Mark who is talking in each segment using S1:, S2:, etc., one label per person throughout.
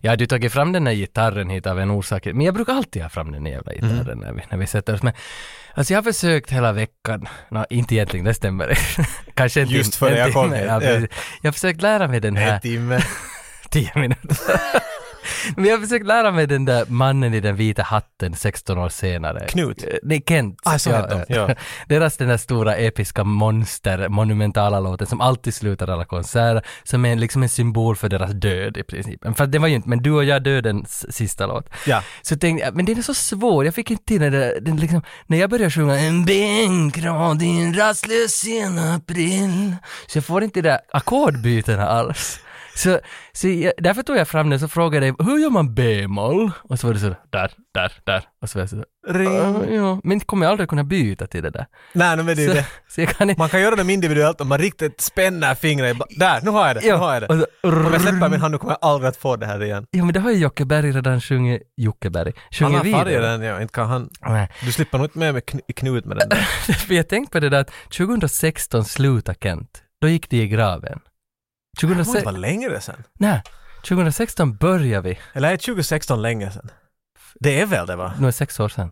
S1: Jag hade ju tagit fram den här gitarren hit av en orsak, men jag brukar alltid ha fram den här jävla
S2: Mm.
S1: gitarren när, vi, när vi sätter oss. Men alltså jag har försökt hela veckan, nå inte egentligen, det stämmer. Kanske en
S2: Just
S1: tim-
S2: före
S1: en
S2: jag kom
S1: timme,
S2: hit,
S1: ja,
S2: ja.
S1: precis. Jag har försökt lära mig den här
S2: En timme.
S1: tio minuter. Men jag har försökt lära mig den där mannen i den vita hatten 16 år senare.
S2: Knut?
S1: Eh, Nej, Kent. eh,
S2: Ah, så hette de, ja.
S1: Deras den där stora episka monster, monumentala låten som alltid slutar alla konserter, som är liksom en symbol för deras död i princip. För det var ju inte, men du och jag dödens sista låt.
S2: Ja.
S1: Så tänkte jag, men den är så svår, jag fick inte till den där, den liksom, när jag började sjunga en bänkram, din rastlös sen april, så jag får inte de där ackordbytena alls. Så, så jag, därför tog jag fram den och så frågade jag dig, hur gör man b-moll? Och så var det så där, där, där. Och så var jag så där,
S2: Ring.
S1: "Ah, ja. Men kommer jag aldrig kunna byta till det där.
S2: Nej, men det är ju
S1: Så,
S2: det.
S1: så jag kan inte...
S2: Man kan göra dem individuellt om man riktigt spänner fingret. i ba- Där, nu har jag det. Nu har jag det.
S1: och så,
S2: Om jag släpper min hand nu kommer jag aldrig att få det här igen.
S1: ja men det har ju Jocke Berg redan sjungit, Jocke Berg,
S2: Alla
S1: sjungit
S2: färger
S1: vidare.
S2: den, ja, inte kan han.
S1: Nej.
S2: Du slipper nog inte med, med kn- i knut med den där.
S1: För jag tänkte på det där att 2016 slutade Kent. Då gick det i graven.
S2: Det måste
S1: 2016,
S2: vara längre sen.
S1: nej, 2016 började vi.
S2: Eller är 2016 länge sen? Det är väl det va?
S1: Nu är det sex år sedan.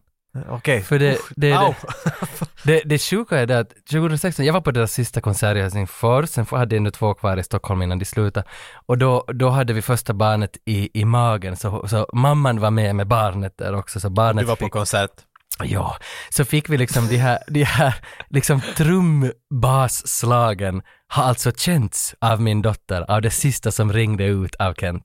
S2: Okej.
S1: För det, det,
S2: Au!
S1: det, det, det sjuka är det att 2016, jag var på deras sista konsert i Helsingfors, sen hade jag ändå två kvar i Stockholm innan de slutade. Och då, då hade vi första barnet i, i magen, så, så mamman var med med barnet där också. Så barnet
S2: Du var på
S1: fick,
S2: koncert.
S1: Ja, så fick vi liksom de här, de här liksom trumbasslagen har alltså känts av min dotter, av det sista som ringde ut av Kent.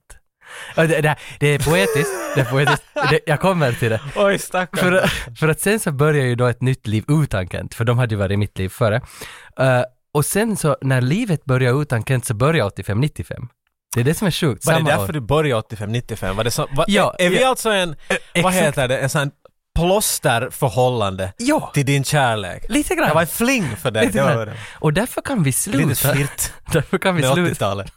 S1: Och det, det, det är poetiskt, det är poetiskt. Det, jag kommer till det.
S2: Oj stackarn.
S1: För, för att sen så börjar ju då ett nytt liv utan Kent, för de hade ju varit i mitt liv före. Eh, och sen så när livet börjar utan Kent så börjar 85-95. Det är det som är sjukt.
S2: Var det
S1: samma
S2: därför
S1: år.
S2: du började 85-95? Var det så, va,
S1: Ja,
S2: är vi
S1: ja.
S2: alltså en, vad
S1: exakt.
S2: heter det, en sån plåsterförhållande
S1: Ja,
S2: till din kärlek?
S1: lite grann.
S2: Det var en fling för dig.
S1: Lite
S2: Det var
S1: grann.
S2: det.
S1: Och därför kan vi sluta.
S2: Lite flirt
S1: Därför kan vi
S2: med
S1: sluta.
S2: 80-talet.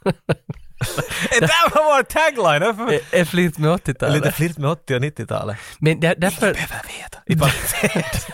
S2: det där var vår tagline! varför-
S1: Är- Är flytt med 80-talet.
S2: Lite flirt med 80 och 90-talet.
S1: Men där, därför,
S2: I parentes.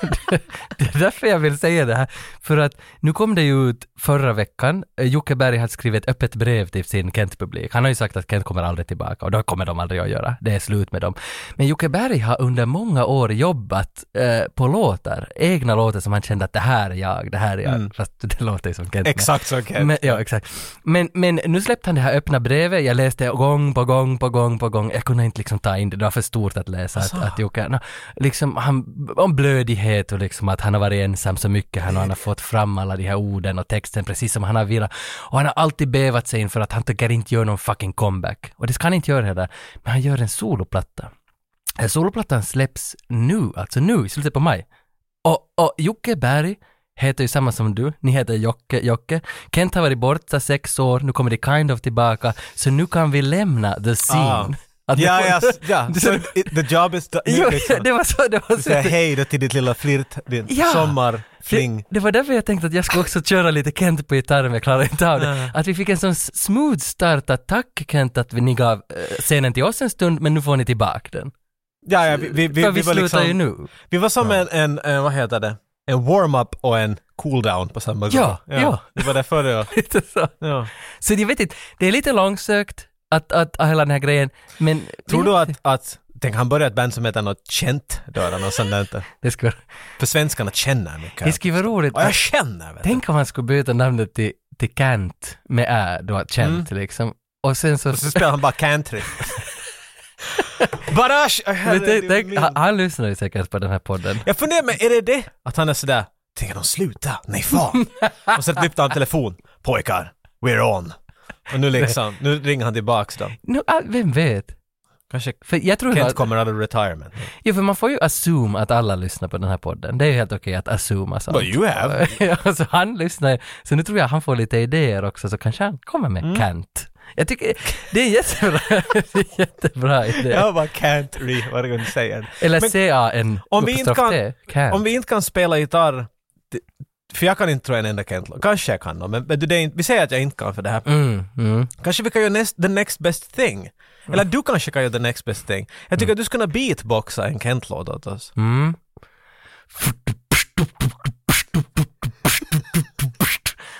S1: det är därför jag vill säga det här. För att nu kom det ju ut förra veckan, eh, Jocke Berg hade skrivit ett öppet brev till sin Kent-publik. Han har ju sagt att Kent kommer aldrig tillbaka och då kommer de aldrig att göra. Det är slut med dem. Men Jocke Berg har under många år jobbat eh, på låtar, egna låtar som han kände att det här är jag, det här är jag. Fast det låter ju som Kent. men-
S2: Exakt så Kent.
S1: Men, ja, exakt. Men, men nu släppte han det här öppna brevet, jag läste gång på gång på gång på gång, jag kunde inte liksom ta in det, det var för stort att läsa att, att Jocke, no, liksom han, om blödighet och liksom att han har varit ensam så mycket, han, och han har fått fram alla de här orden och texten precis som han har velat. Och han har alltid bävat sig inför att han tycker inte göra någon fucking comeback. Och det ska han inte göra heller, men han gör en soloplatta. Eh, Soloplattan släpps nu, alltså nu i slutet på maj. Och, och Jocke Berg heter ju samma som du, ni heter Jocke, Jocke. Kent har varit borta sex år, nu kommer det kind of tillbaka, så nu kan vi lämna the scene.
S2: Ah.
S1: Att nu
S2: Ja,
S1: får-
S2: ja, s- ja.
S1: Du-
S2: Så it- the job is done.
S1: Jo,
S2: Liksom.
S1: det var så, det var
S2: Du
S1: så.
S2: säger hej då till ditt lilla flirt, din
S1: Ja.
S2: sommarfling.
S1: Det, det var därför jag tänkte att jag skulle också köra lite Kent på gitarren, jag klarar inte av det.
S2: Nej.
S1: Att vi fick en sån s- smooth start, att tack Kent att vi- ni gav eh, scenen till oss en stund, men nu får ni tillbaka den.
S2: Ja, ja, vi, vi, vi,
S1: För
S2: vi
S1: vi,
S2: var
S1: slutar
S2: liksom...
S1: ju nu.
S2: Vi var som en, en, en, vad heter det, en warm-up och en cool-down på samma gång.
S1: Ja, ja.
S2: Det var därför det var.
S1: Lite så.
S2: Ja.
S1: Så jag vet inte, det är lite långsökt att, att, att hela den här grejen, men...
S2: Tror du att, att tänk han började ett band som heter något känt då eller något sånt där inte.
S1: Det skulle,
S2: För svenskarna känner mycket.
S1: det skulle vara roligt.
S2: Och jag känner vet du.
S1: Tänk om han skulle byta namnet till, till Kent med Ä, då Kent liksom. Och sen så...
S2: Mm. Och så spelar han bara country. Barash! Oh,
S1: Men tänk-
S2: herregud
S1: tänk,
S2: min. Mm.
S1: han, han lyssnar ju säkert på den här podden.
S2: Jag funderar men är det det? Att han är sådär, tänker de sluta? Nej fan. och så lyfter han telefon. Pojkar, we're on. Och nu liksom, nu ringer han tillbaks då.
S1: Nu, ah, vem vet?
S2: Kanske
S1: För jag tror
S2: Kent
S1: att,
S2: kommer out of retirement.
S1: ja, för man får ju assume att alla lyssnar på den här podden. Det är ju helt okej att assuma sånt.
S2: But you have.
S1: ja, så han lyssnar ju. Så nu tror jag han får lite idéer också, så kanske han kommer med
S2: Mm.
S1: Kent. Jag tycker det är en jättebra, det är en jättebra idé.
S2: Jag bara can't re varje gång du säger det.
S1: Eller
S2: Men-
S1: C-A-N,
S2: Om vi inte
S1: uppstrof
S2: kan-
S1: T, Kent.
S2: Om vi inte kan spela gitarr, det- för jag kan inte tro en enda Kent-låt. Kanske jag kan då, men, men det är inte, vi säger att jag inte kan för det här.
S1: Mm, mm.
S2: Kanske vi kan göra näst, the next best thing. Eller du kanske kan göra the next best thing. Jag tycker att du skulle kunna beatboxa en Kent-låt åt oss.
S1: Mm.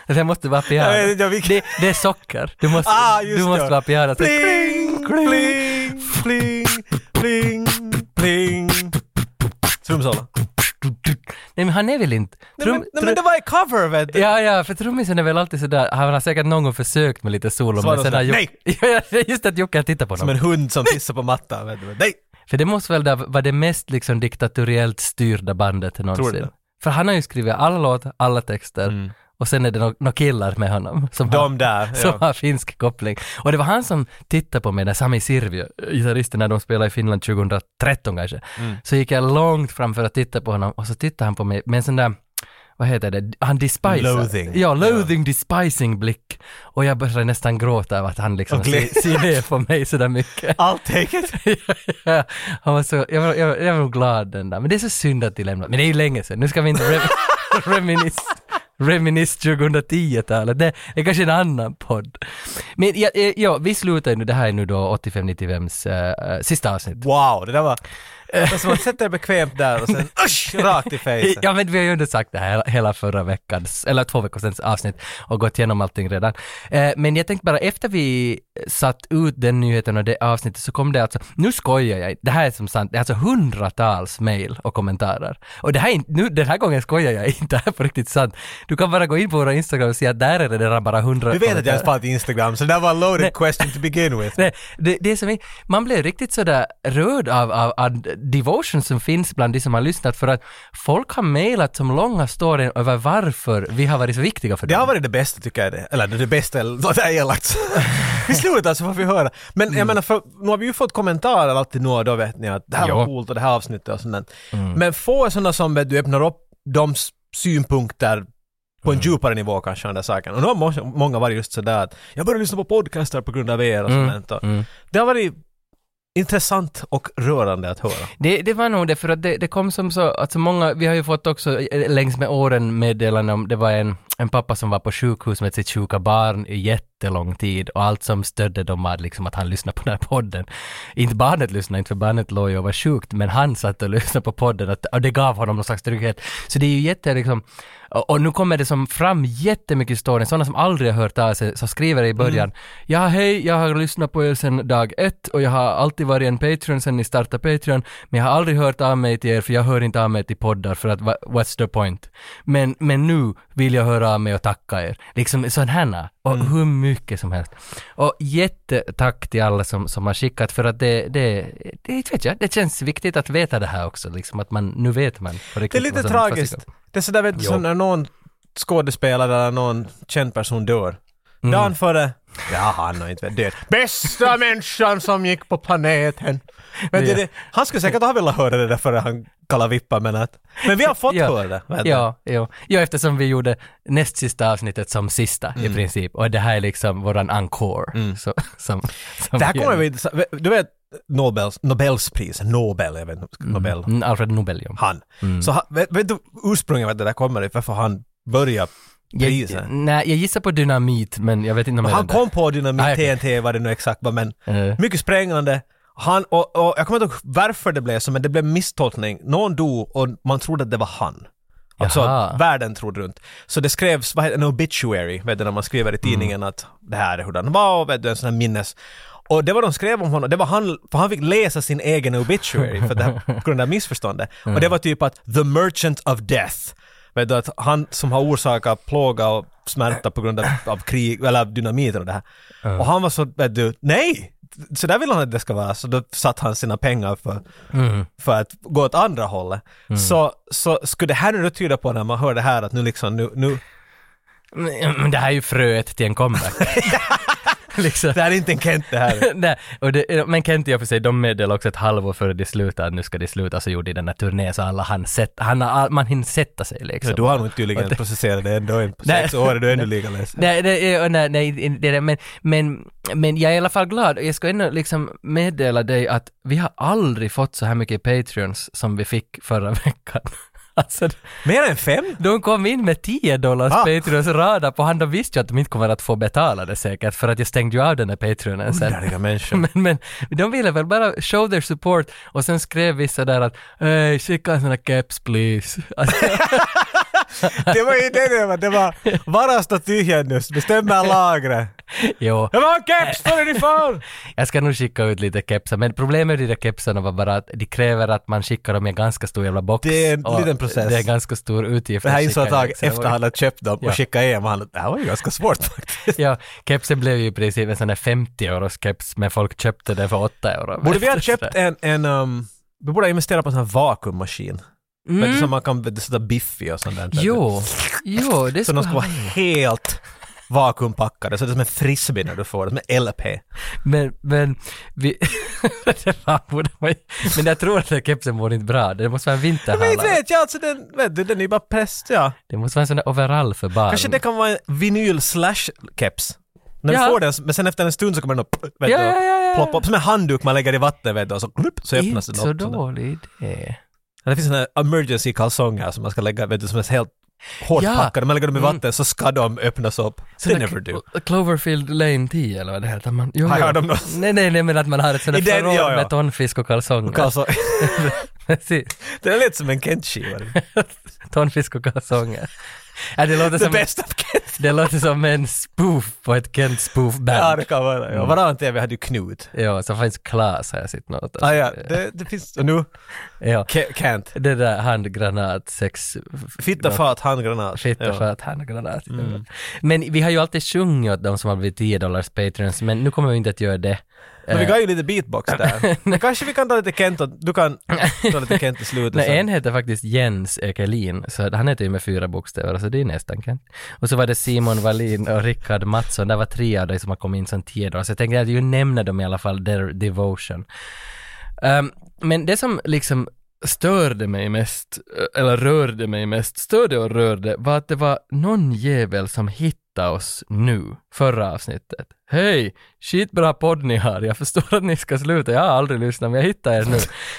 S1: Det måste vara piano.
S2: Jag vet inte vilken-
S1: Det, det är socker. Du måste,
S2: Ah, just
S1: du måste
S2: det.
S1: vara piano. Så-
S2: Bling, bling, pling, pling, pling. Trumsolo.
S1: Nej men han är väl inte...
S2: Nej,
S1: Trum-
S2: men, nej,
S1: tru-
S2: men det var en cover vet du!
S1: Ja, ja, för trummisen är väl alltid sådär, han har säkert någon gång försökt med lite solo
S2: Så var
S1: men
S2: det
S1: sen
S2: så
S1: har
S2: här,
S1: Jocke... Nej! Ja, just att Jocke har tittat på
S2: Som
S1: honom.
S2: en hund som pissar på mattan vet du. Nej!
S1: För det måste väl där vara det mest liksom diktatoriellt styrda bandet någonsin.
S2: det.
S1: För han har ju skrivit alla låtar, alla texter
S2: Mm.
S1: och sen är det några no- killar med honom som, har,
S2: De där.
S1: som
S2: Ja.
S1: har finsk koppling. Och det var han som tittade på mig när Sami Sirvio, gitarristen när de spelade i Finland 2013 kanske,
S2: Mm.
S1: så gick jag långt fram för att titta på honom och så tittade han på mig med en sån där vad heter det? Han despisar.
S2: Loathing.
S1: Ja, loathing, despising blick. Och jag började nästan gråta av att han liksom
S2: Och gle-
S1: ser, ser ner på mig sådär mycket.
S2: I'll take it.
S1: Ja, han var så, jag var, jag, var- jag var nog glad den där. Men det är så synd att de lämnade. Men det är ju länge sedan. Nu ska vi inte rem, reminis, reminis 2010-talet. Det är kanske en annan podd. Men ja, eh, ja vi slutar ju nu. Det här är nu då 85-95s eh, sista avsnitt.
S2: Wow, det där var... Alltså, Det var som att sätta dig bekvämt där och sen usch, rakt i fejsen.
S1: Ja men vi har ju inte sagt det här hela- hela förra veckans, eller två veckor sedan avsnitt och gått igenom allting redan. Eh, men jag tänkte bara efter vi satt ut den nyheten och det avsnittet så kom det alltså, nu skojar jag inte. det här är som sant, det är alltså hundratals mejl och kommentarer. Och det här är inte, nu, den här gången skojar jag inte, det här är på riktigt sant. Du kan bara gå in på våra Instagram och se att där är det redan bara hundra
S2: Du vet att jag ens fann Instagram, så det där var a loaded question to begin with.
S1: Nej, det, det är som är, man blev riktigt sådär rörd av, av, av devotion som finns bland de som har lyssnat för att folk har mejlat som långa storyn över varför vi har varit så viktiga för
S2: Det
S1: dem.
S2: har varit det bästa tycker jag. det- Eller det bästa, eller vad det är elakt. I slutet så får vi höra. Men
S1: Mm.
S2: jag menar, för, nu har vi ju fått kommentarer alltid nu och då vet ni att det här var
S1: Ja. Mm.
S2: coolt och det här avsnittet och sånt där. Men få sådana som vet du öppnar upp de s- synpunkter på en
S1: Mm.
S2: djupare nivå kanske, den där saken. Och nu har må- många varit just sådär att jag börjar lyssna på podcaster på grund av er och
S1: Mm.
S2: sånt där.
S1: Mm.
S2: Det har varit intressant och rörande att höra.
S1: Det, det var nog det, för att det, det kom som så, alltså många, vi har ju fått också eh, längs med åren meddelanden om, det var en, en pappa som var på sjukhus med sitt sjuka barn i jättelång tid och allt som stödde dem var liksom att han lyssnade på den här podden. Inte barnet lyssnade, inte för barnet låg ju och var sjukt, men han satt och lyssnade på podden att, och det gav honom någon slags trygghet. Så det är ju jätte liksom, och, och nu kommer det som fram jättemycket historier, sådana som aldrig har hört av sig, som skriver i början, ja hej, jag har lyssnat på er sedan dag ett och jag har alltid varit en Patreon sedan ni startade Patreon, men jag har aldrig hört av mig till er för jag hör inte av mig till poddar för att va- what's the point? Men, men nu vill jag höra av mig och tacka er. Liksom sådana här, och
S2: Mm.
S1: hur mycket som helst. Och jättetack till alla som, som har skickat för att det, det, det, inte vet jag, det känns viktigt att veta det här också, liksom att man, nu vet man. på
S2: Det är
S1: riktigt
S2: lite
S1: vad som- vad som-
S2: tragiskt. Det är sådär vet du,
S1: Jo.
S2: som när någon skådespelare eller någon känd person dör.
S1: Mm.
S2: Dagen före, ja han har inte varit död. Bästa människan som gick på planeten. Men det,
S1: Ja.
S2: det, han skulle säkert ha velat höra det där före han kallade vippa men att... Men vi har fått höra det. vet du.
S1: Ja, ja. ja, eftersom vi gjorde näst sista avsnittet som sista
S2: Mm.
S1: i princip. Och det här är liksom våran encore. Så, som, som
S2: Det här
S1: vi
S2: kommer
S1: gör.
S2: vi... Du vet Nobels, Nobelspriset, Nobel, jag vet inte, Nobel.
S1: Mm, Alfred Nobel, ja.
S2: Han. Så han, vet, vet du ursprungligen var det där kommer ifrån, varför han började priset?
S1: Jag, nej, jag gissar på dynamit, men jag vet inte om jag
S2: Han
S1: vet det.
S2: kom på dynamit,
S1: Ah, okej.
S2: TNT, vad det nu exakt var, men
S1: Eh.
S2: mycket sprängande. Han, och, och jag kommer inte ihåg varför det blev så, men det blev misstolkning. Någon dog och man trodde att det var han. Alltså,
S1: Jaha.
S2: världen trodde runt. Så det skrevs, vad heter det, en obituary, vet du, när man skriver i tidningen att det här är hur han var, vet du, en sån här minnes. Och det var de skrev om honom, det var han, för han fick läsa sin egen obituary för det här, på grund av missförståndet. Och det var typ att the merchant of death. Vet du, att han som har orsakat plåga och smärta på grund av, av krig, eller av dynamiten och det här. Och han var så, vet du, nej! Så där vill han att det ska vara, så då satt han sina pengar för
S1: Mm.
S2: för att gå åt andra hållet. Så, så skulle det här nu då tyda på när man hör det här att nu liksom, nu, nu
S1: Mm, men Det här är ju fröet till en comeback. liksom.
S2: det här är inte en Kent det här.
S1: Nej, och det, men Kent i och för sig, de meddelade också ett halvår före de slutade att nu ska de sluta, så gjorde de den här turnén så alla han sett, han har, all- man hinner sätta sig liksom.
S2: Så du har nog tydligen processerat det ändå, in på
S1: Nej.
S2: sex år är du ännu lika ledsen.
S1: Nej, det, är- nej, nej, det är det, men, men, men jag är i alla fall glad och jag ska ändå liksom meddela dig att vi har aldrig fått så här mycket Patreons som vi fick förra veckan. Alltså,
S2: Mer än fem?
S1: de kom in med 10 dollars
S2: Ah.
S1: Patreons rada på hand. De visste ju att de inte kommer att få betala det säkert för att jag stängde ju av den här Patreonen sen.
S2: Underliga människor.
S1: Men, men de ville väl bara show their support och sen skrev vissa där att ”Hej, skicka en sån här keps please”. Alltså,
S2: det var idén om att det var varastatyen nu, bestämmer lagret.
S1: Jo.
S2: Det var en keps för uniform!
S1: Jag ska nog skicka ut lite kepsar, men problemet med de där kepsarna var bara att de kräver att man skickar dem i en ganska stor jävla box.
S2: Det är en
S1: Och
S2: liten process.
S1: Det är en ganska stor utgift.
S2: Det här
S1: att skicka
S2: insåg jag
S1: iväg, så det var-
S2: efter han hade köpt dem
S1: Ja.
S2: och skickat hem. Han, det här var ju ganska svårt faktiskt.
S1: Ja, kepsen blev ju i princip en sån där 50 euros keps, men folk köpte den för 8 euro.
S2: Borde vi ha köpt en... en um, vi borde ha investerat på en sån här vakuummaskin.
S1: Mm.
S2: Vet du, som man kan vet du, sätta biff i och sånt där. typ.
S1: Jo, jo, det
S2: Så
S1: skulle
S2: de ska vara helt vakuumpackade, så det är som en frisbee när du får det, som en LP.
S1: Men, men, vi... det var, borde man, ju- men jag tror att den här kepsen mår inte bra. Det måste vara en
S2: Men inte
S1: vinterhallare.
S2: vet jag, alltså den, vet du, den är ju bara präst, ja.
S1: Det måste vara en sån där overall för barn.
S2: Kanske det kan vara en vinyl slash keps. När
S1: Ja.
S2: du får den, men sen efter en stund så kommer den att vet
S1: Ja,
S2: du,
S1: ja, ja, ja.
S2: ploppa upp. Som en handduk man lägger i vattnet vet du, och så, klupp, så
S1: Inte
S2: öppnas den upp.
S1: så
S2: sådär.
S1: dålig idé.
S2: Ja, Det finns såna här emergency kalsonger som man ska lägga, vet du, som är helt hårt
S1: Ja.
S2: packade. Man lägger dem i
S1: Mm.
S2: vatten så ska de öppnas upp. They
S1: där
S2: never do.
S1: Clo- Cloverfield Lane 10 eller vad det heter. Man, jo,
S2: Har
S1: jo.
S2: jag dem då?
S1: Nej, nej, nej, men att man har ett sånt där
S2: I den,
S1: förråd
S2: ja, ja.
S1: med tonfisk och kalsonger.
S2: Kalso-
S1: Precis.
S2: det är lite som en Kent-skiva.
S1: tonfisk och kalsonger. Ja, det, låter som
S2: The
S1: en,
S2: best of Kent.
S1: det låter som en spoof på ett Kent
S2: Ja,
S1: spoof-band.
S2: det kan vara.
S1: Mm.
S2: Ja. Varannan TV hade ju Knut.
S1: Ja, så finns Klas har jag sett något.
S2: Ah, ja, det, det finns... Och nu,
S1: Ja.
S2: Ke- Kent.
S1: Det där handgranat, sex...
S2: Fitta, fat, handgranat.
S1: Fitta
S2: Ja. Mm.
S1: för att handgranat. Men vi har ju alltid sjungit åt de som har blivit 10 dollars patrons, men nu kommer vi inte att göra det.
S2: Men
S1: eh.
S2: vi kan ju lite beatbox där. Men kanske vi kan ta lite Kent och, du kan ta lite Kent i slutet
S1: Nej, en
S2: sen.
S1: heter faktiskt Jens Ekelin, så att han heter ju med fyra bokstäver, så det är nästan Kent. Och så var det Simon Wallin och Rickard Mattsson, det var tre av dig som har kommit in som tio dagar, så jag tänkte att jag ju nämna dem i alla fall, their devotion. Ehm, men det som liksom störde mig mest, eh, eller rörde mig mest, störde och rörde, var att det var någon jävel som hittade oss nu, förra avsnittet. Hej! Skitbra podd ni har, jag förstår att ni ska sluta, jag har aldrig lyssnat men jag hittar er nu.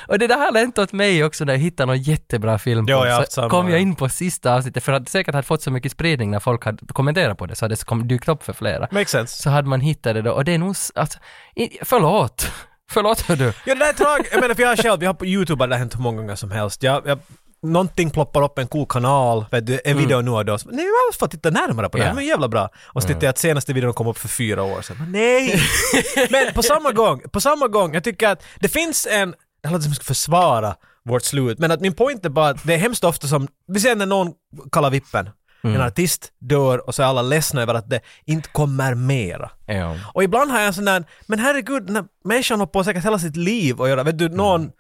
S1: Och det där har hänt åt mig också när jag hittade någon jättebra film
S2: Ja, jag har
S1: på,
S2: haft
S1: så
S2: samma.
S1: kom jag in på sista avsnittet för att det säkert hade fått så mycket spridning när folk hade kommenterat på det så hade det kom- dykt upp för flera.
S2: Makes sense.
S1: Så hade man hittat det då och det är nog, s- alltså, i- förlåt! Förlåt hör du!
S2: Ja, det där är tragiskt. Jag menar, för jag själv, vi har på YouTube, det har hänt hur många gånger som helst. Jag, jag, någonting ploppar upp en cool kanal, vet du, en video nu och då. Så, Nej, jag måste få titta närmare på det
S1: Ja.
S2: här, men jävla bra. Och så tittar jag att senaste videon kom upp för fyra år sedan. Men Nej! men på samma gång, på samma gång, jag tycker att det finns en, det här låter som att jag ska försvara vårt slut, men att min point är bara att det är hemskt ofta som, vi ser när någon kallar vippen, en artist dör och så är alla ledsna över att det inte kommer mera.
S1: Ja.
S2: Och ibland har jag en sån där, men herregud, den här människan har på säkert hela sitt liv och göra, vet du, någon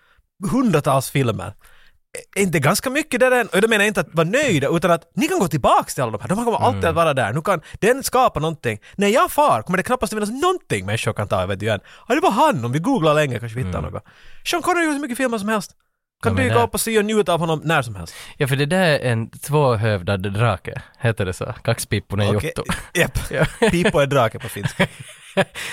S2: hundratals filmer. Ä- Inte ganska mycket där än, och då menar jag inte att vara nöjda, utan att ni kan gå tillbaks till alla de här, de här kommer
S1: Mm.
S2: alltid att vara där, nu kan den skapa någonting. När jag far kommer det knappast att finnas någonting människor kan ta, vet du, igen. Ja, det var han, om vi googlar länge kanske vi hittar något. Sean Connery har gjort hur mycket filmer som helst. Kan
S1: Mm. Ja, men
S2: dyka
S1: det-
S2: upp och se och njuta av honom när som helst.
S1: ja, för det där är en tvåhövdad drake, heter det så? Kaxpipponen okay.
S2: Okej,
S1: Jotto.
S2: Japp. Pipo är drake på finska.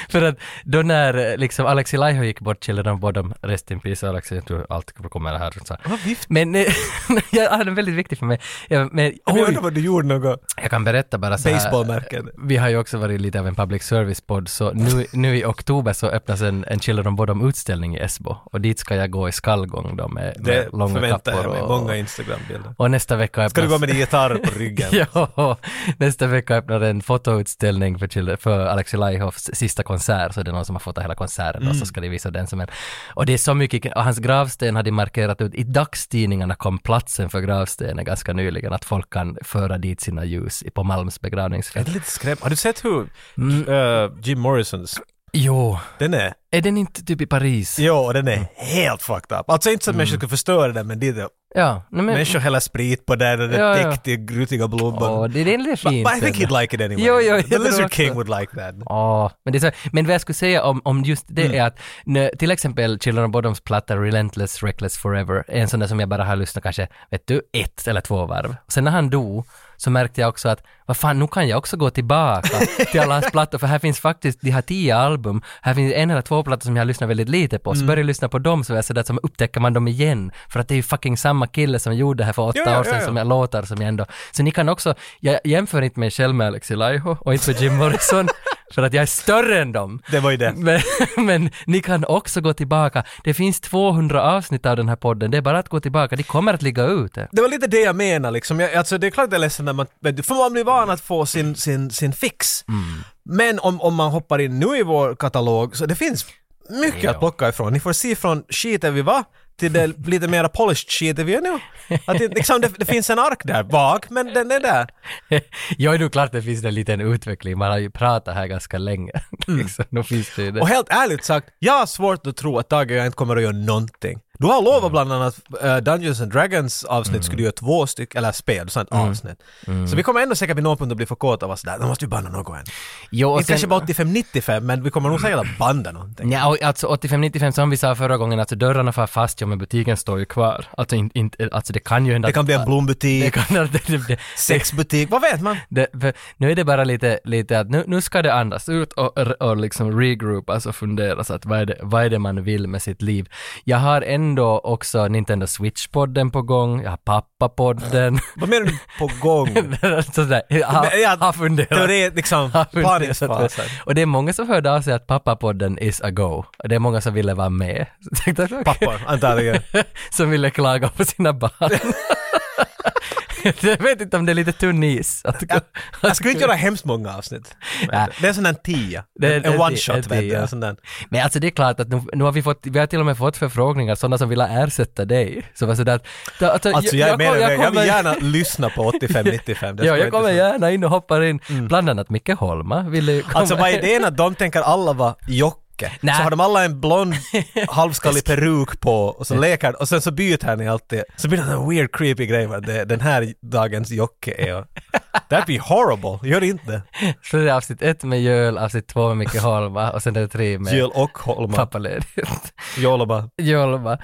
S1: För att då när eh, liksom Alexi Laiho gick bort killade de båda dem, rest in peace Alexi, jag tror allt kommer här. Så. här.
S2: Vad vift.
S1: Men eh, jag hade en väldigt viktig för mig. Ja, men,
S2: Men Jag
S1: oj,
S2: undrar vad du gjorde något.
S1: jag kan berätta bara så här.
S2: Baseballmärken.
S1: Vi har ju också varit lite av en public service-podd, så nu, nu i oktober så öppnas en, en Children of Bodom utställning i Esbo. Och dit ska jag gå i skallgång då med,
S2: Det
S1: med långa
S2: förväntar
S1: kappor.
S2: jag mig.
S1: och,
S2: Många Instagram-bilder.
S1: och nästa vecka öppnas...
S2: Ska du gå med din gitarr på ryggen?
S1: Ja, nästa vecka öppnar en fotoutställning för, Children- för Alexi Laihoffs sista konsert, så det är någon som har fotat hela konserten och så ska de visa den som en... Och det är så mycket, och hans gravsten hade markerat ut, i dagstidningarna kom platsen för gravstenen ganska nyligen, att folk kan föra dit sina ljus i- på Malms
S2: Är
S1: begravningsfält.
S2: det lite skrämmande? Har du sett hur
S1: Mm.
S2: eh, Jim Morrisons,
S1: Jo,
S2: den är, Mm.
S1: är den inte typ i Paris?
S2: jo och den är helt fucked up. Alltså inte så att människor skulle förstöra den men det är det.
S1: Ja, nej men...
S2: Människor häller sprit på den och det
S1: Ja,
S2: är
S1: ja.
S2: täckt i grutiga
S1: Åh,
S2: blommor.
S1: det det är lite
S2: But,
S1: fint.
S2: but I think he'd like it anyway.
S1: Jo, jo, jag
S2: The
S1: tror
S2: Lizard
S1: också.
S2: King would like that.
S1: Ja, men, det är så, men vad jag skulle säga om, om just det
S2: Mm.
S1: är att när, till exempel Children of Bodoms platta Relentless, Reckless, Forever är en sån där som jag bara har lyssnat kanske, vet du, ett eller två varv. Sen när han dog så märkte jag också att, vad fan, nu kan jag också gå tillbaka till alla hans plattor, för här finns faktiskt, de har tio album, här finns en eller två plattor som jag lyssnar väldigt lite
S2: Mm.
S1: på, så börjar jag lyssna på dem så är jag sådär, som upptäcker man dem igen, för att det är ju fucking samma kille som gjorde det här för åtta
S2: Ja, ja,
S1: år sedan
S2: ja, ja.
S1: som jag låtar som jag ändå, så ni kan också, jag jämför inte mig själv med Alexi Laiho och inte med Jim Morrison, För att jag är större än dem.
S2: Det var ju det.
S1: Men, men ni kan också gå tillbaka. Det finns 200 avsnitt av den här podden. Det är bara att gå tillbaka. De kommer att ligga ute.
S2: Det var lite det jag menar liksom. Jag, alltså det är klart jag är ledsen när man, vet du, för man blir van att få sin, sin, sin fix. Men om, om man hoppar in nu i vår katalog så det finns mycket att plocka ifrån. Ni får se från skiten vi var till det lite mera polished skiten vi är nu. Att det, liksom, det, det finns en ark där bak, men den är där.
S1: Jo, det är klart det finns en liten utveckling. Man har ju pratat här ganska länge. Liksom, då finns det ju det.
S2: Och helt ärligt sagt, jag har svårt att tro att Tage och jag inte kommer att göra någonting. Du har
S1: Mm.
S2: lovat bland annat eh, Dungeons and Dragons avsnitt skulle du göra två stycken, eller spel, du sa ett
S1: Mm.
S2: avsnitt. Så vi kommer ändå säkert vid någon punkt att bli för kåta och vara sådär, då måste vi banda något än.
S1: Jo, och Mm.
S2: Inte kanske bara 85-95, men vi kommer nog säkert att banda någonting.
S1: Ja, och alltså 85-95 som vi sa förra gången, alltså dörrarna far fast, ja men butiken står ju kvar. Alltså, in, in, alltså det kan ju hända
S2: Det kan bli en
S1: det
S2: blombutik,
S1: kan, det, det, det,
S2: sexbutik, vad vet man?
S1: det, för nu är det bara lite, lite att nu, nu ska det andas ut och, och liksom regroupas och funderas att vad är, det, vad är det man vill med sitt liv. Jag har ändå också Nintendo Switch-podden på gång, jag har pappapodden.
S2: Vad menar du på gång?
S1: Sådär, jag
S2: Men
S1: har,
S2: jag-
S1: har funderat.
S2: Teori, liksom,
S1: Har funderat.
S2: panikfasen.
S1: Och det är många som hörde av sig att pappapodden is a go. Och det är många som ville vara med. Så jag tänkte, okej.
S2: Pappor, antagligen.
S1: som ville klaga på sina barn. jag vet inte om det är lite tunn is. Att,
S2: Jag skulle inte göra hemskt många avsnitt.
S1: Nej.
S2: Det är en sån där tia.
S1: Det är-
S2: En,
S1: det är
S2: one
S1: ti-
S2: shot,
S1: en
S2: vet du.
S1: tia.
S2: En sån där.
S1: Men alltså det är klart att nu, nu har vi fått, vi har till och med fått förfrågningar, sådana som vill ersätta dig. Så var sådär, att- ta- alltså,
S2: Alltså jag är med
S1: kom-
S2: dig. Jag
S1: kommer-
S2: vill gärna lyssna på 85-95. Det
S1: Ja,
S2: skulle
S1: jag kommer
S2: inte-
S1: gärna in och hoppar in. Bland annat Micke Holma ville ju komma
S2: Mm. Alltså vad är idén att de tänker alla vara Jocke?
S1: Nej.
S2: Så har de alla en blond halvskallig peruk på och så leker och sen så byter ni alltid. Så blir det en weird creepy grej vad det, den här dagens Jocke är. That'd be horrible, gör inte det.
S1: Så det är avsnitt ett med Jöl, avsnitt två med Micke Holma och sen är det tre med
S2: Jill och Holma.
S1: pappaledigt.
S2: Jolla bara.
S1: Jolma.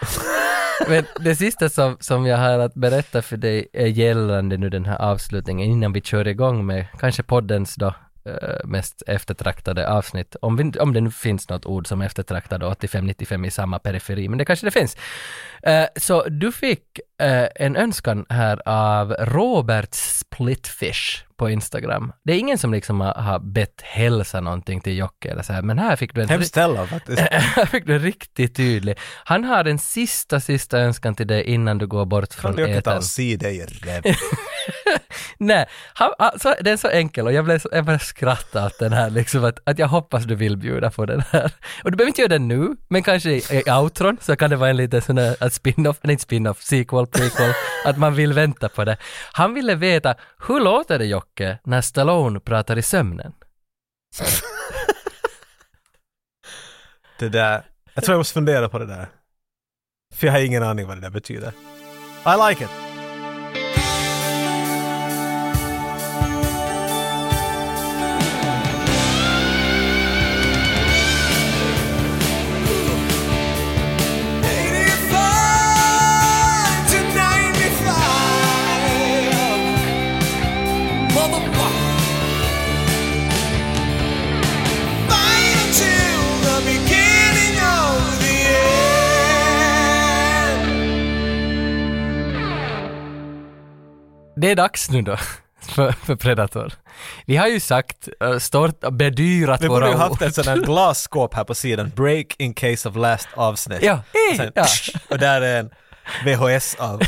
S1: Men det sista som, som jag har att berätta för dig är gällande nu den här avslutningen innan vi kör igång med kanske poddens då eh, mest eftertraktade avsnitt. Om, vi, om det nu finns något ord som eftertraktade 85-95 i samma periferi, men det kanske det finns. Eh, så du fick eh, en önskan här av Robert Splitfish på Instagram. Det är ingen som liksom har, har bett hälsa någonting till Jocke eller så här, men här fick du en
S2: Hemskt ställa faktiskt.
S1: jag fick det riktigt tydligt. Han har en sista, sista önskan till dig innan du går bort
S2: Jag
S1: från
S2: kan inte
S1: etern.
S2: alls se dig i räv.
S1: Nej, han, alltså, den är så enkel och jag blev så, jag började skratta åt den här liksom att, att jag hoppas du vill bjuda på den här. Och du behöver inte göra den nu, men kanske i, i outron så kan det vara en liten sån där att spin-off, nej inte spin-off, sequel, prequel, att man vill vänta på det. Han ville veta, hur låter det Jocke när Stallone pratar i sömnen?
S2: Det där. Jag tror jag måste fundera på det där. För jag har ingen aning vad det där betyder. I like it.
S1: Det är dags nu då. För, för Predator. Vi har ju sagt, eh, stort, bedyrat
S2: Vi borde ju
S1: våra
S2: haft ett sånt här glasskåp här på sidan. Break in case of last avsnitt.
S1: Ja,
S2: Och Sen,
S1: ja.
S2: Och där är en VHS av, av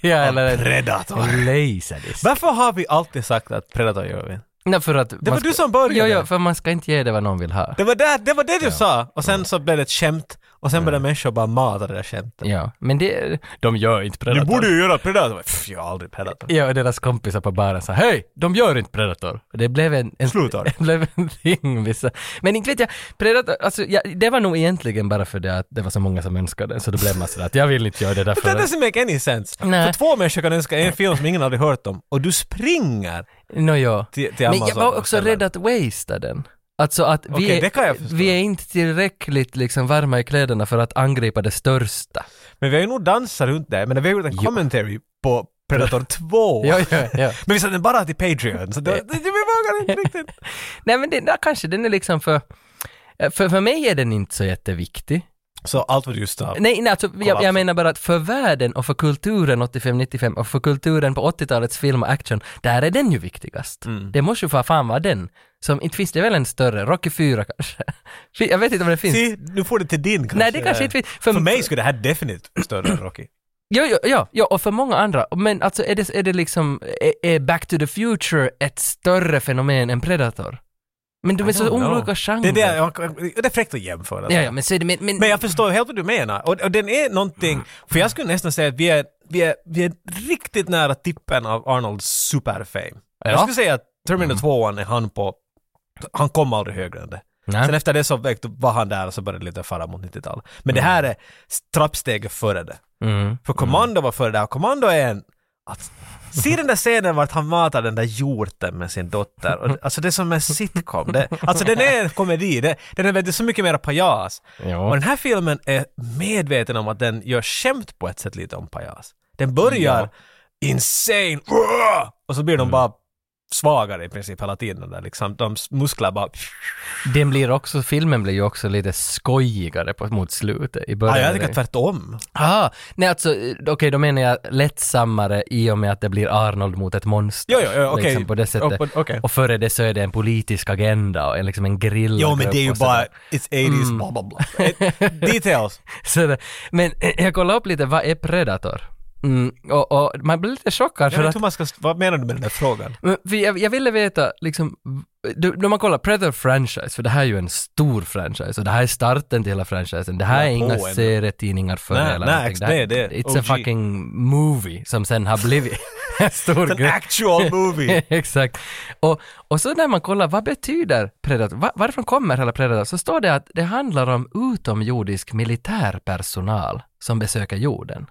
S1: ja, eller en
S2: Predator.
S1: en Laserdisc.
S2: Varför har vi alltid sagt att Predator gör vi?
S1: Nej, för att
S2: Det var du som började.
S1: Jo, jo, för man ska inte ge det vad någon vill ha.
S2: Det var det, det, var det du sa! Och sen så blev det ett skämt och sen började människor bara mata det där skämtet.
S1: Ja, men det, de gör inte Predator.
S2: ju göra Predator! Pff, jag har aldrig Predator.
S1: Ja, och deras kompisar på baren sa hej, de gör inte Predator. Och det blev en... en
S2: Slutar.
S1: Det blev en thing vissa. Men inte vet jag, Predator, alltså ja, det var nog egentligen bara för det att det var så många som önskade den, så då blev man sådär att jag vill inte göra det därför
S2: That
S1: att...
S2: doesn't make any sense.
S1: Nej.
S2: För två människor kan önska en film som ingen aldrig hört om och du springer
S1: Nå, ja.
S2: till, till
S1: Men
S2: Amazon.
S1: jag var
S2: och
S1: också
S2: ställer
S1: rädd att wastea den. Alltså att vi,
S2: Okej, det kan jag
S1: är,
S2: förstå.
S1: vi är inte tillräckligt liksom varma i kläderna för att angripa det största.
S2: Men vi har ju nog dansat runt det, men vi har gjort en commentary på Predator 2.
S1: Ja, ja, ja.
S2: Men vi satte den bara till Patreon, så det, det, vi vågar inte riktigt.
S1: Nej men det, där kanske den är liksom för, för, för mig är den inte så jätteviktig.
S2: Så allt var just av.
S1: Nej, nej alltså, jag,
S2: Kollaps.
S1: jag menar bara att för världen och för kulturen 85-95 och för kulturen på 80-talets film och action, där är den ju viktigast.
S2: Mm.
S1: Det måste ju för fan vara den. Som, inte finns det väl en större, Rocky 4 kanske? Jag vet inte om det finns.
S2: Se, nu får det till din kanske.
S1: nej, det kanske inte finns.
S2: För mig skulle det här definitivt större än Rocky.
S1: Ja, ja, ja, ja, och för många andra. Men alltså är det, är det liksom, är, är Back to the Future ett större fenomen än Predator? Men de är
S2: I
S1: så
S2: don't know.
S1: olika genrer.
S2: Det är, det, jag, det är fräckt att jämföra.
S1: Mm. Ja, ja, men så är det, men, men,
S2: Men jag förstår helt vad du menar. Och, och den är
S1: Mm.
S2: någonting, för jag skulle nästan säga att vi är, vi är, vi är riktigt nära tippen av Arnolds superfame.
S1: Ja. Mm.
S2: Jag skulle säga att Terminator 2 är han på, han kom aldrig högre än det.
S1: Nej.
S2: Sen efter det så växt- var han där och så började det lite fara mot 90-talet. Men det här är trappsteget före det.
S1: Mm.
S2: För Commando var före det här. Commando är en... Att, se den där scenen vart han matar den där hjorten med sin dotter. Och, alltså det är som en sitcom. Det, alltså den är en komedi. Det, den är, det är så mycket mer pajas.
S1: Ja.
S2: Och den här filmen är medveten om att den gör skämt på ett sätt lite om pajas. Den börjar insane "Uah!" och så blir
S1: Mm.
S2: de bara svagare i princip hela tiden. Där, liksom. De musklar bara...
S1: Den blir också, filmen blir ju också lite skojigare på, mot slutet. I början
S2: Ah, jag
S1: är det-
S2: tycker tvärtom.
S1: Ah, nej alltså, eh, okej då menar jag lättsammare i och med att det blir Arnold mot ett monster.
S2: Jo, jo, jo, okej.
S1: Liksom på det
S2: Ja,
S1: sättet.
S2: på- okej.
S1: Och före det så är det en politisk agenda och en, liksom en grill.
S2: Jo, men det är ju
S1: och sådär.
S2: bara... It's 80s,
S1: Mm.
S2: bla bla bla. Eh, Details.
S1: Så det, men eh, jag kollade upp lite, vad är Predator? Mm, och, och man blir lite chockad
S2: Jag
S1: för
S2: vet
S1: att
S2: inte hur man ska, vad menar du med den där frågan?
S1: Men för jag, jag ville veta, liksom, du, när man kollar Predator franchise, för det här är ju en stor franchise och det här är starten till hela franchisen. Det här
S2: Ja,
S1: är inga
S2: på en-
S1: serietidningar för
S2: Nej,
S1: eller
S2: nej,
S1: någonting. här-
S2: det är det.
S1: It's a
S2: OG.
S1: fucking movie som sen har blivit en stor
S2: An
S1: grej.
S2: actual movie!
S1: Exakt. Och, och så när man kollar, vad betyder Predator? Va, varifrån kommer hela Predator? Så står det att det handlar om utomjordisk militärpersonal som besöker jorden.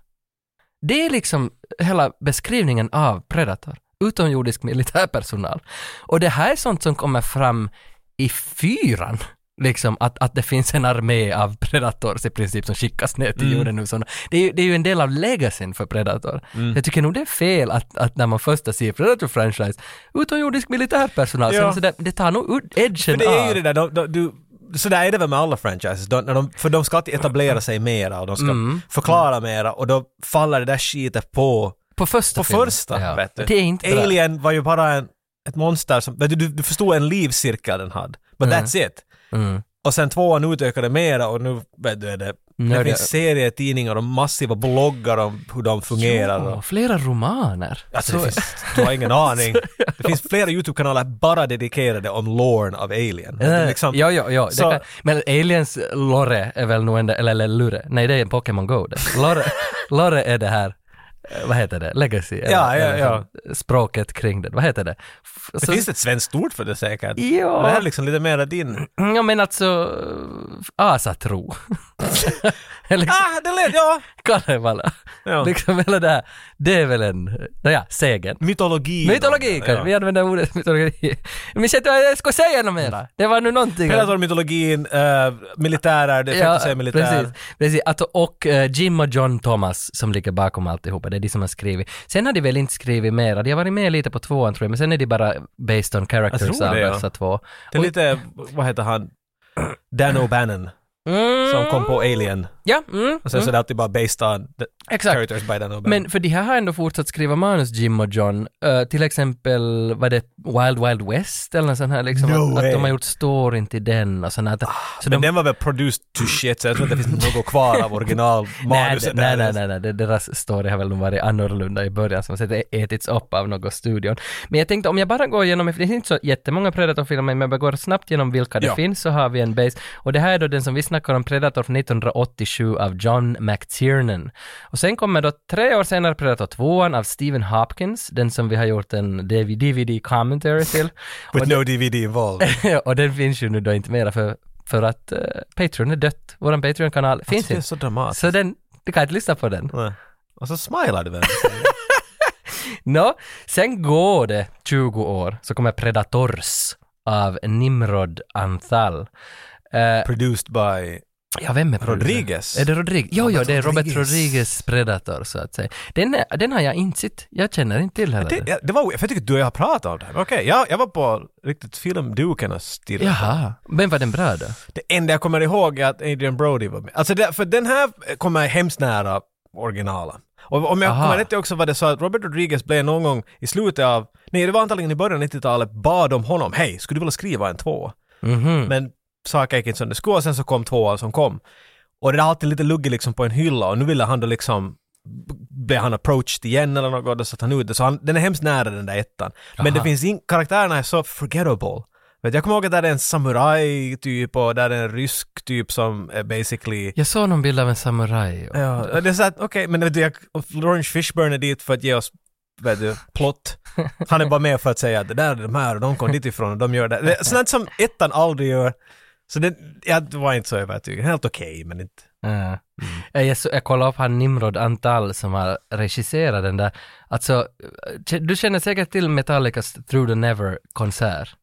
S1: Det är liksom hela beskrivningen av Predator. Utomjordisk militärpersonal. Och det här är sånt som kommer fram i fyran. Liksom att, att det finns en armé av Predators i princip som skickas ner
S2: Mm.
S1: till jorden nu. Såna. Det, är, ju- det är ju en del av legacyn för Predator.
S2: Mm.
S1: Jag tycker nog det är fel att, att när man första ser Predator-franchise, utomjordisk militärpersonal,
S2: Ja.
S1: så, så det, det tar nog ut edgen
S2: För det är
S1: av.
S2: ju det där, de, de, du, så där är det väl med alla franchises, de, när de, för de ska alltid etablera sig mera och de ska
S1: Mm.
S2: förklara mera och då faller det där skitet på,
S1: På första
S2: på
S1: filmen.
S2: första.
S1: Ja.
S2: Vet du.
S1: Det är inte bra.
S2: Alien var ju bara en, ett monster som, vet du, du, du förstod en livscirkel den hade, but that's it.
S1: Mm.
S2: Och sen tvåan utökade mera och nu vet du, är det,
S1: det-
S2: det finns serietidningar och massiva bloggar om hur de fungerar. och,
S1: Ja, flera romaner.
S2: Alltså,
S1: Så-
S2: det finns, du har ingen aning. Det finns flera YouTube-kanaler bara dedikerade om lorn av Alien. Det är
S1: Eh,
S2: liksom,
S1: ja, ja, ja.
S2: Så-
S1: Det kan, men Aliens Lore är väl nog ändå, eller, eller Lure, nej det är en Pokémon Go det. Lore, Lore är det här, eh, vad heter det, legacy? Eller,
S2: Ja, ja,
S1: eller
S2: ja.
S1: så- Språket kring det, vad heter det? F-
S2: det
S1: så-
S2: finns ett svenskt ord för det säkert.
S1: Ja.
S2: Men Det här är liksom lite mer din...
S1: Ja men alltså, eh, asatro. eller
S2: Ah, det lät... Ja!
S1: Kalevala.
S2: Ja.
S1: Liksom hela det här, det är väl en, nåja, sägen.
S2: Mytologi.
S1: Mytologi kanske, vi använder ordet mytologi. Men jag inte vad jag ska säga något mera. Det var nu någonting.
S2: Predator-mytologin, eh, militärer, det är fett att säga militär.
S1: precis. precis. Att, och eh, Jim och John Thomas som ligger bakom alltihopa, det är de som har skrivit. Sen har de väl inte skrivit mera, de har varit med lite på tvåan tror jag, men sen är de bara based on
S2: Jag
S1: characters
S2: tror
S1: av
S2: det, ja.
S1: dessa två.
S2: Det är lite, vad heter han, Dan O'Bannon,
S1: Mm,
S2: som kom på Alien.
S1: Ja, mm,
S2: Och sen så är det alltid bara based on the
S1: exakt.
S2: characters by Dan O'Bannon.
S1: Men för de här har ändå fortsatt skriva manus, Jim och John. Eh, till exempel, var det Wild Wild West eller något sånt här liksom? att,
S2: No
S1: att de
S2: way.
S1: har gjort storyn till den och sånt här. Så
S2: Men
S1: de,
S2: den var väl produced to shit, så jag tror inte det finns något kvar av
S1: nej, det-
S2: originalmanuset.
S1: nej,
S2: där.
S1: nej, nej, nej, det- deras story har väl nog varit annorlunda i början som sett ätits upp av någon studion. Men jag tänkte om jag bara går igenom, för det finns inte så jättemånga Predator-filmer, men jag bara går snabbt igenom vilka det
S2: Ja.
S1: finns så har vi en base. Och det här är då den som vi snackar om, Predator från 1987 av John McTiernan. Och sen kommer då tre år senare Predator 2 av Stephen Hopkins, den som vi har gjort en DVD-commentary till.
S2: With no DVD involved.
S1: och den finns ju nu då inte mera för, för att eh, Patreon är dött. Våran Patreon-kanal finns
S2: Alltså, Det är
S1: inte.
S2: så dramatiskt.
S1: Så den, du kan inte lyssna på den.
S2: Nej. Och så smilar du väl?
S1: Nå, sen går det 20 år så kommer Predators av Nimrod Anthal. Eh,
S2: Produced by
S1: Ja, vem är bruden?
S2: Rodriguez?
S1: Är det Rodriguez? Jo, jo,
S2: Robert
S1: det är Robert
S2: Rodriguez.
S1: Rodriguez Predator, så att säga. Den, är- den har jag inte sett. Jag känner inte till heller.
S2: Det, ja, det var för jag tycker att du och jag har pratat om det här. Okej, ja, jag var på riktigt filmduken och stirrade.
S1: Jaha. Men var den bra då?
S2: Det enda jag kommer ihåg är att Adrian Brody var med. Alltså det, för den här kommer hemskt nära originalen. Och om jag
S1: Aha.
S2: kommer rätt också var det så att Robert Rodriguez blev någon gång i slutet av, nej det var antagligen i början av 90-talet, bad om honom, hej, skulle du vilja skriva en två?
S1: Mhm.
S2: Men saker gick inte som det skulle och sen så kom tvåan som kom. Och det har alltid lite luggit liksom på en hylla och nu ville han då liksom blev han approached igen eller något och då satte han ut det. Så han, den är hemskt nära den där ettan. Men det
S1: Aha.
S2: finns in, karaktärerna är så forgettable. Vet, du, jag kommer ihåg att där är en samuraj typ och där är en rysk typ som är basically
S1: Jag såg någon bild av en samuraj. och-
S2: Ja, och det är så att, okej, men vet du, jag, och Lawrence Fishburne är dit för att ge oss vet du, plott. Han är bara med för att säga att det där är de här och de kom dit ifrån och de gör det. det är Sånt som ettan aldrig gör. Så det, jag var inte så övertygad. Helt okej, men inte...
S1: Ja.
S2: Mm.
S1: Eh, Jag, så, jag kollade upp han Nimrod Antal som har regisserat den där. Alltså, eh, du känner säkert till Metallicas Through the Never-konsert.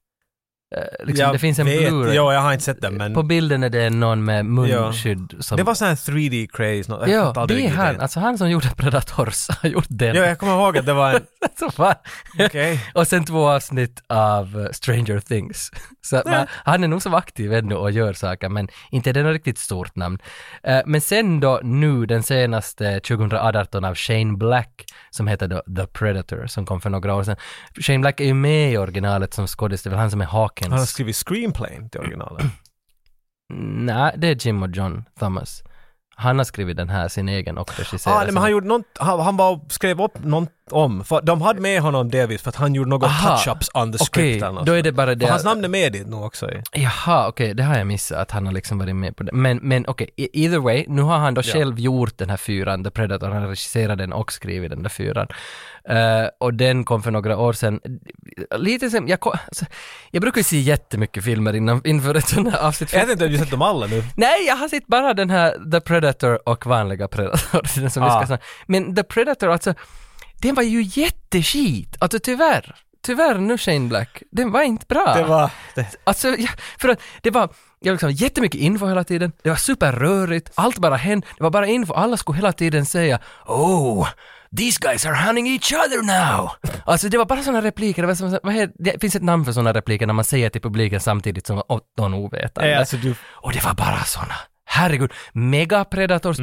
S1: Eh, Liksom,
S2: jag
S1: det finns en
S2: vet-
S1: Blu-ray.
S2: Ja, jag har inte sett den, men
S1: På bilden är det någon med munskydd som...
S2: det var sån här 3D-craze. No,
S1: ja, det är han. Alltså han som gjorde Predators har gjort den.
S2: Ja, jag kommer ihåg att det var en...
S1: Så fan.
S2: Okej.
S1: Och sen två avsnitt av eh, Stranger Things. Så att man, han är nog som aktiv ännu och gör saker, men inte är det något riktigt stort namn. Eh, men sen då nu, den senaste 2018 av Shane Black, som heter då The Predator, som kom för några år sedan. Shane Black är ju med i originalet som skådis, det är väl han som är Hawkins.
S2: Han har skrivit screenplay till originalet.
S1: Nej, det är Jim och John Thomas. Han har skrivit den här, sin egen och regisserat.
S2: Ah, nej, men han, gjorde nånt, han, han bara skrev upp något om, för de hade med honom delvis för att han gjorde något
S1: Aha.
S2: touch-ups on the
S1: Okej,
S2: script eller något
S1: då är det bara
S2: För
S1: det
S2: hans namn är med i det nog också. i-
S1: Jaha, okej, det har jag missat, att han har liksom varit med på det. Men, men okej, e- either way, nu har han då
S2: Ja.
S1: själv gjort den här fyran, The Predator, han har regisserat den och skrivit den där fyran. Eh, och den kom för några år sedan. Lite sen, jag, ko- alltså, jag brukar ju se jättemycket filmer innan, inför ett sånt här avsnitt.
S2: Jag vet inte om du sett dem alla nu.
S1: Nej, jag har sett bara den här The Predator och vanliga Predator. Den som vi ska
S2: Ah.
S1: snacka. Men The Predator, alltså, den var ju jätteskit. Alltså tyvärr. Tyvärr nu Shane Black, den var inte bra.
S2: Det var... Det,
S1: Alltså, ja, för att det var jag liksom, jättemycket info hela tiden, det var superrörigt, allt bara hände, det var bara info, alla skulle hela tiden säga ”Oh, these guys are hunting each other now”. Alltså det var bara sådana repliker, det, var som, vad heter, det finns ett namn för sådana repliker när man säger till publiken samtidigt som åtton ovetande.
S2: eh, alltså, du,
S1: Och det var bara sådana. Herregud, megapredators,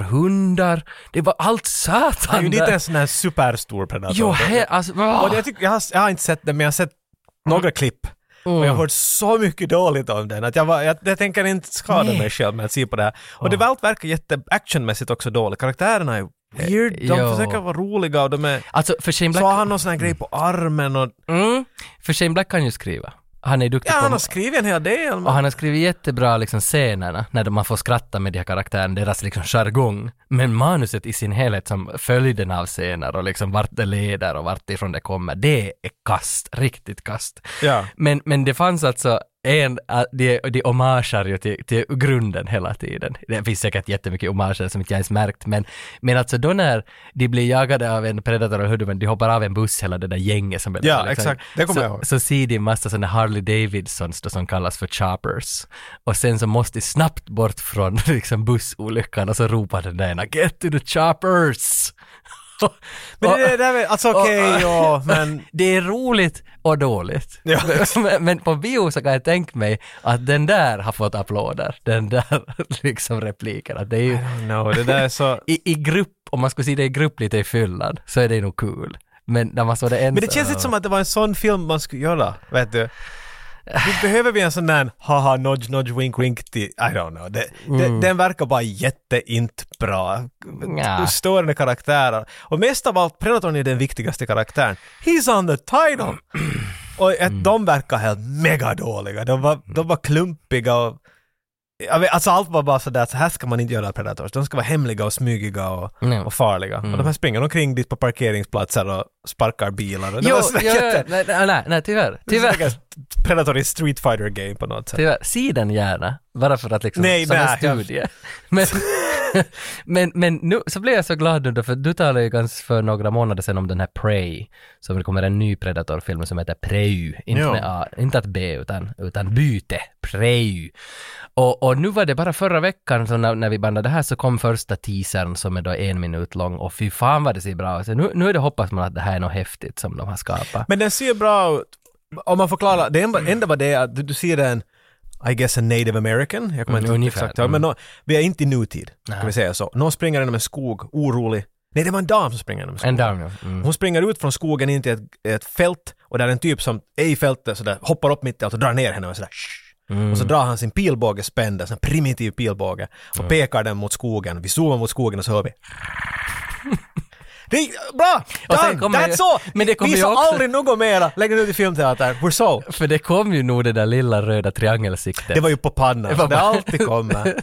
S1: predatorhundar, det var allt
S2: han Mm. är ju
S1: satan
S2: inte
S1: där.
S2: en sån här superstor predator.
S1: Jo, he, alltså,
S2: och det, jag, tycker, jag, har, jag har inte sett den, men jag har sett
S1: Mm.
S2: några klipp. Och jag har hört så mycket dåligt om den att jag, var, jag, jag tänker inte skada
S1: Nej. Ah.
S2: mig själv med att se på det här. Och det var allt verkar jätte actionmässigt också dåligt. Karaktärerna är weird, de
S1: jo.
S2: försöker vara roliga och de är...
S1: alltså för Shane
S2: Så
S1: Black
S2: har han någon sån här grej på armen och...
S1: Mm. För Shane Black kan ju skriva. Han är duktig
S2: Ja,
S1: på...
S2: han har skrivit en hel del.
S1: och
S2: Men...
S1: han har skrivit jättebra liksom scenerna, när de- man får skratta med de här karaktärerna, deras liksom jargong. Men manuset i sin helhet som följden av scener och liksom vart det leder och vart ifrån det kommer, det är kast, riktigt kast.
S2: Ja.
S1: Men, men det fanns alltså en, äh, de, de homager ju till, till grunden hela tiden. Det finns säkert jättemycket homager som inte jag ens märkt, men, men alltså då när de blir jagade av en predator och huvudman, de hoppar av en buss, hela det där gänget som
S2: Ja, exakt. Det kommer
S1: så,
S2: jag ihåg.
S1: Så ser de en massa sådana Harley Davidsons då, som kallas för choppers. Och sen så måste de snabbt bort från liksom bussolyckan och så ropar den där ena “Get to the choppers!”
S2: Men
S1: Och-
S2: det, det där är... Alltså
S1: och-
S2: okej, ja, men...
S1: det är roligt och dåligt.
S2: Ja.
S1: Men, men på bio så kan jag tänka mig att den där har fått applåder, den där liksom repliken. Att det är ju,
S2: No, det där är så...
S1: i, I grupp, om man skulle se det i grupp lite i fyllan, så är det nog kul. Men när man såg det ensam.
S2: Men det känns inte som att det var en sån film man skulle göra, vet du. Nu behöver vi en sån där haha nudge nudge wink wink till, I don't know. Det, det, den verkar bara jätteint bra.
S1: Nja.
S2: Störande karaktärer. Och mest av allt, Predatorn är den viktigaste karaktären. He's on the title! Och att de verkar helt mega dåliga. De var, de var klumpiga och... Jag vet, alltså allt var bara sådär, så här ska man inte göra Predators. De ska vara hemliga och smygiga och,
S1: Nej.
S2: och farliga.
S1: Mm.
S2: Och de här springer omkring dit på parkeringsplatser och sparkar bilar. Och det
S1: Jo,
S2: var sådär
S1: jo,
S2: jätte-
S1: nej, nej, nej, nej, tyvärr. Tyvärr.
S2: Stackars Predator i Street Fighter Game på något sätt.
S1: tyvärr. Se den gärna, bara för att liksom,
S2: Nej,
S1: som en
S2: nej, jag-
S1: studie. Men, men, men nu så blev jag så glad nu då, för du talade ju ganska för några månader sedan om den här Prey, som det kommer en ny Predator-film som heter Prey, inte,
S2: Ja.
S1: med A, inte att B utan, utan byte, Prey. Och, och nu var det bara förra veckan så när, när vi bandade det här så kom första teasern som är då en minut lång och fy fan vad det ser bra ut. Så Nu, nu är det hoppas man att det här är något häftigt som de har skapat.
S2: Men den ser bra ut. Om man förklarar, det
S1: Mm.
S2: enda, enda var det att du, du ser en, I guess a native american, jag
S1: Mm,
S2: kommer inte ihåg
S1: ungefär.
S2: exakt, mm. men nå- vi är inte i nutid,
S1: Nej.
S2: kan vi säga så. Någon springer genom en skog, orolig. Nej, det var en dam som springer genom en skog.
S1: En dam, ja. Mm.
S2: Hon springer ut från skogen in till ett, ett fält och där är en typ som är i fältet sådär, hoppar upp mitt i allt och drar ner henne och sådär "Shh."
S1: Mm.
S2: Och så drar han sin pilbåge spänd, en sån här primitiv pilbåge och
S1: Mm.
S2: pekar den mot skogen. Vi zoomar mot skogen och så hör vi Det är bra!
S1: Och sen
S2: Done!
S1: kommer
S2: That's
S1: ju-
S2: all!
S1: men det kommer ju
S2: Visa
S1: också-
S2: aldrig något mera! Lägg den ut i filmteater. We're so!
S1: För det kom ju nog det där lilla röda triangelsiktet.
S2: Det var ju på pannan, så
S1: var
S2: det
S1: bara-
S2: alltid kommer.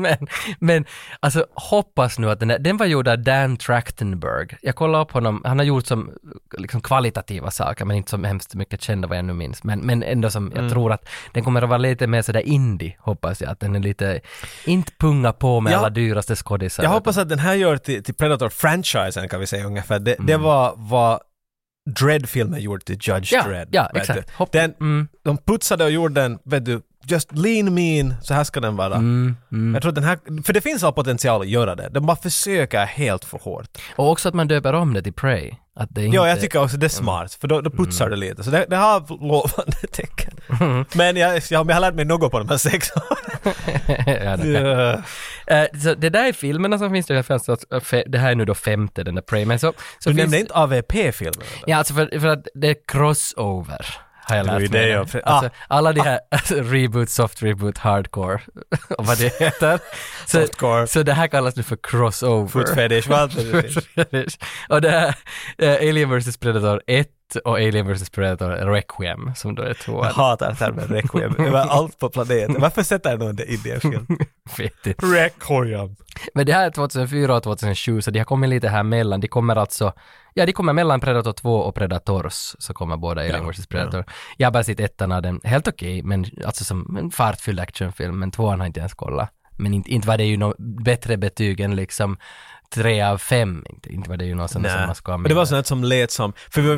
S1: men, men alltså hoppas nu att den, där, den var gjord av Dan Trachtenberg. Jag kollade upp honom, han har gjort som liksom kvalitativa saker men inte som hemskt mycket kända vad jag nu minns. Men, men ändå som
S2: Mm.
S1: jag tror att den kommer att vara lite mer sådär indie hoppas jag. Att den är lite, inte punga på med
S2: Ja.
S1: alla dyraste skådisar.
S2: Jag hoppas att den här gör till, till Predator-franchisen kan vi säga ungefär. Det, det var vad Dread-filmen gjorde till Judge
S1: Mm. Ja,
S2: Dredd.
S1: ja,
S2: vet du.
S1: exakt. Hopp-
S2: Den,
S1: Mm,
S2: de putsade och gjorde den, vet du, just lean mean, så här ska den vara.
S1: mm, mm.
S2: Jag tror att den här, för det finns all potential att göra det. De bara försöker helt för hårt.
S1: Och också att man döper om det till Prey. Att det inte... Mm.
S2: Ja, jag tycker också det är smart, för då, då putsar det lite. Så det, det har lovande tecken. Men jag, jag, om jag har lärt mig något på de här sex åren.
S1: ja, det kan-
S2: Ja.
S1: Eh, så det där är filmerna som finns, det här finns alltså- fe- det här är nu då femte, den där Prey. Men så, så
S2: Du
S1: finns...
S2: nämnde inte AVP-filmen.
S1: Ja, alltså för, för att det är crossover. Har jag
S2: Det var ju
S1: lärt mig.
S2: det
S1: nu.
S2: jag- för- ah,
S1: alltså, alla de här alltså, reboot, soft reboot, hardcore och vad det heter. Så,
S2: Softcore,
S1: så det här kallas nu för crossover.
S2: foot fetish, vad det är.
S1: Foot fetish. och det här, eh, Alien vs Predator 1 och Alien vs Predator Requiem som då är
S2: Jag
S1: tvåan.
S2: hatar termen requiem över allt på planeten. Varför sätter någon det in i en film?
S1: Vet inte.
S2: Requiem.
S1: Men det här är 2004 och 2007 så de har kommit lite här mellan. De kommer alltså, ja de kommer mellan Predator 2 och Predators så kommer båda Alien
S2: Ja,
S1: vs Predator. Jag har bara sett ettan av den, helt okej, men alltså som en fartfylld actionfilm, men tvåan har inte ens kollat. Men inte, inte var det ju något bättre betyg än liksom tre av fem. Inte, inte var det ju något sånt som
S2: Nej,
S1: man ska ha
S2: men det var
S1: med.
S2: sånt som lät som, för vi,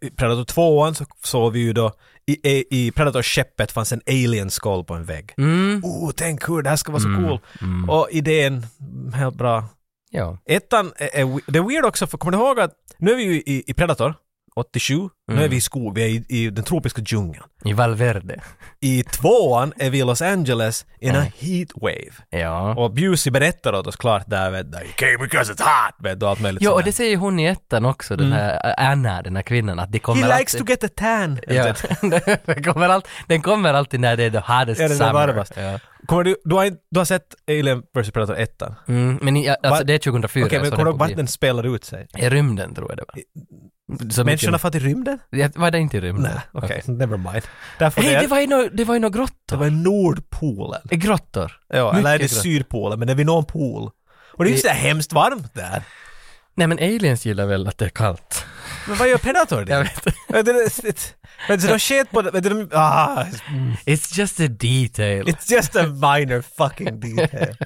S2: i Predator 2 så såg vi ju då, i, i, i Predator-skeppet fanns en alien-skål på en vägg.
S1: Mm,
S2: Oh, tänk hur, det här ska vara så
S1: Mm,
S2: cool.
S1: mm,
S2: Och idén, helt bra.
S1: ja.
S2: Ettan, är, är, we- det är weird också, för kommer du ihåg att nu är vi ju i, i Predator 87, nu är
S1: Mm.
S2: vi i skog, vi är i, i den tropiska djungeln.
S1: I Valverde.
S2: I tvåan är vi i Los Angeles in a
S1: Mm.
S2: heatwave.
S1: Ja.
S2: Och Busey berättar åt oss klart där, vet du, you came because it's hot, vet du, och allt möjligt
S1: Jo,
S2: sånt
S1: och
S2: där.
S1: det säger ju hon i ettan också, den här eh, Anna, den här kvinnan, att de kommer
S2: Mm. He likes
S1: alltid-
S2: to get a tan.
S1: Ja, den, kommer all, den kommer alltid när det är the hardest
S2: Ja, det är
S1: summer.
S2: varmast.
S1: Ja.
S2: Kommer du, du, har, inte- du har sett Alien vs Predator 1? Okej,
S1: Mm, men i, alltså
S2: Va-
S1: det är 2004. så
S2: men kommer du
S1: det
S2: ihåg
S1: får
S2: vart
S1: bli-
S2: den spelar ut sig?
S1: I rymden tror jag det var. Så
S2: Människorna
S1: mycket-
S2: har i rymden?
S1: Ja, Var det inte i rymden?
S2: Nej, okej, never mind. Därför
S1: Hej,
S2: det,
S1: det var ju nå- det var ju några
S2: det
S1: grottor.
S2: var Nordpolen.
S1: Grottor.
S2: Ja, eller är det
S1: mycket grönt.
S2: Sydpolen, men det är vid någon pool. Och det är ju
S1: Det-
S2: sådär hemskt varmt där.
S1: Nej men aliens gillar väl att det är kallt.
S2: Men vad gör Predator
S1: Jag
S2: det?
S1: vet.
S2: Vet du, det- vet du, de sket på det, vet du, de, ah,
S1: It's just a detail.
S2: it's just a minor fucking detail.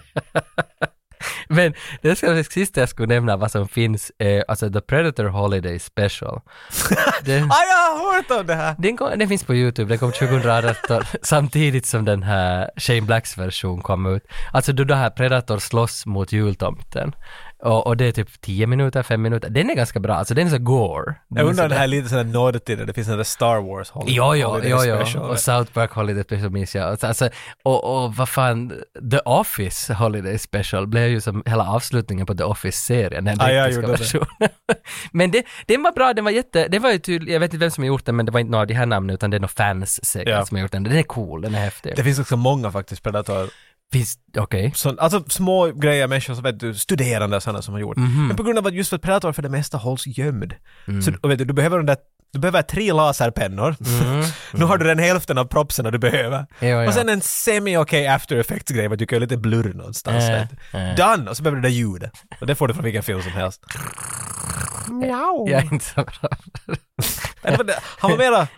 S1: Men det ska det sista jag skulle nämna vad som finns, eh, alltså The Predator Holiday Special. det,
S2: Ah, jag har hört om det här!
S1: Den, kom, den finns på YouTube, den kom 2018 samtidigt som den här Shane Blacks version kom ut. Alltså då det här Predator slåss mot jultomten. Och, och det är typ 10 minuter, 5 minuter. Den är ganska bra, alltså den är så gore. Den
S2: Jag
S1: är
S2: undrar
S1: så
S2: om det
S1: där-
S2: här är lite sådär nördigt där det finns en där Star Wars Holiday
S1: Jo, jo,
S2: Holiday
S1: jo, jo.
S2: Special.
S1: Och South Park Holiday Special minns jag. Alltså, Alltså, och, och vad fan, The Office Holiday Special blev ju som hela avslutningen på The Office-serien, den
S2: Ah, jag
S1: brittiska
S2: gjorde det.
S1: versionen. men det, den var bra, den var jätte, det var ju tydlig, jag vet inte vem som har gjort den, men det var inte några av de här namnen, utan det är några fans säkert
S2: Ja.
S1: som har gjort den. Den är cool, den är häftig.
S2: Det finns också många faktiskt Predator
S1: Finns, okej.
S2: Så, alltså små grejer, människor som vet du, studerande och sådana som har gjort.
S1: Mhm.
S2: Men på grund av att just för att Predator för det mesta hålls gömd.
S1: Mm.
S2: Så och vet du, du behöver den där du behöver tre laserpennor. nu har du den hälften av propserna du behöver.
S1: Jo, Mm. ja.
S2: Och sen en semi-okej after effects-grej, vad du kan göra lite blurr någonstans.
S1: Äh,
S2: vet du.
S1: äh.
S2: Done! Och så behöver du det där ljudet. Och det får du från vilken film som helst. Mjau!
S1: Jag är inte så bra.
S2: Det var det- Han var mera...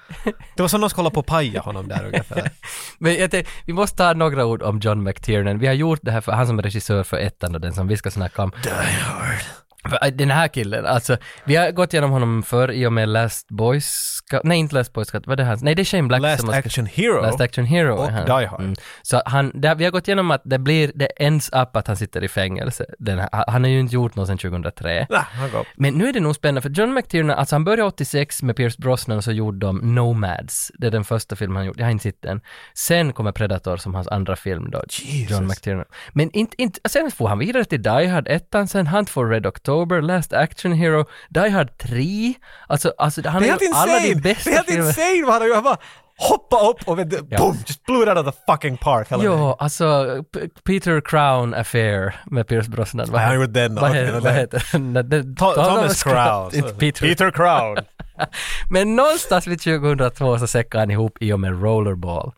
S2: Det var som någon skulle hålla på och paja honom där ungefär.
S1: Men jag tänkte, vi måste ta några ord om John McTiernan. Vi har gjort det här för han som är regissör för ettan och den som vi ska snacka om. För, äh, Den här killen, alltså. Vi har gått igenom honom förr i och med Last Boys Scout- Nej, inte Last Boys Scout. Vad är det hans? Nej, det är Shane Black
S2: Last
S1: som har skrivit-
S2: Action Hero.
S1: Last Action Hero.
S2: och
S1: är han. Mm.
S2: Die Hard.
S1: Så han, det, vi har gått igenom att det blir, det ends up att han sitter i fängelse. Den, här- han har ju inte gjort något sedan 2003.
S2: Nej, han gav.
S1: Men nu är det nog spännande för John McTiernan, alltså han började 86 med Pierce Brosnan och så gjorde de Nomads. Det är den första filmen han gjorde, jag har inte sett den. Sen kommer Predator som hans andra film då,
S2: Jesus.
S1: John McTiernan. Men inte, inte, sen får han vidare till Die Hard 1, sen Hunt for Red October, Last Action Hero, Die Hard 3. Alltså, alltså han
S2: Det är
S1: har
S2: helt
S1: gjort alla de
S2: insane! Det
S1: bästa
S2: är helt insane vad han har gjort! Han bara hoppa upp och vet, du, boom! Just blew it out of the fucking park. hela vägen.
S1: Ja, alltså P- Peter Crown Affair med Pierce Brosnan. Vad
S2: Han har
S1: he-
S2: gjort den
S1: Vad,
S2: och
S1: he-
S2: den
S1: vad
S2: och den.
S1: heter den? Den-
S2: To- Thomas
S1: Scott,
S2: Crown.
S1: inte Peter.
S2: Crown.
S1: Men någonstans vid 2002 så säckade han ihop i och med Rollerball.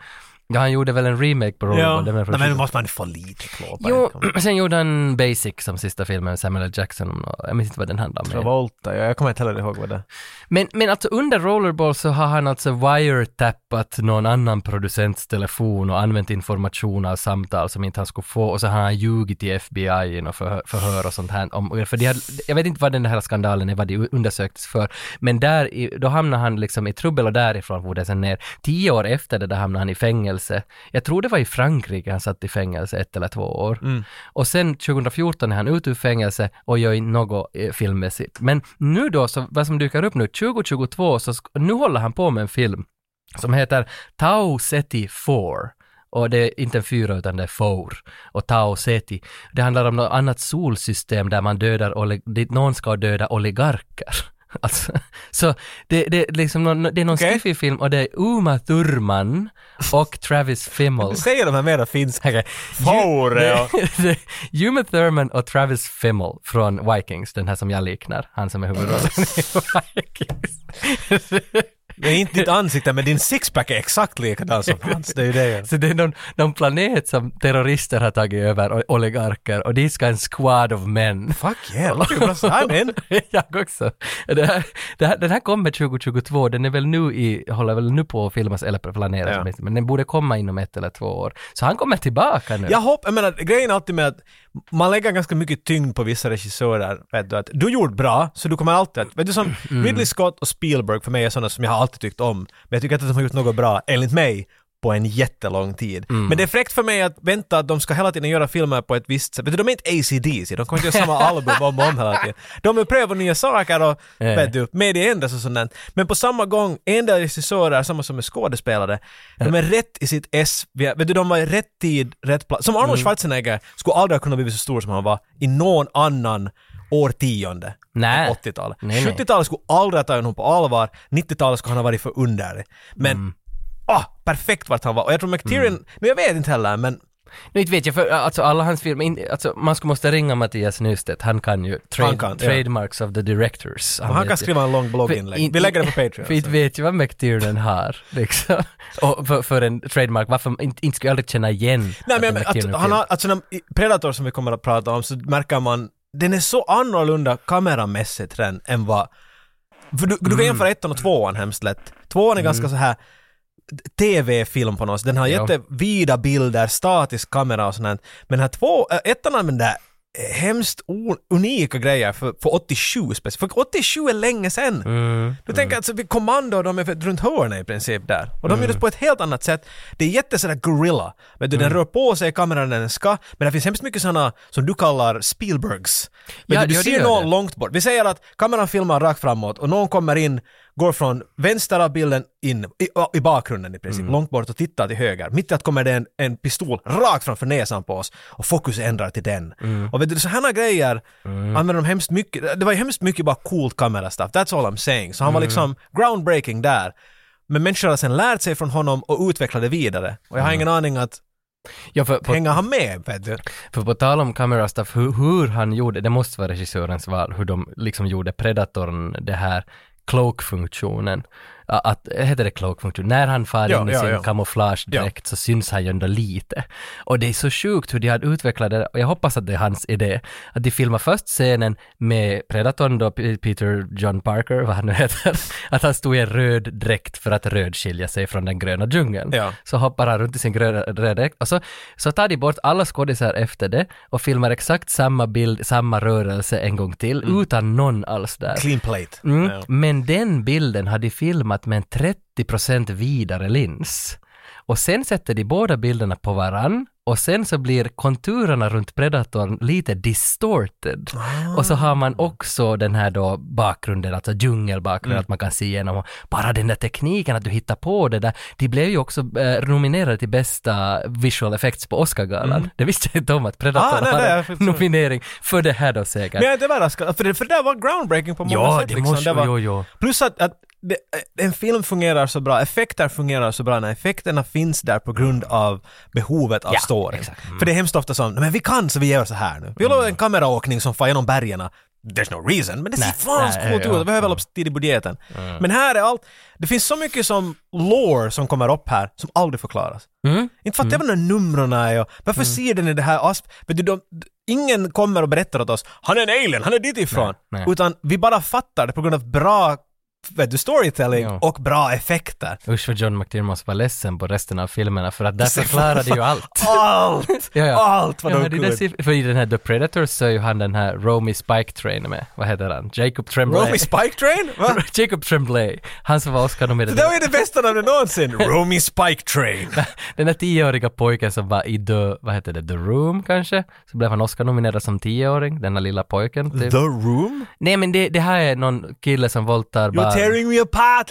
S1: Ja, han gjorde väl en remake på
S2: ja.
S1: Rollerball. den var från
S2: Nej, men nu
S1: 2002.
S2: måste man få lite klåpare.
S1: Jo, sen gjorde han Basic som sista filmen med Samuel L. Jackson. och Jag minns inte vad den handlade om.
S2: Travolta, ja, jag kommer inte heller ihåg vad det
S1: Men, men alltså under Rollerball så har han alltså wiretappat någon annan producents telefon och använt information av samtal som inte han skulle få och så har han ljugit till FBI och förhör, förhör och sånt här. Om, för de hade, jag vet inte vad den här skandalen är, vad det undersöktes för, men där, i, då hamnade han liksom i trubbel och därifrån for det sen ner. Tio år efter det där hamnade han i fängelse. Jag tror det var i Frankrike han satt i fängelse ett eller två år. Och sen 2014 är han ute ur fängelse och gör inte något eh, filmmässigt. Men nu då, så, vad som dyker upp nu, 2022, så sk- nu håller han på med en film som heter Tau Seti 4. Och det är inte en fyra utan det är four. Och Tau Seti. Det handlar om något annat solsystem där man dödar, olig- dit någon ska döda oligarker. Alltså, så det, det, är liksom någon, det är någon
S2: Okej.
S1: sci-fi film och det är Uma Thurman och Travis Fimmel.
S2: Du säger de här mera finska.
S1: Okej.
S2: Fore och...
S1: Uma Thurman och Travis Fimmel från Vikings, den här som jag liknar, han som är huvudrollen i Vikings.
S2: Det är inte ditt ansikte, men din sixpack är exakt likadan som hans. Det är ju det.
S1: Så det är någon, någon planet som terrorister har tagit över, och oligarker, och dit ska en squad of men.
S2: Fuck yeah, look at us. I'm in.
S1: jag också. Det här, det här, den här kommer 2022, den är väl nu i, håller väl nu på att filmas eller planeras,
S2: Ja.
S1: åtminstone, men den borde komma inom ett eller två år. Så han kommer tillbaka nu.
S2: Jag hopp, jag menar, grejen är alltid med att man lägger ganska mycket tyngd på vissa regissörer. Vet du, att du gjorde bra, så du kommer alltid att... Vet du, som Ridley Scott och Spielberg för mig är sådana som jag har alltid tyckt om. Men jag tycker inte att de har gjort något bra, enligt mig, på en jättelång tid. Men det är fräckt för mig att vänta att de ska hela tiden göra filmer på ett visst sätt. Vet du, de är inte ACDC, de kommer inte göra samma album om och om hela tiden. De vill pröva nya saker och
S1: Ja.
S2: vet du, media ändras och sånt där. Men på samma gång, en del regissörer, samma som är skådespelare, de är rätt i sitt S, Vi har- vet du, de var i rätt tid, rätt plats. Som Arnold
S1: Mm.
S2: Schwarzenegger skulle aldrig ha kunnat bli så stor som han var i någon annan årtionde.
S1: Nej.
S2: än 80-talet.
S1: Nej, nej.
S2: 70-talet skulle aldrig ha tagit honom på allvar, 90-talet skulle han ha varit för underlig. Men,
S1: Mm.
S2: ah, perfekt vart han var. Och jag tror McTiernan, men jag vet inte heller, men
S1: Nu inte vet jag, för alltså alla hans filmer, in, alltså, man skulle måste ringa Mattias Nystedt, han kan ju trade,
S2: Han kan, ja.
S1: trademarks of the directors.
S2: han
S1: vet
S2: kan
S1: ju.
S2: skriva alltså. en lång blogginlägg. Vi lägger det på Patreon.
S1: För inte
S2: sen.
S1: vet ju vad McTiernan har, liksom. Och för, för en trademark, varför inte, inte skulle jag aldrig känna igen
S2: Nej
S1: att det är
S2: men att,
S1: McTiernan-film.
S2: han har, alltså när, i Predator som vi kommer att prata om så märker man, den är så annorlunda kameramässigt än, än vad... För du, du kan jämföra ettan och tvåan hemskt lätt. Tvåan är ganska så här TV-film på något sätt. Den har
S1: Ja.
S2: jättevida bilder, statisk kamera och sånt där. Men den här två, äh, ettan använder eh, hemskt o- unika grejer för, för 87 speciellt. För 87 är länge sen.
S1: Mm. Mm.
S2: Du tänker alltså, vi- kommando, de är för- runt hörnet i princip där. Och de gjordes på ett helt annat sätt. Det är jätte sådär gorilla. Vet du,
S1: Mm.
S2: den rör på sig i kameran när den ska, men det finns hemskt mycket sådana som du kallar Spielbergs. Men
S1: Ja,
S2: du, du
S1: ja, det
S2: ser
S1: gör
S2: någon
S1: det.
S2: långt bort. Vi säger att kameran filmar rakt framåt och någon kommer in, går från vänster av bilden in, i, i bakgrunden i
S1: Mm.
S2: princip, långt bort och tittar till höger. Mitt i att kommer det en, en pistol rakt framför näsan på oss och fokus ändrar till den.
S1: Mm.
S2: Och vet du, sådana grejer använder de hemskt mycket. Det var ju hemskt mycket bara coolt kamerastuff, that's all I'm saying. Så han
S1: Mm.
S2: var liksom groundbreaking där. Men människor har sen lärt sig från honom och utvecklat det vidare. Och jag har ingen aning att
S1: Ja, för, Mm. på,
S2: hänger han med, vet du?
S1: för på tal om camera stuff, hur, hur han gjorde, det måste vara regissörens val, hur de liksom gjorde Predatorn, det här cloak-funktionen. att, heter det cloak function? När han far
S2: Ja,
S1: in i
S2: ja,
S1: sin
S2: ja.
S1: kamouflagedräkt så syns han ju ändå lite. Och det är så sjukt hur de har utvecklat det och jag hoppas att det är hans idé. Att de filmar först scenen med Predatorn då, P- Peter John Parker, vad han nu heter, att han stod i en röd dräkt för att röd skilja sig från den gröna djungeln.
S2: Ja.
S1: Så hoppar han runt i sin gröna röda dräkt och så, så tar de bort alla skådisar efter det och filmar exakt samma bild, samma rörelse en gång till utan någon alls där.
S2: Clean plate.
S1: Mm.
S2: Ja.
S1: Men den bilden hade filmat med en 30% vidare lins. Och sen sätter de båda bilderna på varann och sen så blir konturerna runt predatorn lite distorted.
S2: Ah.
S1: Och så har man också den här då bakgrunden, alltså djungelbakgrunden,
S2: Mm.
S1: att man kan se igenom. Och Bara den där tekniken att du hittar på det där. De blev ju också eh, nominerade till bästa visual effects på Oscargalan. Det visste jag inte om att
S2: Mm. Ah,
S1: predatorn
S2: nej,
S1: har
S2: nej,
S1: en
S2: jag förstår.
S1: nominering för det här då säkert.
S2: Men jag är inte överraskad, för det, för det där var groundbreaking på många
S1: ja,
S2: sätt.
S1: det
S2: liksom.
S1: måste,
S2: det var,
S1: jo, jo.
S2: Plus att, att det, en film fungerar så bra, effekter fungerar så bra när effekterna finns där på grund av behovet av
S1: Ja,
S2: storyn.
S1: exakt. Mm.
S2: För det är hemskt ofta som, men vi kan så vi gör så här nu. Vi har en kameraåkning som far genom bergen. There's no reason, men det ser
S1: Nej,
S2: fan så
S1: nej,
S2: coolt
S1: ja, Mm.
S2: ut. Vi behöver upp tid i budgeten. Men här är allt, det finns så mycket som lore som kommer upp här som aldrig förklaras.
S1: Mm.
S2: Inte fattar jag vad de där numren är och varför ser den i det här asp... Vet du, de, ingen kommer och berättar åt oss han är en alien, han är dit ifrån.
S1: Nej, nej.
S2: Utan vi bara fattar det på grund av bra vet du, storytelling
S1: Ja.
S2: och bra effekter.
S1: Usch vad John McTiermans var ledsen på resten av filmerna för att där förklarade ju allt.
S2: Allt!
S1: Ja, ja.
S2: Allt vad
S1: Ja,
S2: de
S1: men det där
S2: kunde.
S1: ser, för i den här The Predator så är ju han den här Romy Spike Train med, vad heter han, Jacob Tremblay.
S2: Romy Spike Train? Va?
S1: Jacob Tremblay, han som var
S2: Det
S1: Oscar-nominerad.
S2: där var ju det bästa namnet någonsin! Romy Spike Train!
S1: Den där tioåriga pojken som var i The, vad heter det, The Room kanske? Så blev han Oscar-nominerad som tioåring, den där lilla pojken typ.
S2: The Room?
S1: Nej men det, det här är någon kille som våldtar
S2: You're
S1: barn.
S2: tearing me apart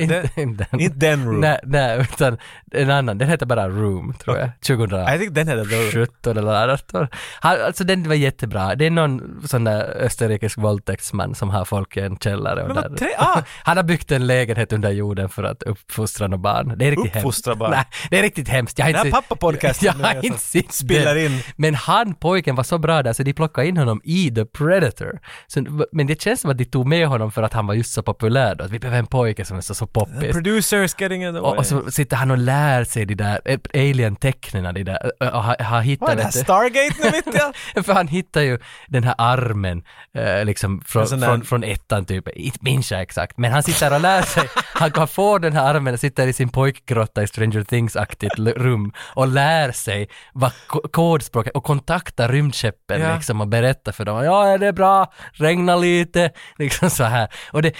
S1: Inte-
S2: Den-
S1: inte den.
S2: Inte den Room.
S1: Nej, nej, utan en annan. Den heter bara Room, tror jag. 2000.
S2: I think den hette The Room.
S1: 17 eller 18. Han, alltså den var jättebra. Det är någon sån där österrikisk våldtäktsman som har folk i en källare. Och
S2: Men vad
S1: där.
S2: tre- ah!
S1: Han har byggt en lägenhet under jorden för att uppfostra några barn. Det är riktigt
S2: Uppfostra
S1: hemskt.
S2: barn?
S1: Nej, det är riktigt hemskt. Jag har
S2: Den här
S1: inte sett-
S2: pappapodcasten
S1: Jag
S2: nu
S1: har
S2: alltså.
S1: inte sett
S2: Spelar
S1: den.
S2: in.
S1: Men han pojken var så bra där så de plockade in honom i The Predator. Så, men det känns som att de tog med honom för att han var just så populär då. Att vi behöver en pojke som är så, så poppis.
S2: Producers getting in the way.
S1: Och, och så sitter han och lär sig de där alien-tecknen, de där, och har, har hittat...
S2: Vad är det här
S1: vet du-
S2: Stargate nu mitt i allt?
S1: För han hittar ju den här armen, eh, liksom från,
S2: En sån där-
S1: från, från ettan typ, inte minns jag exakt, men han sitter och lär sig, han kan få den här armen och sitter i sin pojkgrotta i Stranger Things-aktigt l- rum och lär sig vad ko- kodspråket, och kontaktar rymdskeppen
S2: Ja.
S1: liksom och berättar för dem, ja det är bra, regna lite, liksom så här. Och det,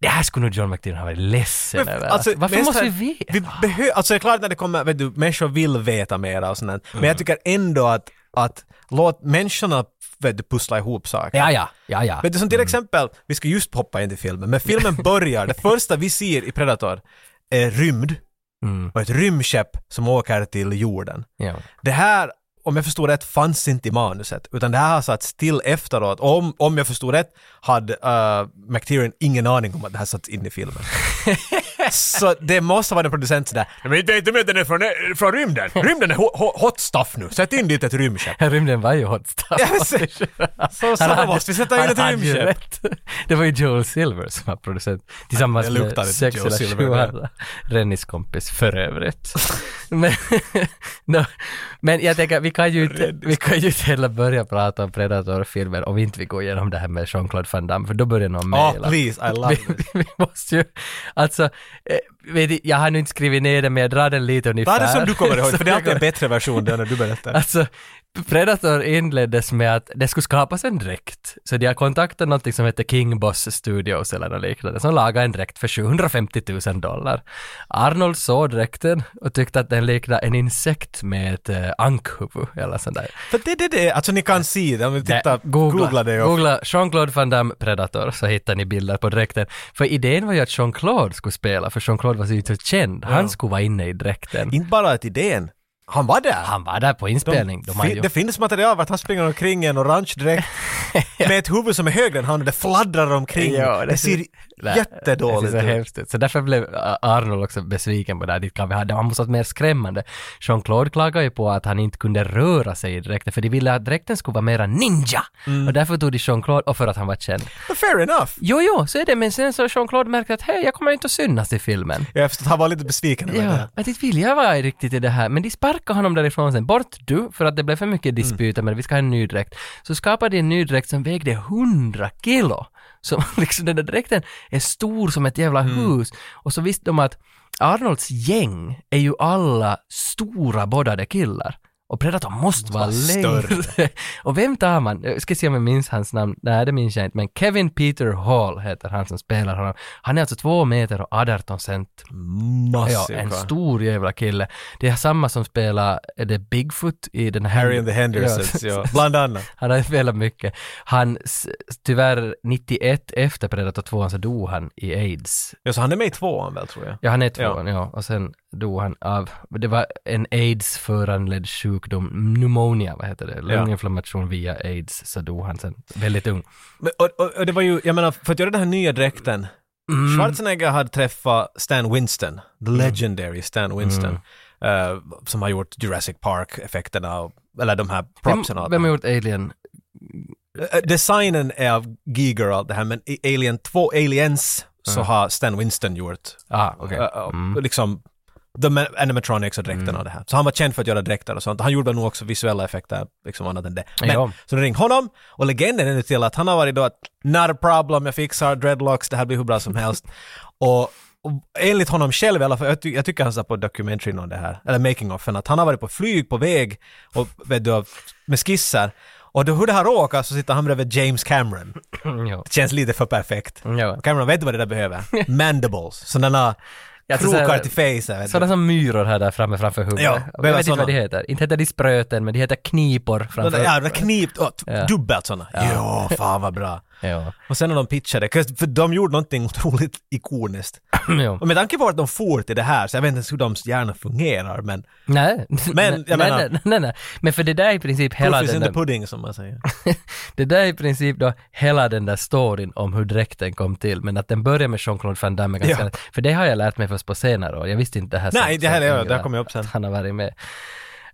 S1: det här skulle nog John McTiernan ha varit ledsen
S2: Men,
S1: över.
S2: alltså,
S1: Varför
S2: mest
S1: måste vi
S2: här-
S1: veta?
S2: Vi behö- alltså det är klart när det kommer, vet du, människor vill veta mera och sånt där. Men
S1: Mm.
S2: jag tycker ändå att, att låt människorna vet du, pussla ihop saker.
S1: Ja, Mm. ja, ja, ja.
S2: Vet du, som till exempel, vi ska just hoppa in i filmen, men filmen börjar, det första vi ser i Predator är rymd
S1: Mm,
S2: och ett rymdskepp som åker till jorden.
S1: ja.
S2: Det här, om jag förstod rätt, fanns inte i manuset, utan det här har satts till efteråt. Om, om jag förstod rätt hade uh, McTiernan ingen aning om att det här satts in i filmen. så det måste vara en producent sådär, men vet inte om den är från, från rymden. Rymden är ho- ho- hot stuff nu, sätt in dit ett rymdskepp.
S1: Rymden var ju hot stuff.
S2: Ja, men se- så så måste vi sätta in ett
S1: han hade ju
S2: rymdskepp.
S1: rätt. Det var ju Joel Silver som var producent tillsammans
S2: Det
S1: med
S2: luktade
S1: sex
S2: Joel
S1: eller
S2: Silver
S1: sju
S2: där.
S1: andra. Rennys kompis för övrigt. men, no, men jag tänker, vi kan ju inte, vi kan ju inte heller börja prata om Predator-filmer om vi inte vill gå igenom det här med Jean-Claude Van Damme, för då börjar någon
S2: Ja,
S1: mejla.
S2: please, I love
S1: vi,
S2: it.
S1: vi måste ju, alltså, eh, vet, ni, jag har nu inte skrivit ner det men jag drar den lite
S2: Det
S1: ungefär.
S2: är det som du kommer ihåg,
S1: Så
S2: för det är
S1: jag
S2: alltid en
S1: kommer-
S2: bättre version där när du berättar.
S1: Alltså, Predator inleddes med att det skulle skapas en dräkt. Så de har kontaktat något som heter King Boss Studios eller något liknande som lagade en dräkt för 750 000 dollar. Arnold såg dräkten och tyckte att den liknade en insekt med ett eh, ankhuvud eller sånt där.
S2: För det är det, det, alltså ni kan se det om ni tittar,
S1: Nej, googla,
S2: googla det och
S1: Googla Jean-Claude Van Damme Predator så hittar ni bilder på dräkten. För idén var ju att Jean-Claude skulle spela, för Jean-Claude var ju inte så känd. Han skulle vara inne i dräkten.
S2: Inte bara att idén, han var där.
S1: Han var där på inspelning. De,
S2: De,
S1: har
S2: fi-
S1: ju-
S2: det finns material vart han springer omkring i en orange dräkt med ett huvud som är högre än han och det fladdrar omkring.
S1: Ja,
S2: det,
S1: det
S2: ser
S1: Nej, Det
S2: jättedåligt
S1: ser så
S2: ut.
S1: hemskt ut. Så därför blev Ar- Arnold också besviken på det här dit kan vi ha det. Han måste ha varit mer skrämmande. Jean-Claude klagade ju på att han inte kunde röra sig i dräkten för de ville att dräkten skulle vara mera ninja. Och därför tog de Jean-Claude och för att han var känd.
S2: Men Fair enough.
S1: Mm. Jo, jo, så är det. Men sen så Jean-Claude märkte att hej, jag kommer inte att synas i filmen.
S2: Jag förstår att han var lite besviken över
S1: Ja,
S2: det.
S1: men inte vill jag vara riktigt i det här. Men de sparkade honom därifrån sen. Bort du, för att det blev för mycket disputer men vi ska ha en ny dräkt. Så skapade de en ny dräkt som vägde 100 kilo. Så liksom den där dräkten är stor som ett jävla hus. Och så visste de att Arnolds gäng är ju alla stora boddade killar. Och Predator måste vara längre. och vem tar man? Jag ska se om jag minns hans namn. Nej, det minns jag inte. Men Kevin Peter Hall heter han som spelar honom. Han är alltså två meter och 18 cent Ja,
S2: Massiv
S1: en
S2: karl.
S1: stor jävla kille. Det är samma som spelar, är det Bigfoot i den här...
S2: Harry and the Hendersons,
S1: Ja.
S2: ja. Bland annat.
S1: Han har ju spelat mycket. Han, s- tyvärr 91 efter Predator 2 så dog han i aids.
S2: Ja, så han är med i tvåan väl, tror jag.
S1: Ja, han är tvåan, ja. Och sen dog han av, det var en aids-föranledd sjukdom, pneumonia, vad heter det? Lunginflammation via aids, så dog han sen väldigt ung.
S2: Men, och, och, och det var ju, jag menar, för att göra den här nya dräkten,
S1: Mm.
S2: Schwarzenegger hade träffat Stan Winston, the legendary Stan Winston,
S1: Mm.
S2: eh, som har gjort Jurassic Park-effekterna, och- eller de här
S1: Vem,
S2: propsen och allt.
S1: vem har gjort Alien?
S2: Eh, Designen är av Giger och allt det här, men i Alien 2, Aliens, så har Stan Winston gjort
S1: Ah, okej.
S2: Eh, eh, liksom the ma- animatronics och dräkterna och det här. Så han var känd för att göra dräkter och sånt. Han gjorde nog också visuella effekter, liksom annat än det. Men,
S1: Ja.
S2: Så de ringde honom och legenden är nu till att han har varit då att not a problem, jag fixar dreadlocks, det här blir hur bra som helst. och, och enligt honom själv i alla fall, jag, ty- jag tycker han sa på dokumentaryn om det här, eller making offen, att han har varit på flyg på väg och vet du, med skisser. Och då, hur det har råkat så sitter han bredvid James Cameron.
S1: Mm, ja.
S2: Det känns lite för perfekt.
S1: Ja.
S2: Cameron vet vad det där behöver. Mandibles, sådana
S1: Ja, så
S2: krokar
S1: sådär-
S2: till face. vet du.
S1: Sådana som myror här där framme framför huvudet.
S2: Ja,
S1: jag
S2: behöver
S1: vet inte
S2: såna.
S1: vad de heter. Inte heter de spröten, men de heter knipor framför
S2: Ja, det knipt åt.
S1: Ja.
S2: Dubbelt sådana. Ja. fan vad bra.
S1: Ja.
S2: Och sen när de pitchade, 'cause- för de gjorde någonting otroligt ikoniskt.
S1: ja.
S2: Och med tanke på att de for till det här, så jag vet inte ens hur de hjärna fungerar, men
S1: Nej.
S2: Men, jag
S1: nej,
S2: menar-
S1: nej, nej, nej. Men för det där är i princip hela
S2: proof is
S1: den
S2: in the
S1: där,
S2: pudding som man säger.
S1: det där är i princip då hela den där storyn om hur dräkten kom till, men att den börjar med Jean-Claude Van Damme ganska
S2: Ja.
S1: lätt. För det har jag lärt mig först på senare år. Jag visste inte det här.
S2: Nej,
S1: som-
S2: det här
S1: som
S2: är-
S1: yngre,
S2: det här kommer jag upp sen.
S1: Att han har varit med.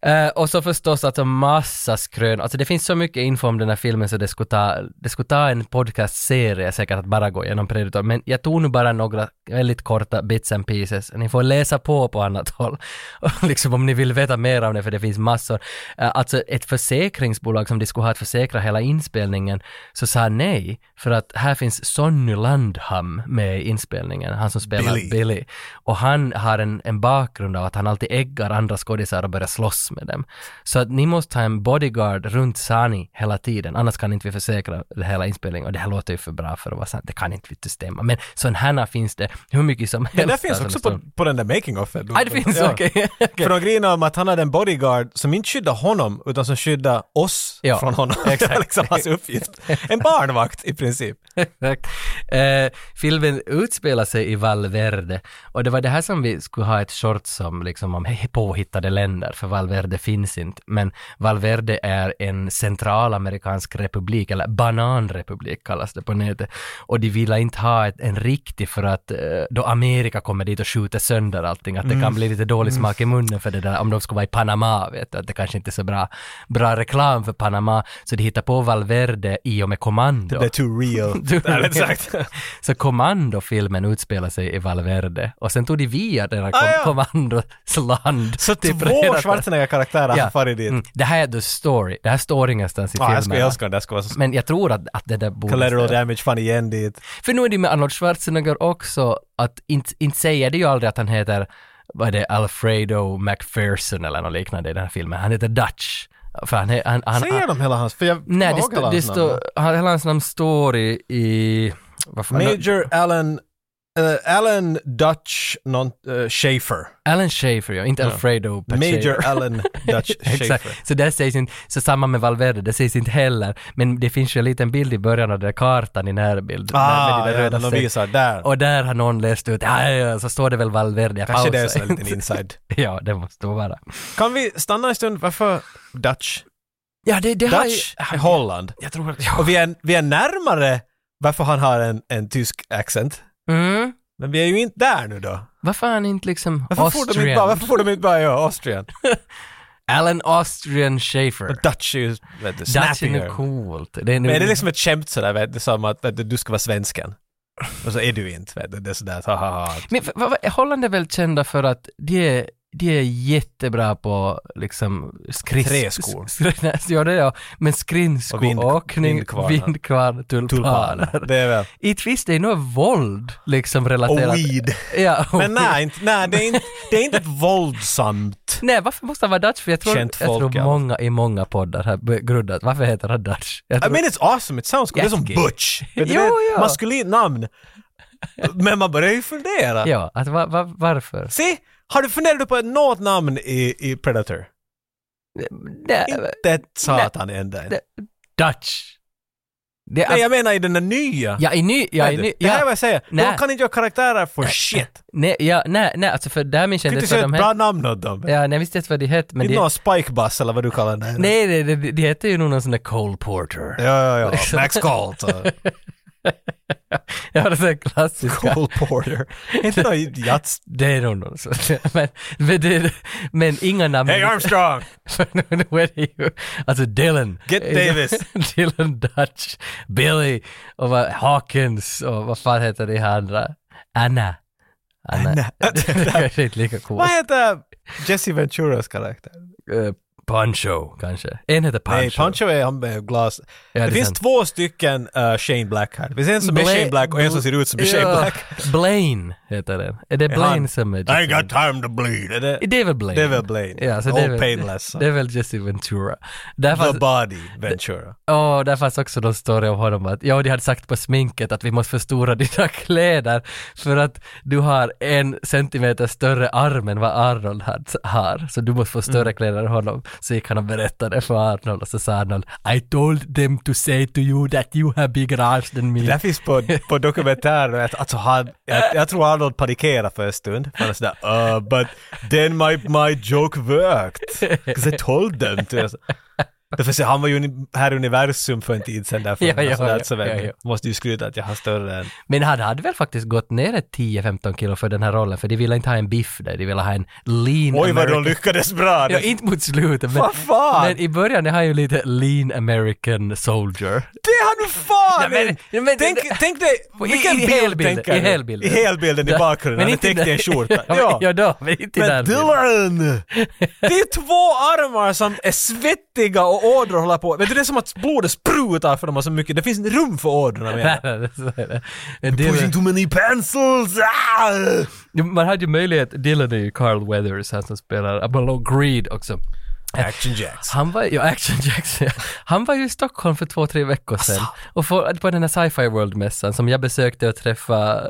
S1: Eh, och så förstås alltså massa skrön, alltså det finns så mycket info om den här filmen så det skulle ta, det skulle ta en podcastserie säkert att bara gå igenom Predator, men jag tog nu bara några väldigt korta bits and pieces, ni får läsa på på annat håll, Och liksom om ni vill veta mer om det för det finns massor. Eh, alltså ett försäkringsbolag som de skulle ha att försäkra hela inspelningen, så sa nej, för att här finns Sonny Landham med i inspelningen, han som spelar
S2: Billy.
S1: Billy. Billy. Och han har en, en bakgrund av att han alltid äggar andra skådisar och börjar slåss med dem. Så att ni måste ha en bodyguard runt Sani hela tiden, annars kan inte vi försäkra det hela inspelningen. Och det här låter ju för bra för att vara sant, det kan inte vittu stämma. Men sådana här finns det hur mycket som helst.
S2: Men det finns
S1: alltså,
S2: också
S1: med
S2: på,
S1: sån-
S2: på den där making of
S1: Ja, det finns, okej. okej.
S2: För de grinar om att han hade en bodyguard som inte skyddade honom, utan som skyddade oss
S1: Ja,
S2: från honom. det var
S1: exakt.
S2: liksom hans uppgift. En barnvakt i princip.
S1: Exakt. Eh, filmen utspelar sig i Valverde och det var det här som vi skulle ha ett short som liksom om he- påhittade länder, för Valverde finns inte. Men Valverde är en centralamerikansk republik, eller bananrepublik kallas det på nätet. Och de ville inte ha ett, en riktig för att eh, då Amerika kommer dit och skjuter sönder allting, att det kan bli lite dålig smak i munnen för det där, om de skulle vara i Panama, vet du, att det kanske inte är så bra, bra reklam för Panama. Så de hittar på Valverde i och med kommando.
S2: Det är too real. Det är exakt.
S1: Så kommandofilmen utspelar sig i Valverde och sen tog de via denna kom-
S2: Ah, ja.
S1: kommandosland.
S2: Så
S1: till
S2: två
S1: Predator.
S2: Schwarzenegger-karaktärer har farit dit.
S1: Typ Mm. Det här är the story. Det här står ingenstans i
S2: Ah, jag
S1: filmen.
S2: skulle älska om det här skulle vara så
S1: Men jag tror att, att det där borde...
S2: collateral damage fan igen dit.
S1: För nu är det med Arnold Schwarzenegger också att inte, inte säger det ju aldrig att han heter, vad är det, Alfredo McPherson eller något liknande i den här filmen. Han heter Dutch. För han, är- han, han,
S2: Säger de hela hans, för jag
S1: Nej,
S2: kommer
S1: det,
S2: ihåg hela
S1: stå, det
S2: hans namn.
S1: står, han- hela hans namn står i, i vad fan,
S2: Major Alan, eh, Alan Dutch non, eh, Schaefer.
S1: Alan Schaefer, ja, inte Alfredo Pacheco.
S2: Major Alan Dutch
S1: Exakt,
S2: Schaefer.
S1: så det sägs inte, så samma med Valverde, det sägs inte heller, men det finns ju en liten bild i början av den där kartan i närbild, där med
S2: Ah,
S1: de
S2: ja,
S1: där röda
S2: de
S1: streck-
S2: visar där.
S1: och där har någon läst ut, "Ah, ja, så står det väl Valverde, jag
S2: Kanske det är så
S1: pausar
S2: en liten
S1: inte."
S2: inside.
S1: Ja, det måste vara.
S2: Kan vi stanna en stund, varför Dutch?
S1: Ja, det, det har ju...
S2: Dutch är Holland.
S1: Jag tror att... Ja.
S2: Och vi är, vi är närmare varför han har en, en tysk accent.
S1: Mm.
S2: Men vi är ju inte där nu då.
S1: Varför är han inte liksom
S2: Varför får, de inte bara,
S1: Austrian?
S2: varför får de inte bara göra Austrian?
S1: Alan Austrian
S2: Och
S1: Schaefer.
S2: Dutch är ju vet du,
S1: Dutch är nu
S2: snappigare.
S1: coolt. Det är nu...
S2: Men är det liksom ett skämt sådär, vet du, som att vet du, du ska vara svensken? Och så är du inte, vet du, det är sådär, ha, ha, ha.
S1: Men för- vad- vad- Holland är väl kända för att de är, de är jättebra på liksom skris...
S2: Träskor.
S1: skri- nej, ja, det är jag. Men
S2: Och vind-
S1: skridskoåkning,
S2: vindkvarnar.
S1: vindkvarn,
S2: Tulpaner.
S1: tulpaner.
S2: Det är väl...
S1: Inte visst, det är nog våld liksom
S2: Och
S1: relaterat.
S2: weed.
S1: Ja, och
S2: Men nej, inte, nej det, är inte, det är inte ett våldsamt.
S1: Nej, varför måste han vara Dutch? För jag tror, jag
S2: Känt folk,
S1: tror
S2: ja.
S1: många i många poddar har begrundat varför heter han Dutch? Jag
S2: I
S1: tror,
S2: mean it's awesome, it sounds cool. Det är som
S1: Jättegay.
S2: Butch. Vet du,
S1: Jo,
S2: det är ett
S1: ja.
S2: Maskulint namn. Men man börjar ju fundera.
S1: ja, att va, va, varför?
S2: Se, har du funderat på något namn i, i Predator?
S1: Det,
S2: Inte ett satan ända.
S1: det- Dutch. Det är,
S2: Nej, jag menar i den där nya.
S1: Alltså- ja, i ny... Ja, i ny
S2: Det här är
S1: ja,
S2: vad jag säger,
S1: Nej.
S2: de kan inte göra karaktärer för shit.
S1: nej, ja, nej, nej, alltså för där minns jag
S2: Kan
S1: inte
S2: inte
S1: ens vad
S2: säga
S1: de
S2: ett
S1: hette.
S2: bra namn åt dem.
S1: Ja, nej, jag visste inte vad de hette, men
S2: inte
S1: de...
S2: någon Spike Bass eller vad du kallar den.
S1: Nej, nej, de, de, de hette ju nog någon sån där Cole Porter.
S2: Ja, ja, ja. Max Colt. och
S1: Ja, det är den klassiska.
S2: Cole Porter. Inte någon jats...
S1: Det är nog någon sån. Men, men, det, men inga namn.
S2: Hey Armstrong!
S1: För nu, nu är det ju, alltså Dylan.
S2: Get Davis.
S1: Dylan Dutch, Billy och vad, Hawkins och vad fan heter de här andra? Anna. Anna.
S2: Anna.
S1: det är kanske inte lika cool.
S2: Vad heter Jesse Venturas karaktär?
S1: Eh, Pancho kanske. En heter Pancho.
S2: Nej, Pancho är han med glas.
S1: Ja,
S2: det
S1: det är
S2: finns
S1: sant.
S2: två stycken eh, Shane Black här. Det finns en som är
S1: Bla-
S2: Shane Black och en som ser ut som är Shane
S1: Ja,
S2: Black.
S1: Blaine heter den. Är det Blaine
S2: han-
S1: som är
S2: I ain't got time to bleed. Är det-
S1: Det är väl Blaine?
S2: Det är väl Blaine.
S1: Ja, så det är
S2: All
S1: väl-
S2: painless.
S1: Det är väl Jesse Ventura. Där
S2: The
S1: fanns,
S2: body, Ventura.
S1: åh, där fanns också någon story om honom att, ja, de hade sagt på sminket att vi måste förstora dina kläder för att du har en centimeter större arm än vad Arnold had- har, så du måste få större
S2: Mm.
S1: kläder än honom. Så gick han och berättade för Arnold och så sa Arnold, I told them to say to you that you have bigger arms than me.
S2: Det här finns på, på dokumentären, att- alltså han, jag, jag tror Arnold panikerade för en stund. Han är sådär uh, “but then my, my joke worked, 'cause I told them to”. Därför så han var ju uni- här i universum för en tid sedan därför.
S1: Ja, ja,
S2: så
S1: ja,
S2: där, så
S1: ja,
S2: väl,
S1: ja.
S2: Måste ju skryta att jag har större än...
S1: Men han hade väl faktiskt gått ner ett 10-15 kilo för den här rollen, för de ville inte ha en biff där, de ville ha en lean
S2: Oj vad de
S1: American-
S2: lyckades bra!
S1: Ja,
S2: Det-
S1: inte mot slutet, men,
S2: Vad fan!
S1: men i början är han ju lite lean American soldier.
S2: Det har du fan
S1: Ja, men-
S2: inte.
S1: ja, men-
S2: tänk,
S1: det-
S2: tänk dig,
S1: I-
S2: vilken
S1: i
S2: bild
S1: helbilden,
S2: tänker
S1: i
S2: du?
S1: helbilden.
S2: I helbilden i bakgrunden, han är täckt i en skjorta.
S1: ja, men- ja, då, men inte i
S2: Men
S1: den bilden.
S2: Dylan! Det är två armar som är svettiga och ådror håller på. Vet du, det är som att blodet sprutar för dem har så mycket. Det finns inte rum för ådrorna
S1: Nej,
S2: mer.
S1: nej, nej, så är det. Men Dylan,
S2: Pushing too many pencils! Ah!
S1: man hade ju möjlighet, Dylan är ju Carl Weathers, han som spelar Apollo Greed också.
S2: Action Jacks.
S1: Han var, ja, Action Jackson, ja. han var ju i Stockholm för två, tre veckor sedan och för, på den här Sci-Fi World-mässan som jag besökte och träffa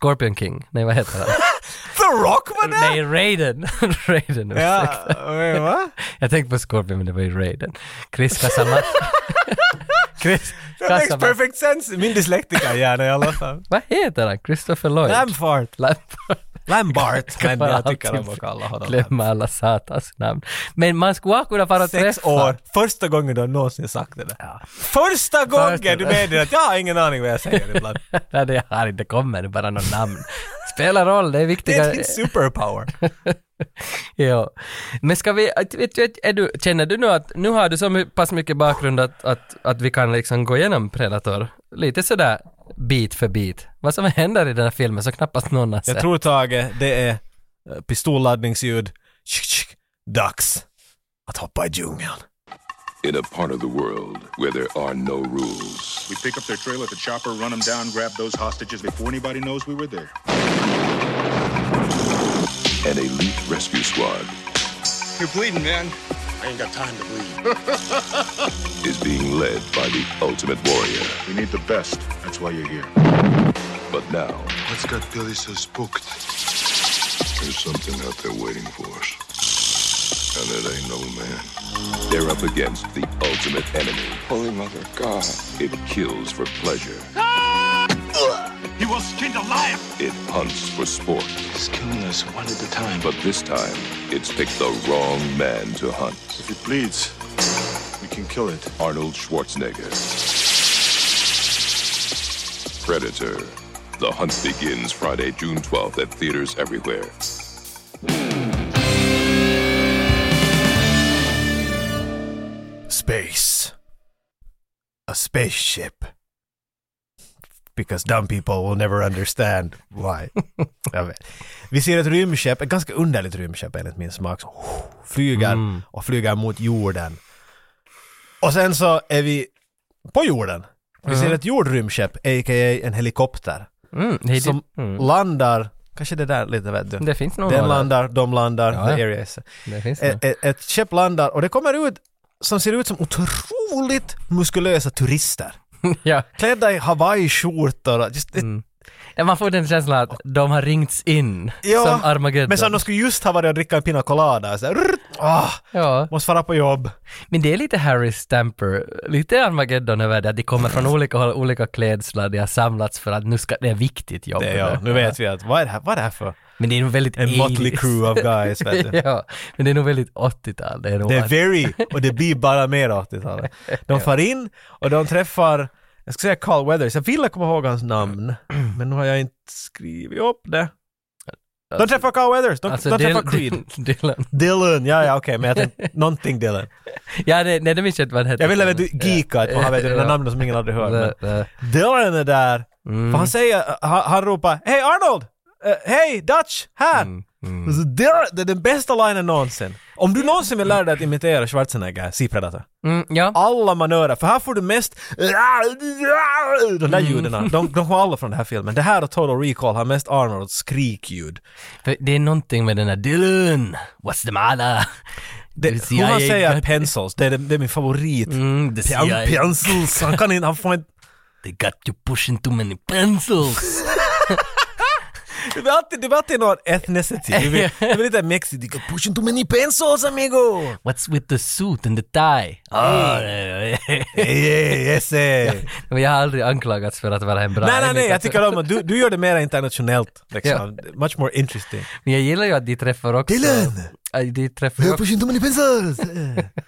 S1: Scorpion King, nej vad heter han?
S2: The Rock var där!
S1: nej, Raiden! Raiden, ursäkta.
S2: Ja, eh, va?
S1: Jag tänkte på Scorpion men det var ju Raiden. Chris Casamata. Chris
S2: That makes
S1: Casamata.
S2: perfect sense. Min dyslektiker gärna i alla fall.
S1: Vad heter han? Christopher Lloyd?
S2: Lampfart.
S1: Lampard.
S2: Lambart. Men
S1: bara
S2: jag tycker
S1: alltid
S2: om att kalla honom Lampfart.
S1: Glömma alla satans namn. Men man skulle kunna fara och
S2: Sex
S1: träffa.
S2: år, första gången du har någonsin sagt det där. Första gången du meddelar att jag har ingen aning vad jag säger ibland.
S1: Nej, det har inte kommit nu, bara något namn. Spelar roll, det är
S2: Det är
S1: viktigare.
S2: din superpower.
S1: ja. Men ska vi, att- vet du, är du, känner du nu att nu har du så my- pass mycket bakgrund att, att, att vi kan liksom gå igenom Predator lite sådär bit för bit. Vad som händer i den här filmen så knappast någon har sett.
S2: Jag tror Tage, det är eh, pistolladdningsljud. Tsk, tsk. Dags att hoppa i djungeln.
S3: In a part of the world where there are no rules,
S4: We pick up their trailer at the chopper, run them down, grab those hostages before anybody knows we were there.
S3: an elite rescue squad
S4: You're bleeding, man. I ain't got time to bleed.
S3: is being led by the ultimate warrior.
S4: We need the best. That's why you're here.
S3: But now,
S5: What's got Billy so spooked?
S3: there's something out there waiting for us. And it ain't no man. They're up against the ultimate enemy.
S5: Holy Mother of God.
S3: It kills for pleasure,
S4: He was skinned alive.
S3: it hunts for sport.
S5: He's killing us one at a time.
S3: But this time, it's picked the wrong man to hunt.
S4: If he bleeds, we
S5: can kill it.
S3: Arnold Schwarzenegger. Predator. The hunt begins Friday, June 12th at theaters everywhere.
S2: Space. A spaceship. Because dumb people will never understand why. Jag vet. Vi ser ett rymdskepp, ett ganska underligt rymdskepp enligt min smak, som flyger och flyger mot jorden. Och sen så är vi på jorden. Vi ser ett jordrymdskepp, a.k.a. en helikopter,
S1: Mm, hej,
S2: som
S1: det, mm.
S2: landar, kanske det där lite vet du.
S1: det finns nog
S2: Den
S1: några.
S2: landar, de landar,
S1: Ja,
S2: the
S1: ja.
S2: area is
S1: Det finns nog.
S2: ett, ett, ett skepp landar och det kommer ut som ser ut som otroligt muskulösa turister.
S1: ja.
S2: Klädda i hawaiiskjortor. och just-
S1: Ja, Man får den känslan att de har ringts in
S2: Ja,
S1: som Armageddon.
S2: Men som de skulle just ha varit och dricka en pina colada. Så här, rrrt, ah,
S1: ja.
S2: måste fara på jobb.
S1: Men det är lite Harry Stamper, lite Armageddon över det, att de kommer
S2: Mm.
S1: från olika håll, olika klädslar, de har samlats för att nu ska, det är viktigt jobb.
S2: Det är jag. Nu vet vi att vad är det här, vad är det här för
S1: Men det är nog väldigt
S2: en motley
S1: 80s.
S2: crew of guys. Vet du.
S1: ja, men det är nog väldigt 80-tal. Det är nog
S2: Det är
S1: att-
S2: very, och det blir bara mer 80-talet. De far in och de träffar, jag ska säga Carl Weathers, jag ville komma ihåg hans namn, men nu har jag inte skrivit upp det. De träffar Carl Weathers, de,
S1: alltså,
S2: de
S1: Dylan-
S2: träffar Creed.
S1: Dylan.
S2: Dylan, ja ja okej, men jag tänkte någonting Dylan.
S1: Ja, det, nej, det minns jag inte vad det hette.
S2: Jag ville väl geeka att man har vet du, det där
S1: Ja. Alltså-
S2: namnet som ingen aldrig hört.
S1: The-
S2: Men
S1: the-
S2: Dylan är där,
S1: Mm.
S2: för han säger, han, han ropar ”Hej Arnold! Eh, Hej Dutch! Här!”
S1: Mm,
S2: Så Dylan, Det är den bästa linen någonsin. Om du någonsin vill lära dig att imitera Schwarzenegger, si Predator.
S1: Mm, ja.
S2: Alla manörer, för här får du mest de där ljuden. De, de kommer alla från den här filmen. Det här och Total Recall har mest Arnolds skrikljud.
S1: För det är någonting med den här Dylan, what's the matter?
S2: Det,
S1: The
S2: hur han
S1: CIA
S2: säger
S1: got-
S2: pencils, det är, det är min favorit.
S1: Mm, the
S2: Pian,
S1: CIA,
S2: piansels. Han kan inte, han får inte...
S1: they got you pushing too many pencils.
S2: Det blir alltid, det blir alltid någon ethnicity. Det blir, det blir lite mexigt. You got pushing too many pencils amigo!
S1: What's with the suit and the tie? Ah,
S2: Mm.
S1: eh, eh.
S2: Hey, hey, yes, hey.
S1: Men jag har aldrig anklagats för att vara en bra
S2: Nej, nej, nej,
S1: imitatör.
S2: jag tycker om att du, du gör det mer internationellt. Liksom. Much more interesting.
S1: Men jag gillar ju att de träffar också...
S2: Dylan!
S1: Ja, De träffar ju också...
S2: pushing too many pencils!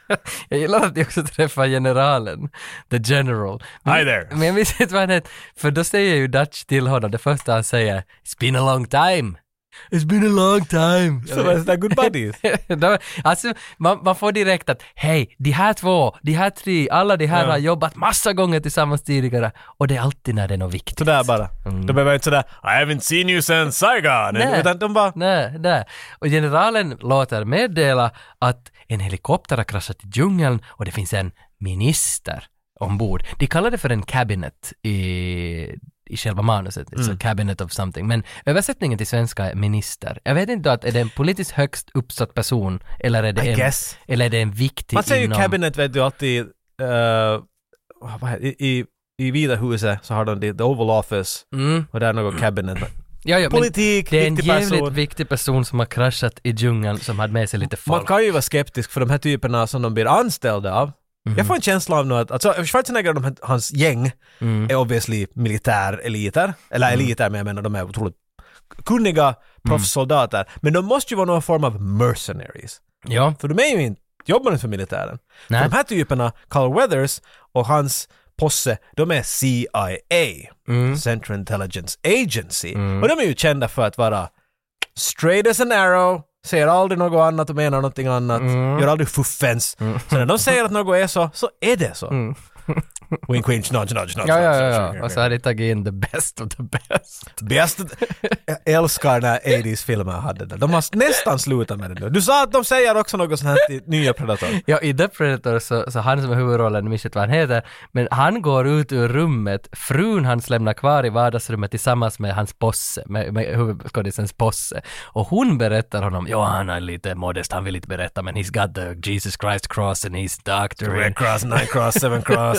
S1: Jag gillar att de också träffar generalen, the general. Men,
S2: Hi there.
S1: Men jag minns inte vad han heter, för då säger ju Dutch till honom, det första han säger, It's been a long time. It's been a long time.
S2: Så det är sådär good buddies.
S1: De- alltså, man, man får direkt att hej, de här två, de här tre, alla de här har jobbat massa gånger tillsammans tidigare och det är alltid när det är något viktigt.
S2: Sådär bara. De behöver inte sådär I haven't seen you since Saigon.
S1: Mm. Nej.
S2: Utan de bara
S1: Nej, nej. Och generalen låter meddela att en helikopter har kraschat i djungeln och det finns en minister ombord. De kallar det för en cabinet i, i själva manuset,
S2: Mm.
S1: så cabinet of something. Men översättningen till svenska är minister. Jag vet inte, att är det en politiskt högst uppsatt person eller är det,
S2: I
S1: en,
S2: guess.
S1: eller är det en viktig
S2: Man säger ju
S1: inom...
S2: cabinet vet du alltid eh, vad heter, i, i, i Vita huset så har de det, the Oval Office
S1: Mm.
S2: och där något cabinet.
S1: Ja, ja, men
S2: Politik,
S1: det är en
S2: viktig
S1: jävligt
S2: person.
S1: viktig person som har kraschat i djungeln som hade med sig lite folk.
S2: Man kan ju vara skeptisk för de här typerna som de blir anställda av.
S1: Mhm.
S2: Jag får en känsla av nu att, alltså Schwarzenegger och de här, hans gäng
S1: Mm.
S2: är obviously militäreliter. Eller eliter, men jag menar de är otroligt
S1: Mm.
S2: kunniga proffssoldater. Men de måste ju vara någon form av mercenaries.
S1: Ja.
S2: För de är ju inte, jobbar inte för militären.
S1: Nej.
S2: För de här typerna, Carl Weathers och hans posse, de är CIA,
S1: Mm.
S2: Central Intelligence Agency. Och de är ju kända för att vara straight as an arrow, säger aldrig något annat och menar någonting annat,
S1: Mm.
S2: gör aldrig fuffens. Så när de säger att något är så, så är det så. Wink wink, nudge nudge
S1: Mm.
S2: nudge.
S1: Ja, ja, alltså.
S2: nudge,
S1: ja,
S2: nudge,
S1: ja. Och så har de tagit in the best of the best.
S2: Bäst. Jag älskar när 80s-filmer hade det. De har nästan slutat med det nu. Du sa att de säger också något sånt här till nya Predator.
S1: Ja, i The Predator så, så han som är huvudrollen, jag minns inte vad han heter, men han går ut ur rummet, frun hans lämnar kvar i vardagsrummet tillsammans med hans posse, med, med huvudskådisens posse. Och hon berättar honom, ja han är lite modest, han vill inte berätta, men he's got the Jesus Christ cross and he's doctor.
S2: Red
S1: and-
S2: cross, nine cross, seven cross.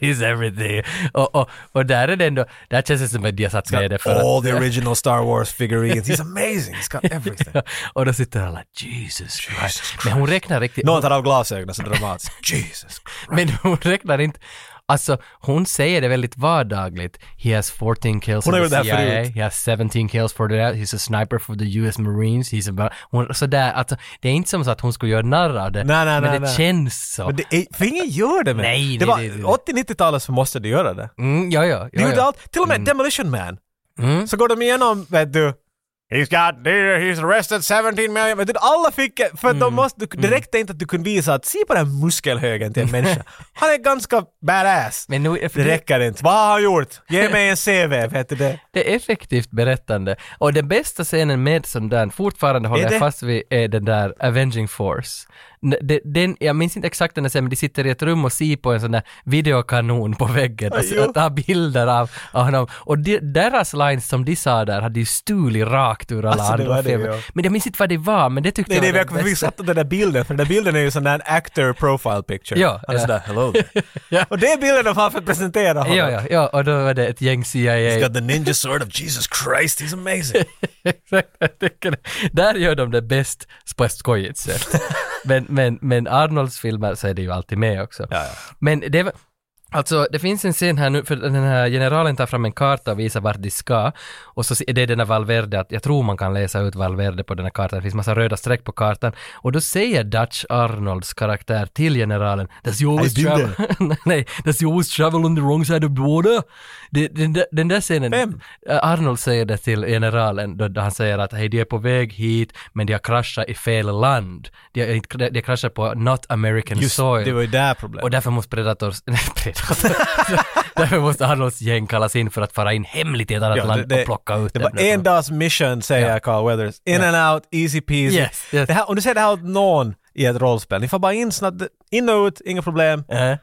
S1: he's everything. Och, och, och där är det ändå, där känns det som att de har satt med det för att
S2: All the original Star Wars figurines. He's amazing. He's got everything.
S1: och då sitter alla Jesus Christ. Men hon räknar riktigt,
S2: Någon tar av glasögonen så dramatiskt. Jesus.
S1: men hon räknar inte Alltså, hon säger det väldigt vardagligt. He has 14 kills for
S2: Hon har
S1: the
S2: gjort det
S1: CIA.
S2: här förut.
S1: He has 17 kills for that. He's a sniper for the US Marines. He's a... ba-" Hon, sådär, alltså, det är inte som så att hon skulle göra narr av det.
S2: Nej, nej,
S1: men
S2: nej,
S1: det
S2: nej.
S1: känns så.
S2: Men det är, för ingen gör det men.
S1: Nej, nej,
S2: det var
S1: det- det-
S2: 80-90-talet så måste de göra det.
S1: Mm, ja, ja.
S2: De
S1: ja,
S2: gjorde
S1: ja.
S2: allt, till och med Demolition Man.
S1: Mm.
S2: Så går de igenom, vet du. He's got deer, he's arrested 17 million. Vet du, alla fick, för
S1: Mm.
S2: de måste, du- det räckte inte att du kunde visa att se på den här muskelhögen till en människa. Han är ganska badass.
S1: Men nu, för
S2: det räcker inte. Vad har han gjort? Ge mig en CV, vet du det?
S1: Det är effektivt berättande. Och den bästa scenen med sånt där, fortfarande håller
S2: Är det?
S1: jag fast vid, är den där Avenging Force. N- de- Den, jag minns inte exakt den där scenen, men de sitter i ett rum och ser på en sån där videokanon på väggen och,
S2: jo.
S1: och tar bilder av, av honom. Och de, deras lines som de sa där hade ju stulit rakt ur alla
S2: Alltså, det
S1: andra
S2: var det,
S1: filmer.
S2: ja.
S1: Men jag minns inte vad det var, men det tyckte
S2: Nej, det är
S1: jag var
S2: jag kommer ihåg satt den där bilden, för den där bilden är ju sån där actor profile picture.
S1: Ja,
S2: Han är
S1: ja.
S2: sådär “Hello there. Och det är bilden de har för att presentera honom.
S1: Ja, ja, ja, och då var det ett gäng CIA
S2: He's got the ninja sword of Jesus Christ, he's amazing.
S1: Exakt, jag tycker det. Där gör de det bäst på ett skojigt sätt. Men, men, men Arnolds filmer så är det ju alltid med också.
S2: Ja, ja.
S1: Men det var, Alltså det finns en scen här nu, för den här generalen tar fram en karta och visar vart de ska. Och så se- det är den här Valverde, att jag tror man kan läsa ut Valverde på den här kartan, det finns massa röda streck på kartan. Och då säger Dutch Arnolds karaktär till generalen, “Does you always
S2: I did
S1: travel?” Nej, “Does you always travel on the wrong side of the water?” det, den, där- den där scenen,
S2: Vem?
S1: Eh, Arnold säger det till generalen, då då han säger att hej, de är på väg hit, men de har kraschat i fel land. De har, inte- de har kraschat på not American
S2: Just
S1: soil.
S2: det var ju där problemet.
S1: Och därför måste Predators... Nej, Predators. därför måste Arnolds gäng kallas in för att fara in hemligt i ett annat
S2: Ja,
S1: land och plocka ut
S2: det
S1: dem.
S2: var en dags mission, säger Carl Weathers. In and out, easy peasy.
S1: Yes, yes.
S2: Det här, om du säger det här åt någon i ett rollspel, ni får bara in snabbt, in och ut, inga problem.
S1: Eh.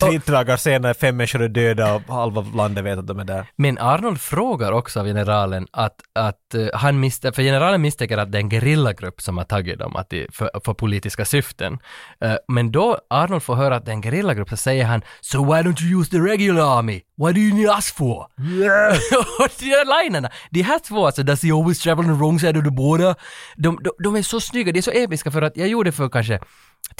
S2: Tre dagar senare, fem människor är döda och halva landet vet att de är där.
S1: Men Arnold frågar också av generalen att, att eh, han misstänker, för generalen misstänker att det är en gerillagrupp som har tagit dem att det, för, för politiska syften. Eh, men då Arnold får höra att det är en gerillagrupp så säger han “So why don't you use the regular army? What do you need us for?” Och de där linerna, de här två alltså, “Does he always travel on the wrong side of the border?” de, de, de är så snygga, de är så episka för att jag gjorde för kanske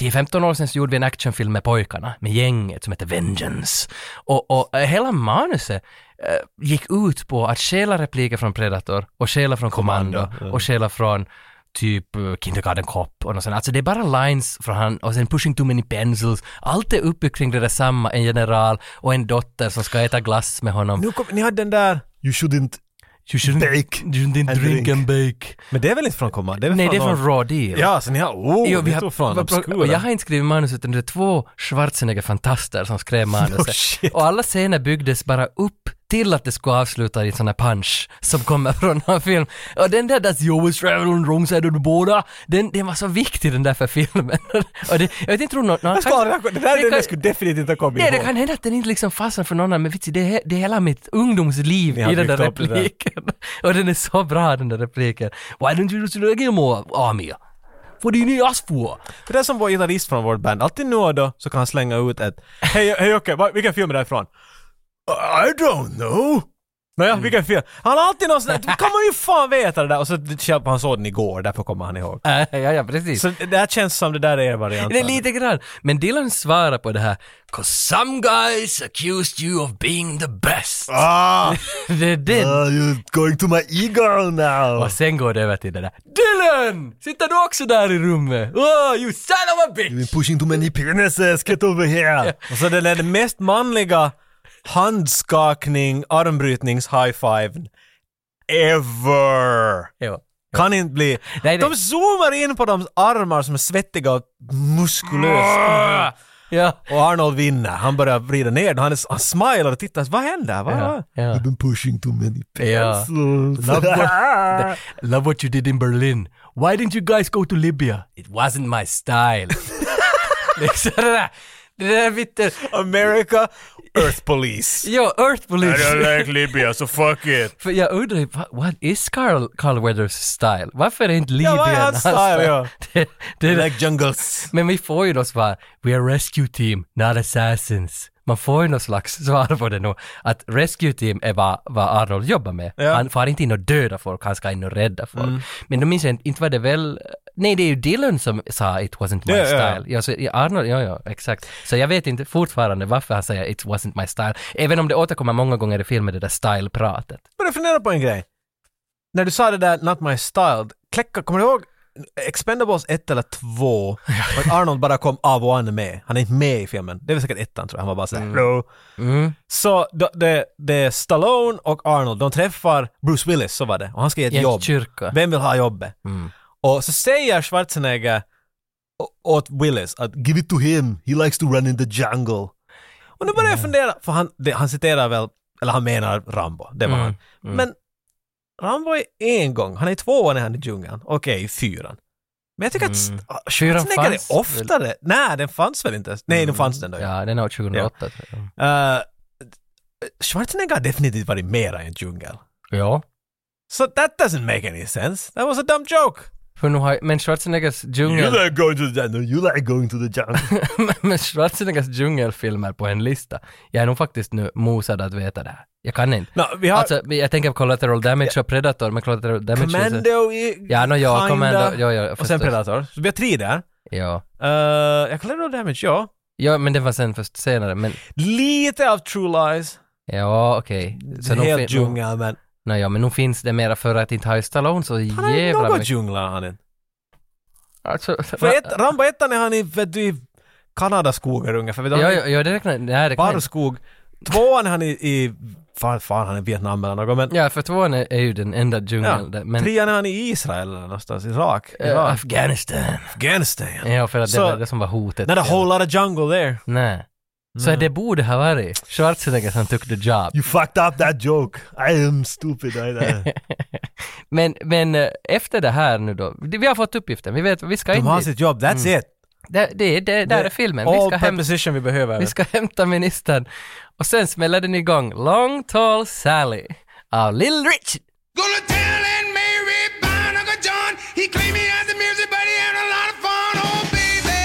S1: 10-15 år sedan så gjorde vi en actionfilm med pojkarna, med gänget som heter Vengeance. Och, och eh, hela manuset eh, gick ut på att stjäla repliker från Predator och stjäla från Commando, och stjäla från typ eh, Kindergarten Cop och något sånt. Alltså det är bara lines från han och sen Pushing Too Many Pencils. Allt är uppbyggt kring det där samma, en general och en dotter som ska äta glass med honom.
S2: Nu kom, ni hade den där... You shouldn't...
S1: You shouldn't,
S2: Bake
S1: you didn't
S2: and
S1: drink
S2: drink.
S1: and bake.
S2: Men det är väl inte från Command? Det är väl
S1: Nej, det är
S2: någon-
S1: från Raw Deal.
S2: Ja, så ni har... Oh,
S1: Jo, vi
S2: vi
S1: har,
S2: tog fan
S1: vad bra- och jag
S2: obscura.
S1: har inte skrivit manus utan det är två Schwarzenegger-fantaster som skrev
S2: Oh,
S1: manuset.
S2: shit.
S1: och alla scener byggdes bara upp till att det skulle avsluta i en sån här punch som kommer från en film. Och den där “That's you always travel on the wrong side of the border”, den, den var så viktig den där för filmen. och det, jag vet inte om någon...
S2: Jag skulle aldrig ha- Det där är
S1: Det
S2: den jag
S1: kan-
S2: skulle definitivt inte ha kommit
S1: Nej, det
S2: ihåg.
S1: kan hända att den inte liksom fastnar för någon annan, men vitsi, det, är, det är hela mitt ungdomsliv
S2: Ni har
S1: i den där
S2: byggt upp det där.
S1: repliken. och den är så bra den där repliken. “Why don't you just do more army?” “What do you need us for?”
S2: Det där som vår gitarrist från vårt band, alltid nu och då så kan han slänga ut ett Hej hej Jocke, va- vilken film är det här ifrån? I don't know. Nåja,
S1: Mm.
S2: vilken film? Han har alltid någon sån där, kan man ju fan veta det där! Och så själv, han såg den igår, därför kommer han ihåg.
S1: Äh, ja, ja, precis.
S2: Så det där känns som det där är er variant.
S1: det är lite grann. Men Dylan svarar på det här. “Cause some guys accused you of being the best”.
S2: Ah!
S1: Det är det.
S2: you're going to my ego now!
S1: Och sen går det över till det där. Dylan! Sitter du också där i rummet? Oh, you son of a bitch!
S2: pushing too many penises, get over here! Och så den där den mest manliga handskakning, armbrytnings high five ever!
S1: Jo.
S2: Kan inte bli.
S1: Nej,
S2: de
S1: nej.
S2: zoomar in på de armar som är svettiga och muskulösa.
S1: Ja.
S2: Och Arnold vinner. Han börjar vrida ner den. Han, är- han smilar och tittar. Vad händer? Vad?
S1: Ja. ja.
S5: been pushing too many
S1: ja. Love what, love what you did in Berlin. Why didn't you guys go to Libya? It wasn't my style. liksom det där. Det där vittu...
S2: America Earth Police.
S1: Jo, Earth Police.
S2: like Libya, so fuck it.
S1: För jag undrar ju, va- what is Carl, Carl Weathers style? Varför är inte Libyen
S2: vad är hans style, ja.
S1: det, det,
S2: Like jungles.
S1: Men vi får ju då svar, we are rescue team, not assassins. man får ju någon slags svar på det nu, att rescue team är vad, vad Arnold jobbar med.
S2: Ja. Mm.
S1: Han far inte in och döda folk, han ska in och rädda folk. Men då minns jag inte, inte var det väl, nej det är ju Dylan som sa it wasn't my
S2: Ja, ja, ja.
S1: style. Ja, så, ja, Arnold, ja, ja, exakt. Så jag vet inte fortfarande varför han säger it wasn't my style, även om det återkommer många gånger i filmen, det där style-pratet.
S2: började fundera på en grej. När du sa det där “Not my style”, kläcka, kommer du ihåg Expendables 1 eller 2? Och att Arnold bara kom av och an med. Han är inte med i filmen. Det är väl säkert ettan tror jag. Han var bara såhär “Hello”. Så då- det, det är Stallone och Arnold, de träffar Bruce Willis, så var det. Och han ska ge ett
S1: I en
S2: jobb.
S1: kyrka.
S2: Vem vill ha jobbet?
S1: Mm.
S2: Och så säger Schwarzenegger å- åt Willis att “Give it to him, he likes to run in the jungle”. Och nu börjar
S1: Mm.
S2: jag fundera, för han, det, han citerar väl, eller han menar Rambo, det var
S1: Mm,
S2: han. Men Rambo är en gång, han är två år när han är i djungeln, okej i fyran. Men jag tycker att
S1: Mm. Fyran
S2: st- Schwarzenegger
S1: fanns Mm,
S2: är oftare. Nej, den fanns väl inte? ens. Nej, den fanns den då. Ja.
S1: Ja, den är år 2008 tror jag.
S2: Eh, Schwarzenegger har definitivt varit mera i en djungel.
S1: Ja.
S2: So that doesn't make any sense. That was a dumb joke.
S1: För nu har, men Schwarzeneggers
S2: You
S1: djungel...
S2: like going to the jungle, you like going to the jungle.
S1: men Schwarzeneggers djungelfilmer på en lista. Jag är nog faktiskt nu mosad att veta det här. Jag kan inte.
S2: no, vi har
S1: Alltså, jag tänker på Collateral Damage och Predator, men Collateral Damage är så...
S2: Commando i...
S1: Ja, no, ja,
S2: kinda.
S1: Commando, ja, ja,
S2: Och sen
S1: förstås.
S2: Predator. Så vi har tre där.
S1: Ja.
S2: Uh, jag kollar då Damage, ja.
S1: ja, men det var sen först senare, men...
S2: Lite av True Lies.
S1: Ja, okej.
S2: Så
S1: nog
S2: helt
S1: fin- nog-
S2: djungel, men
S1: nå, ja, men nu finns det mera för att inte ha Stallone så
S2: han har inte
S1: jävla
S2: något
S1: mycket.
S2: djunglar han inte.
S1: Alltså,
S2: För ett, Rambo 1 är han i, vet du, i Kanadaskogar ungefär. Vet du,
S1: ja,
S2: han är i
S1: ja, ja, det räknar... Nej, det räknar
S2: Barrskog. Tvåan är han i, i fan, fan han är i Vietnam eller något, men...
S1: Ja, för tvåan är, är ju den enda
S2: Ja.
S1: djungeln där, men...
S2: Trean är han i Israel eller någonstans, Irak.
S1: Eh,
S2: Irak.
S1: Afghanistan.
S2: Afghanistan.
S1: Ja, för att
S2: Så-
S1: det var det som var hotet.
S2: Not a whole lot of jungle there.
S1: Nej. Så det borde ha varit Schwarzenegger som tog the job.
S2: You fucked up that joke. I am stupid. I
S1: Men, men eh, efter det här nu då, vi har fått uppgiften, vi vet, vi ska
S2: De
S1: in
S2: har
S1: dit.
S2: sitt jobb, that's it.
S1: Det, det, Mm. det, där är filmen, vi
S2: All
S1: ska, hämta,
S2: preposition vi behöver.
S1: vi ska hämta ministern. Och sen smäller den igång Long Tall Sally av Little Richard.
S6: Gonna tell Aunt Mary about Uncle John. He claimed he has the music, but he had a lot of fun. Oh, baby.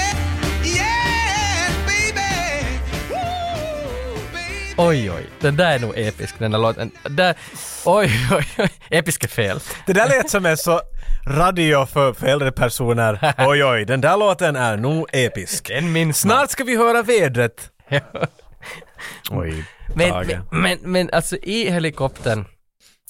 S6: Yes, baby. Woo, baby.
S1: Oj, oj, den där är nog episk den där låten. Där, oj, oj, oj, episk är fel.
S2: Det där lät som en så radio för, för äldre personer. Oj, oj, den där låten är nog episk.
S1: Den minns man.
S2: Snart ska vi höra vädret. Oj,
S1: Men,
S2: Tage.
S1: men, men, men alltså i helikoptern,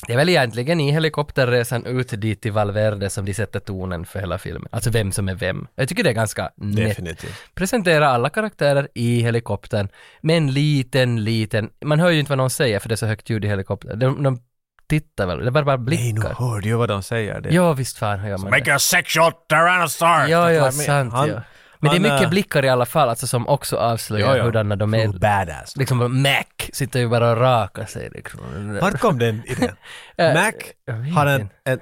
S1: det är väl egentligen i helikopterresan ut dit till Valverde som de sätter tonen för hela filmen. Alltså vem som är vem. Jag tycker det är ganska nätt.
S2: Definitivt.
S1: Presentera alla karaktärer i helikoptern med en liten, liten, man hör ju inte vad någon säger för det är så högt ljud i helikoptern. De, de tittar väl, det bara, bara
S2: Nej, nu
S1: blickar.
S2: hörde jag vad de säger. Det.
S1: Ja, visst fan hör man det.
S2: a sexual tyrannosaurus!
S1: Ja, ja, sant
S2: Han-
S1: ja. Men det är
S2: han,
S1: mycket
S2: äh,
S1: blickar i alla fall, alltså som också avslöjar
S2: ja.
S1: hurdana de är.
S2: True badass.
S1: Liksom Mac sitter ju bara och rakar sig liksom.
S2: Var kom den idén?
S1: Äh,
S2: Mac
S1: jag vet
S2: har en,
S1: inte.
S2: en,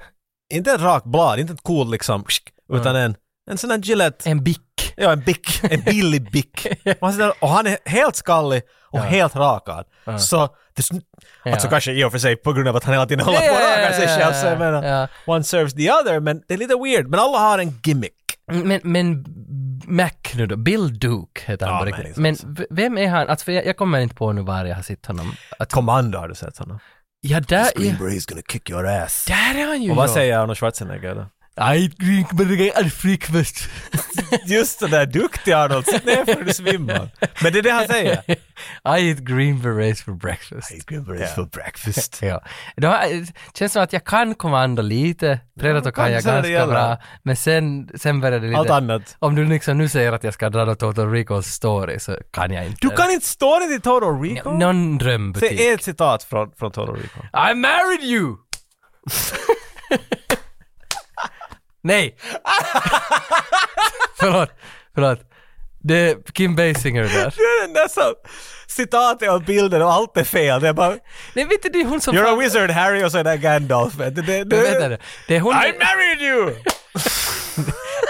S2: inte ett rakt blad, inte ett cool liksom, psk,
S1: Mm.
S2: utan en, en sån där Gillette,
S1: En bick.
S2: ja en bick, en billig bick. Och han sitter- Och han är helt skallig och helt rakad. Så, det, är sn- alltså
S1: Ja.
S2: kanske i och för sig på grund av att han hela tiden håller på och rakar sig själv, så jag menar,
S1: Ja.
S2: one serves the other, men det är lite weird. Men alla har en gimmick.
S1: Men, men Mac nu då, Bill Duke heter han
S2: Ja,
S1: på
S2: men
S1: riktigt.
S2: liksom.
S1: Men v- vem är han? Alltså, för jag, jag kommer inte på nu var jag har sett honom. Att,
S2: Kommando har du sett honom?
S1: ja, där, ja,
S2: Greenberry is gonna kick your ass.
S1: där är han ju!
S2: Och vad
S1: ja.
S2: säger Arnold Schwarzenegger då?
S1: I drink burger and breakfast.
S2: Just det där, duktig Arnold, sitt ner för du svimmar. Men det är det han säger.
S1: I eat green berets for breakfast.
S2: Greenberry is for breakfast.
S1: Ja. Då har, det känns som att jag kan kommando lite, Predator kan
S2: kan
S1: jag
S2: så när det
S1: ganska
S2: gäller.
S1: bra, men sen, sen började det lite...
S2: Allt annat.
S1: Om du liksom nu säger att jag ska dra Total Ricos story så kan jag inte.
S2: Du kan inte stå i Toro Rico? typ.
S1: Någon drömbutik.
S2: Se ett citat från, från Toro Rico.
S1: I married you! Nej! förlåt, förlåt. Det är Kim Basinger där.
S2: Det är den där som... Citatet och bilden och allt är fel. Det är bara...
S1: Nej, vet du, det är hon som...
S2: You're a
S1: fan-
S2: wizard Harry och så är det Gandalf. vet du. Det, det,
S1: Vänta nu. Det är hon...
S2: I married you!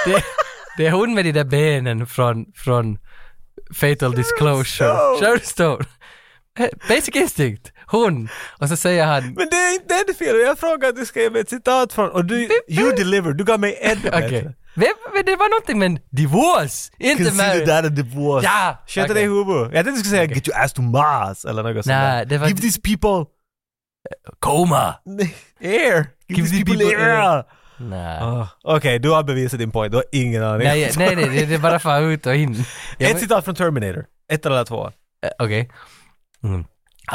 S1: det, det är hon med de där benen från, från Fatal Disclosure.
S2: Stone.
S1: Sharon Stone. Eh, Basic Instinct. Hon. Och så säger han...
S2: Men det är Mm. inte den fel. Jag frågade att du ska ge mig ett citat från... Och du... You delivered. Du gav mig ett.
S1: Okej.
S2: bättre.
S1: Vem- Det var någonting med divorce, inte
S2: Consider
S1: marriage.
S2: that a divorce.
S1: Ja,
S2: Sköt dig
S1: okej.
S2: i huvudet. Jag tänkte du skulle säga “Get your ass to Mars” eller något sånt
S1: Nej,
S2: där.
S1: det var-
S2: “Give these people
S1: Koma!
S2: air! Give, these people, air!”
S1: Nej.
S2: Ah, Okej, du har bevisat din poäng. Du har ingen aning.
S1: Nej, nej, nej, det- det är bara far ut och in. Jag
S2: Ett
S1: men-
S2: citat från Terminator. Ett eller två.
S1: Eh, Okej. Mm.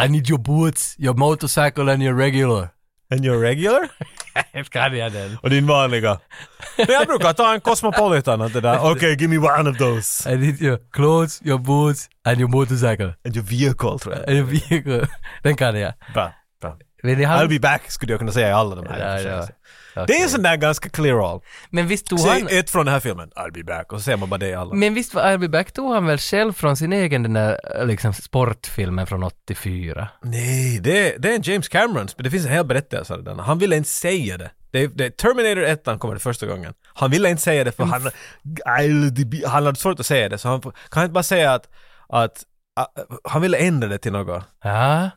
S1: I need your boots, your motorcycle and your regular.
S2: And your regular?
S1: Kan jag den?
S2: Och din vanliga. Det jag brukar ta en Cosmopolitan och det där. Okej, give me one of those.
S1: I need your clothes, your boots and your motorcycle.
S2: And your typ vehicle tror jag.
S1: And your vehicle. Den kan jag.
S2: Bra, bra.
S1: Men det
S2: I'll
S1: han...
S2: be back skulle jag kunna säga i alla de här.
S1: Ja, ja.
S2: Det är
S1: Okej.
S2: en sån där ganska clear all.
S1: Men visst tog han...
S2: Säg ett från den här filmen. I'll be back. Och så säger man bara det i alla.
S1: Men visst var Arby Back tog han väl själv från sin egen den där eh, liksom sportfilmen från 84?
S2: Nej, det, det är en James Camerons, men det finns en hel berättelse av den. Han ville inte säga det. Det, det Terminator 1 han kommer det första gången. Han ville inte säga det för han, I'll be- han hade svårt att säga det, så han får- kan inte bara säga att, att ah, han ville ändra det till något.
S1: Ja.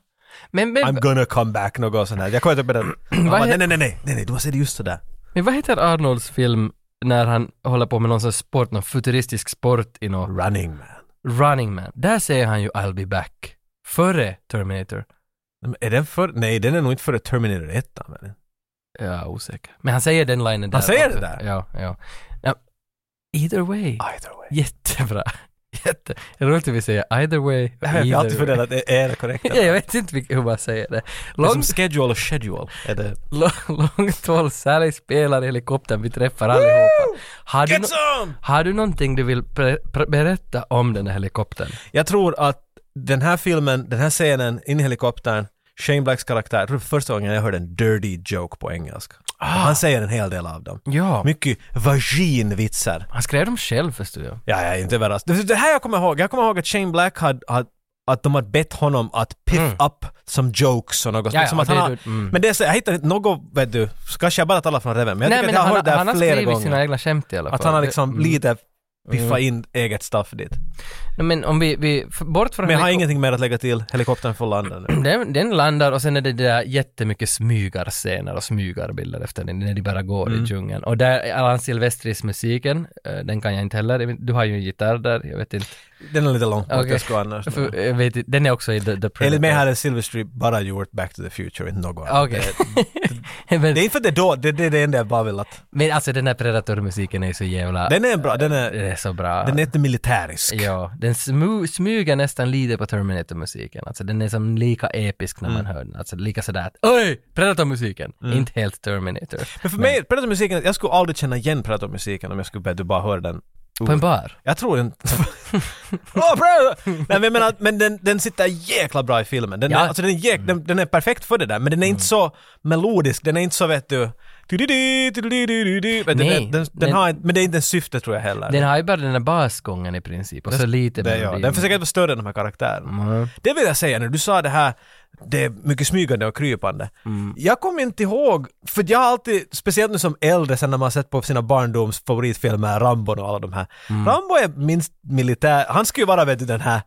S1: Men, men,
S2: I'm gonna come back, något sånt här. Jag kommer inte ihåg det. Han
S1: Typ- Vad
S2: bara,
S1: he-
S2: nej, nej, nej, nej, nej, nej, du måste säga det just sådär.
S1: men vad heter Arnolds film när han håller på med någon sorts sport, någon futuristisk sport i någon
S2: Running man.
S1: Running Man? Där säger han ju I'll be back. Före Terminator.
S2: Men Är den för, nej, den är nog inte före Terminator 1. Men.
S1: Ja, osäker. Men han säger den linen där.
S2: Han säger
S1: också.
S2: det där? Ah.
S1: Ja, ja. ja. Either way.
S2: Either way.
S1: Jättebra. Jätte. Jag tror inte vi säger either way.
S2: Jag har alltid
S1: either way.
S2: funderat, är är det korrekt?
S1: Ja, jag vet inte vilk- hur man säger det.
S2: Det är som
S1: Långt
S2: schedule och schedule. Är det...
S1: Lång- Långt håll, Sally spelar helikoptern, vi träffar allihopa. Har du,
S2: Get
S1: nå-
S2: some!
S1: har du någonting du vill pre- pre- berätta om den här helikoptern?
S2: Jag tror att den här filmen, den här scenen, in i helikoptern, Shane Blacks karaktär, jag tror det är första gången jag hörde en dirty joke på engelska.
S1: Ah.
S2: Han säger en hel del av dem.
S1: Ja.
S2: Mycket vaginvitsar.
S1: Han skrev dem själv förstår jag.
S2: Ja, jag är inte överraskad. Det- Det här jag kommer ihåg, jag kommer ihåg att Shane Black hade, hade att de hade bett honom att piff up som jokes och något.
S1: Mm. Ja, ja,
S2: liksom att
S1: det
S2: han
S1: är
S2: har,
S1: du- mm.
S2: Men det är så, jag hittar inte något, vet du, så kanske jag bara talar från reven, men jag tycker att jag har
S1: han,
S2: hört det
S1: han
S2: här
S1: har
S2: flera
S1: skrivit
S2: gånger.
S1: sina egna skämt i alla fall.
S2: Att han har liksom
S1: Mm.
S2: lite piffat in eget stuff dit.
S1: Nej, Men om vi, vi f- bort från
S2: Men jag har
S1: heliko-
S2: ingenting mer att lägga till, helikoptern får landa nu.
S1: Den, den landar och sen är det där jättemycket smygarscener och smygarbilder efter den när de bara går
S2: Mm.
S1: i djungeln. Och där, är Allan Silvestris musiken, eh, den kan jag inte heller, du har ju en gitarr där, jag vet inte.
S2: Den är lite lång, okay.
S1: Okej.
S2: jag ska annars.
S1: För, jag vet, inte, den är också i The, the Predator.
S2: Enligt mig hade Silverstreet bara gjort Back to the Future, inte något annat.
S1: Okej.
S2: Det
S1: men,
S2: är inte för att det är då, det, det är det enda jag bara vill att...
S1: men alltså den här Predator-musiken är ju så jävla...
S2: Den är bra, den
S1: den
S2: är...
S1: är så bra.
S2: Den är inte militärisk.
S1: Ja, den smu, smyger nästan lite på Terminator-musiken. Alltså den är som lika episk när
S2: Mm.
S1: man hör den. Alltså lika sådär att oj, Predator-musiken! Inte helt Terminator.
S2: Men för mig, Predator-musiken, jag skulle aldrig känna igen Predator-musiken om jag skulle börja bara höra den.
S1: På en bar.
S2: Jag tror inte... Åh, Predator! Nej men jag menar, men den, den sitter jäkla bra i filmen. Den,
S1: Ja. Mm.
S2: är, alltså, den, är jäk, den, den är perfekt för det där, men den är inte så melodisk, den är inte så vet du... tudidi, tudidi, vet du,
S1: Nej,
S2: den, den, den
S1: men-
S2: har, inte- men det är inte en syfte tror jag heller.
S1: Den har ju bara den där basgången i princip och så lite Mm.
S2: Det, ja.
S1: melodi.
S2: Den försöker vara större än de här karaktärerna. Det vill jag säga när du sa det här, det är mycket smygande och krypande. Jag kommer inte ihåg, för jag har alltid, speciellt nu som äldre, sen när man har sett på sina barndoms favoritfilmer, Rambo och alla de här. Rambo är minst militär, han skulle ju vara vet du den här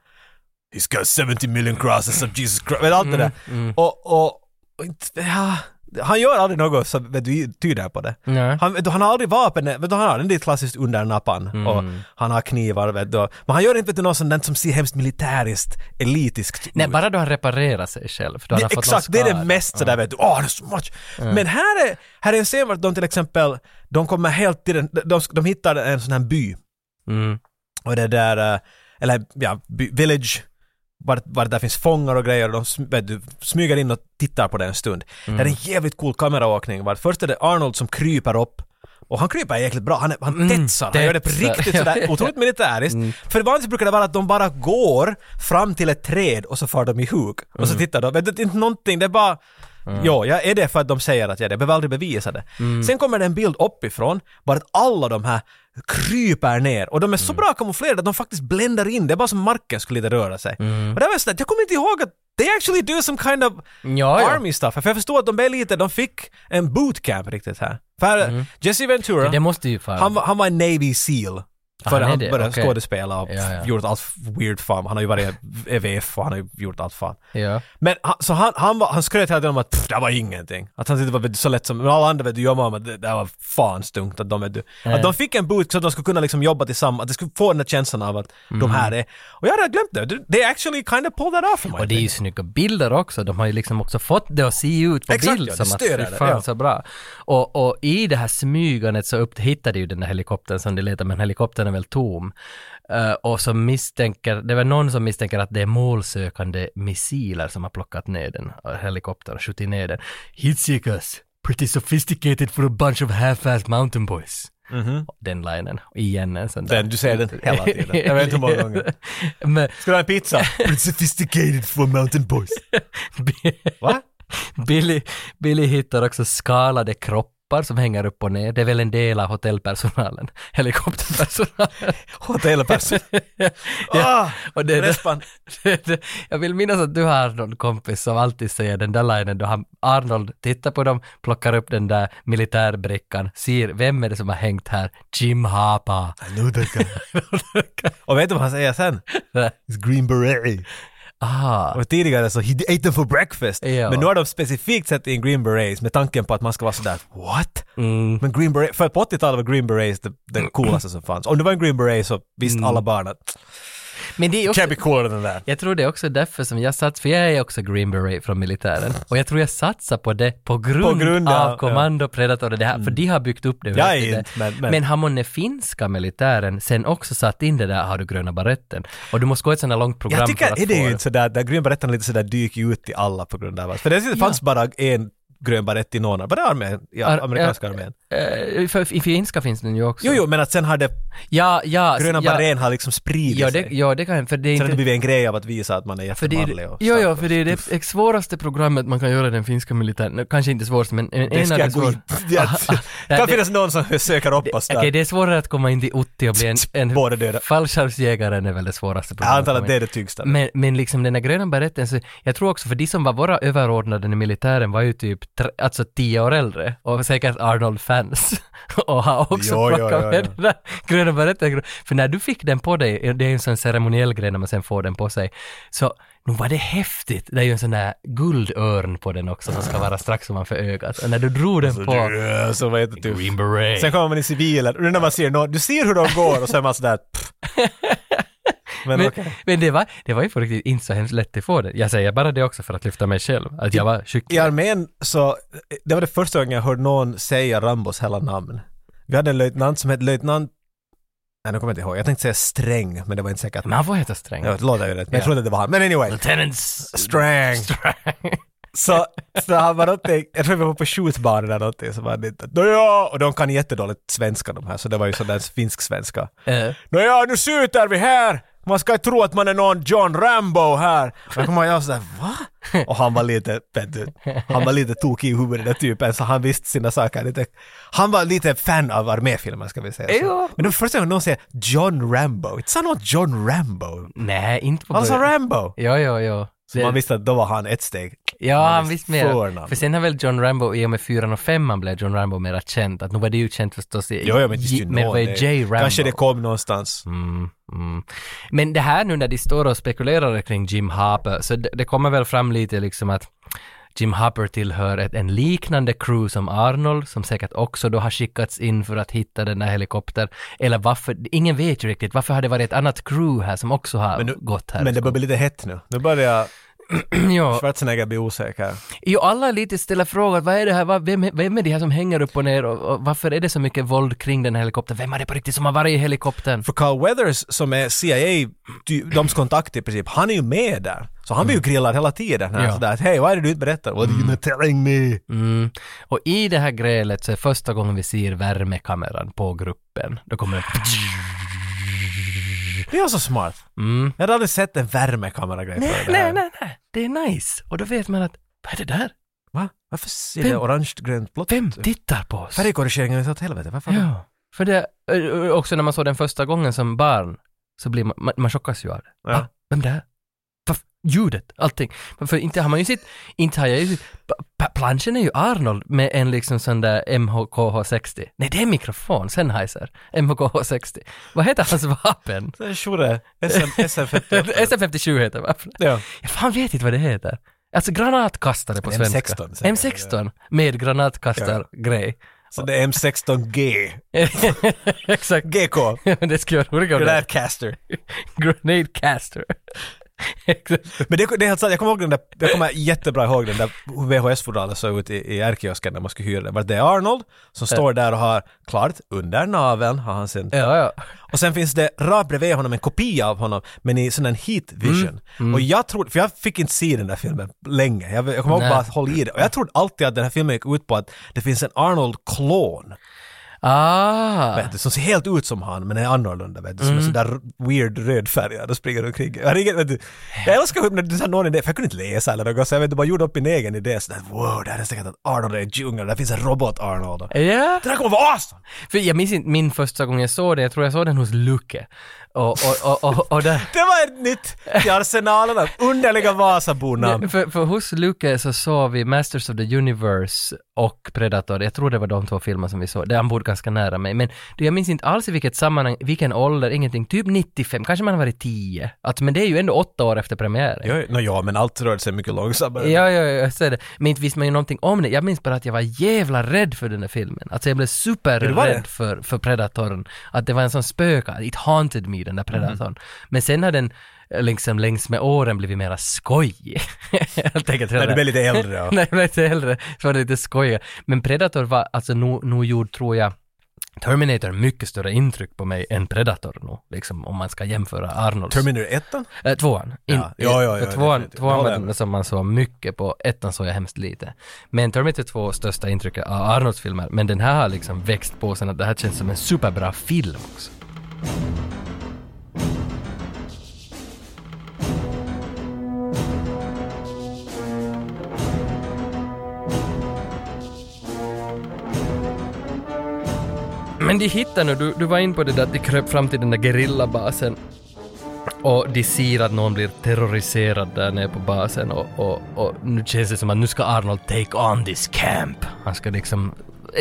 S2: He's got 70 million crosses of Jesus Christ, vet du, allt det där. Och, och, och inte- ja, han gör aldrig något som vet du, tyder på det.
S1: Nej.
S2: Han, vet du, han har aldrig vapen, vet du, han har den där klassiskt under nappan och
S1: Mm.
S2: han har knivar. Vet du. Men han gör inte vet du, något sånt där som ser hemskt militäriskt, elitiskt
S1: Nej,
S2: ut.
S1: bara då han reparerar sig själv. Då har han
S2: Det-
S1: fått
S2: Exakt,
S1: någon
S2: det är det
S1: skada. Mm.
S2: mest sådär vet du, åh det är så much. Men här är, här är en scen vart de till exempel, de kommer helt till den, de, de, de hittar en sån här by.
S1: Mm.
S2: Och det där, eh, eller ja, by, village, vart, vart där finns fångar och grejer och de sm, vet du, smyger in och tittar på det en stund. Det är en jävligt cool kameraåkning. Vart först är det Arnold som kryper upp och han kryper jäkligt bra, han, är- han tetsar, han gör Mm. det på
S1: tetsar.
S2: riktigt sådär otroligt militäriskt. För vanligtvis brukar det vara att de bara går fram till ett träd och så far de i huk. Och så tittar de, Vet du, det är inte någonting, det är bara Jo, jag är det för att de säger att jag är det. Jag behöver aldrig bevisa det. Sen kommer det en bild uppifrån, bara att alla de här kryper ner och de är så bra kamouflerade att de faktiskt bländar in. Det är bara som marken skulle lite röra sig. Och det var sådär, jag kommer inte ihåg att they actually do some kind of
S1: Ah, Ja, ja.
S2: army stuff. För jag förstår att de blev lite, de fick en bootcamp riktigt här. För Jesse Ventura,
S1: Det måste ju fan...
S2: han, var- han var en Navy Seal. För
S1: Ah, han är
S2: han
S1: det,
S2: började
S1: okej.
S2: skådespela och
S1: Ja, ja.
S2: gjort allt weird fan. Han har ju varit EVF och han har ju gjort allt fan.
S1: Ja.
S2: Men han, så han, han, var, han skröt hela tiden om att "Pff, det här var ingenting. Att han tyckte det var vet du, så lätt som, men alla andra vet du jobbar om att det, det här var fan stumt. Att de, vet du, att de fick en boot så att de skulle kunna liksom jobba tillsammans, att de skulle få den där känslan av att
S1: Mm.
S2: de här är... Och jag hade glömt det. Du- They actually kind of pulled that off for
S1: Och det är ju snygga bilder också. De har ju liksom också fått det att se ut på
S2: Exakt,
S1: bild
S2: ja, det
S1: som att
S2: stöder
S1: fy
S2: det,
S1: fan
S2: ja.
S1: så bra. Och, och i det här smygandet så upp, hittade ju den där helikoptern som de letar men helikoptern är väl tom. Eh, och så misstänker, det var någon som misstänker att det är målsökande missiler som har plockat ner den, eh, helikoptern, och skjutit ner den. Hitseekers, pretty sophisticated for a bunch of half-assed mountain boys.
S2: Mhm.
S1: Den linen, igen en sån där.
S2: Den, du säger den hela tiden. Jag vet inte hur många gånger.
S1: Men,
S2: Ska du ha en pizza? Pretty sophisticated for mountain boys. Va?
S1: Billy, Billy hittar också skalade kroppar som hänger upp och ner. Det är väl en del av hotellpersonalen, helikopterpersonalen.
S2: Hotellperson. Ah!
S1: Och det, det,
S2: Respan.
S1: det, det, jag vill minnas att du har Arnold kompis som alltid säger den där linen då han, Arnold tittar på dem, plockar upp den där militärbrickan, ser vem är det som har hängt här? Jim Harper.
S2: Och vet du vad han säger sen? It's green beret.
S1: ah,
S2: Och tidigare så, he ate them for breakfast.
S1: Ja.
S2: Men nu har de specifikt satt in Green Berets med tanken på att man ska vara sådär what?
S1: mm,
S2: Men Green Berets, för på 80-talet var Green Berets det, det coolaste som fanns. Om det var en Green Beret så
S1: Mm.
S2: visste alla barn att
S1: men det är också
S2: can't be coolare än den där.
S1: Jag tror det är också därför som jag satsar, för jag är också Green Beret från militären. Och jag tror jag satsar på det på grund,
S2: På grund av- Mm.
S1: av Commando Predator och det här, för de har byggt upp det.
S2: Jag är
S1: verkligen.
S2: inte, men- men-
S1: har man den finska militären sen också satt in det där, har du gröna baretten? Och du måste gå ett sånt här långt program
S2: Jag tycker
S1: för att
S2: är det
S1: få
S2: ju inte sådär, där Green Beretten lite sådär dyker ju ut i alla på grund av att- För det fanns bara en Grön Barett i någon, var det armén? Ja,
S1: Ar-
S2: amerikanska
S1: ja.
S2: armén.
S1: Eh, för, I finska finns den ju också.
S2: Jo, jo, men att sen har det,
S1: Ja, ja.
S2: Gröna
S1: Alltså, ja,
S2: Barén har liksom spridit
S1: ja, det,
S2: sig.
S1: ja, det kan för det är
S2: Sen har det
S1: inte...
S2: blivit en grej av att visa att man är
S1: För det
S2: jättemanlig
S1: är,
S2: och
S1: ja,
S2: stark
S1: ja,
S2: och
S1: för det är det
S2: tuff.
S1: ex- svåraste programmet man kan göra i den finska militären. Kanske inte svårast, men en,
S2: Det
S1: en
S2: ska
S1: av de
S2: jag gå
S1: svåra.
S2: in. Det
S1: nej,
S2: kan
S1: det-
S2: finnas någon som söker upp oss
S1: Okej,
S2: där.
S1: det är svårare att komma in till Utti och bli en, en
S2: Båda döda.
S1: fallskärmsjägaren är väl det svåraste
S2: Jag
S1: problemet.
S2: antar att det är det tyngsta.
S1: men, men liksom den där gröna berättelsen, så jag tror också för de som var våra överordnade i militären var ju typ tre, alltså tio år äldre och säkert Arnold-fans och har också
S2: Jo, jo,
S1: plockat
S2: jo,
S1: med
S2: jo.
S1: den där gröna berättelsen. För när du fick den på dig, det är ju en sån ceremoniell grej när man sen får den på sig, så nu var det häftigt. Det är ju en sån där guldörn på den också som ska vara strax ovanför ögat. Och när du drog den
S2: Alltså,
S1: på...
S2: Ja, Så vad heter du?
S1: Green Beret.
S2: Sen kommer man i civilen, och när man ser någon, du ser hur de går och så är man sådär... pff. Men
S1: Men,
S2: okej.
S1: men det, var, det var ju på riktigt inte så hemskt lätt att få det. Jag säger bara det också för att lyfta mig själv, att jag var
S2: I
S1: kyckling.
S2: armén så, det var det första gången jag hörde någon säga Rambos hela namn. Vi hade en löjtnant som hette löjtnant... Nej, nu kommer jag inte ihåg. Jag tänkte säga Sträng, men det var inte säkert.
S1: Men han får heta Sträng.
S2: Jag vet, det låter ju rätt, men jag trodde det var han. Men anyway.
S1: Lieutenant S-
S2: Sträng.
S1: Sträng.
S2: Så, så han var någonting, jag tror vi var på skjutbanan eller någonting, så var han inte Nåja, och de kan jättedåligt svenska de här, så det var ju sådär finsk-svenska.
S1: Eh,
S2: Nåja, nu skjuter vi här! Man ska ju tro att man är någon John Rambo här! Och jag kommer ihåg, jag var sådär va? Och han var lite, vet du, han var lite tokig i huvudet den där typen, så han visste sina saker lite. Han var lite fan av arméfilmer ska vi säga så.
S1: Jo.
S2: Men det var första gången någon säger John Rambo, inte sa någon John Rambo?
S1: nej, inte på
S2: Han sa
S1: början.
S2: Rambo!
S1: Ja, ja, ja.
S2: Alltså, Så man visste att då var han ett steg.
S1: ja,
S2: man
S1: han
S2: visste
S1: visste mer.
S2: förnamn.
S1: För sen har väl John Rambo, i och med fyran och femman blev John Rambo mera känd. Att nu var det ju känt förstås i...
S2: Jo, jo, men just
S1: J-
S2: ju
S1: men
S2: någon,
S1: vad
S2: det-
S1: är J. Rambo?
S2: Kanske det kom någonstans.
S1: Mm, mm. Men det här nu när de står och spekulerar kring Jim Harper, så det, det kommer väl fram lite liksom att Jim Harper tillhör ett, en liknande crew som Arnold, som säkert också då har skickats in för att hitta den här helikoptern. Eller varför, ingen vet ju riktigt, varför har det varit ett annat crew här som också har
S2: nu-
S1: gått här?
S2: Men det börjar bli lite hett nu. Nu börjar
S1: ja,
S2: Schwarzenegger bli osäker.
S1: jo, alla lite ställer frågan, vad är det här, vad, vem, vem är det här som hänger upp och ner och, och varför är det så mycket våld kring den här helikoptern? Vem är det på riktigt som har varit i helikoptern?
S2: För Carl Weathers som är CIA, ty- dems kontakt i princip, han är ju med där. Så han blir ju grillad hela tiden.
S1: Mm. Ja.
S2: Ja. Sådär att hej, vad är det du inte berättar? What are you not telling me?
S1: Mm. Och i det här grälet så är första gången vi ser värmekameran på gruppen. Då kommer den...
S2: Det är så smart.
S1: Mm.
S2: Jag hade aldrig sett en värmekamera-grej
S1: Nej,
S2: för det
S1: nej,
S2: här.
S1: nej, nej. Det är nice. Och då vet man att, vad är det där?
S2: Va? Varför ser
S1: Vem-
S2: det orange-grönt blått
S1: Vem
S2: ut?
S1: tittar på oss?
S2: Färgkorrigeringen är så åt helvete, varför? Ja.
S1: Ja. För det, ö, också när man såg den första gången som barn, så blir man, man, man chockas ju av det.
S2: Ja.
S1: Va? Vem där? Va? ljudet, allting. Men För inte har man ju sitt, inte har jag ju, pa- pa- planschen är ju Arnold med en liksom sån där MHKH60. Nej, det är en mikrofon, Sennheiser. MHKH60. Vad heter hans vapen?
S2: Shure, SM-58.
S1: SM57 heter vapnet.
S2: Ja.
S1: Jag fan vet inte vad det heter. Alltså granatkastare på
S2: En
S1: svenska.
S2: M16 säger jag,
S1: M16 med granatkastargrej.
S2: Så det är M16G.
S1: Exakt.
S2: GK.
S1: det skulle vara roligt om det-
S2: Granatcaster.
S1: Grenade caster. Exakt.
S2: Men det, det är helt sant, jag kommer ihåg den där, jag kommer jättebra ihåg den där VHS-fodralet såg ut i, i R-kiosken när man skulle hyra den. Var det är Arnold som står där och har, klart, under naveln har han sin...
S1: Ja, ja.
S2: Och sen finns det rakt bredvid honom en kopia av honom, men i sån här heat vision.
S1: Mm.
S2: Och jag trodde, för jag fick inte se den där filmen länge, jag, jag kommer ihåg
S1: Nej.
S2: bara att hålla i det. Och jag trodde alltid att den här filmen gick ut på att det finns en Arnold-klon,
S1: Ah.
S2: vet du, som ser helt ut som han, men är annorlunda, vet du, som är
S1: Mm.
S2: sådär weird rödfärgad och springer omkring. Jag, hade ingen, vet du, jag älskar hur när du sa någon idé, för jag kunde inte läsa eller något, så jag vet, du bara gjorde upp min egen idé, sådär wow, det här är säkert att Arnold är i djungeln, där finns en robot-Arnold. Och-
S1: Ja,
S2: Det där kommer vara awesome!
S1: för jag minns inte min första gång jag såg den, jag tror jag såg den hos Luke. Och, och, och, och, och där.
S2: Det var ett nytt i arsenalen av underliga Vasabonamn.
S1: För, för hos Luke så såg vi Masters of the Universe och Predator, jag tror det var de två filmer som vi såg, där han bodde ganska nära mig, men det- jag minns inte alls i vilket sammanhang, vilken ålder, ingenting, typ 95, kanske man har varit 10, att, men det är ju ändå åtta år efter premiären.
S2: Ja, no, ja, men allt rörde sig mycket långsammare.
S1: Ja, ja, ja, jag ser det. Men inte visste man ju någonting om det. Jag minns bara att jag var jävla rädd för den här filmen. Alltså jag blev
S2: Ja, det var det.
S1: superrädd för, för Predatorn. Att det var en sån spöka. It haunted me, den där
S2: Mm-hmm.
S1: Predatorn. Men sen har den eh, liksom längs med åren blivit mera skojig. Helt enkelt.
S2: När du blev lite äldre, ja.
S1: ja. När jag blev lite äldre så var det lite skojigare. Men Predator var, alltså nog nog gjord tror jag, Terminator mycket större intryck på mig än Predator nog, liksom om man ska jämföra Arnolds.
S2: Terminator 1
S1: Eh, tvåan. In,
S2: Ja, ja, ja, ja,
S1: tvåan
S2: definitivt.
S1: tvåan
S2: Ja,
S1: var
S2: det-
S1: den som man såg mycket på, ettan såg jag hemskt lite. Men Terminator 2 största intrycket av Arnolds filmer, men den här har liksom växt på sen att det här känns som en superbra film också. Men de hittar nu, du, du var in på det där att de kröp fram till den där gerillabasen och de ser att någon blir terroriserad där nere på basen och, och, och nu känns det som att nu ska Arnold take on this camp. Han ska liksom...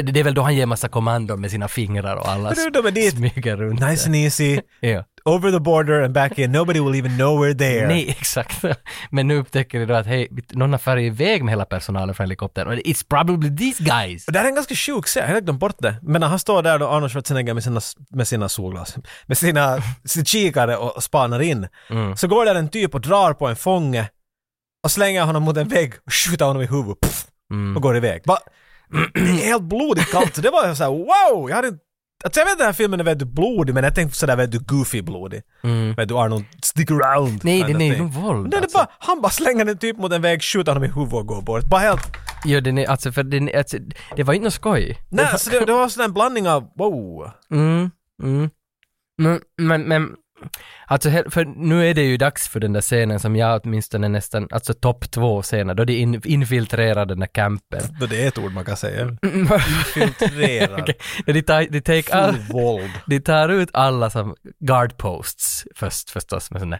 S1: Det är väl då han ger massa kommandon med sina fingrar och alla
S2: Men du, de är dit.
S1: smyger runt.
S2: Nice and easy.
S1: där. Ja.
S2: Over the border and back in. Nobody will even know we're there.
S1: Nej, exakt. Men nu upptäcker de då att hej, någon har farit iväg med hela personalen från helikoptern och it's probably these guys.
S2: Och det här är en ganska sjuk scen, jag har glömt bort det. Men när han står där då, Arnold Schwarzenegger med sina, med sina solglas, med sina, sin kikare och spanar in.
S1: Mm.
S2: Så går där en typ och drar på en fånge och slänger honom mot en vägg och skjuter honom i huvudet. Pff,
S1: Mm.
S2: Och går iväg. Bara, det är helt blodigt kallt. Så Det var så här, wow! Jag hade inte Alltså jag vet att den här filmen är väldigt blodig, men jag tänkte sådär väldigt goofy-blodig. Vet du, Arnold stick around.
S1: Mm. Nej,
S2: kind
S1: den
S2: of
S1: är ju
S2: thing.
S1: nog våld,
S2: Men den är
S1: alltså.
S2: bara, han bara slänger den typ mot en väg, skjuter honom i huvudet och går bort. Bara helt...
S1: Ja, den är, alltså, för den, är- alltså, det var inte något skoj.
S2: Nej, alltså det, det var sån där en blandning av wow.
S1: Mm, mm. Men, men, men alltså, he- för nu är det ju dags för den där scenen som jag åtminstone nästan, alltså topp två scener, då de in, infiltrerar den där campen.
S2: Då det är ett ord man kan säga. Infiltrerad.
S1: Okej, De, tar, de, take all,
S2: Full våld.
S1: de tar ut alla som guard posts först förstås med sån där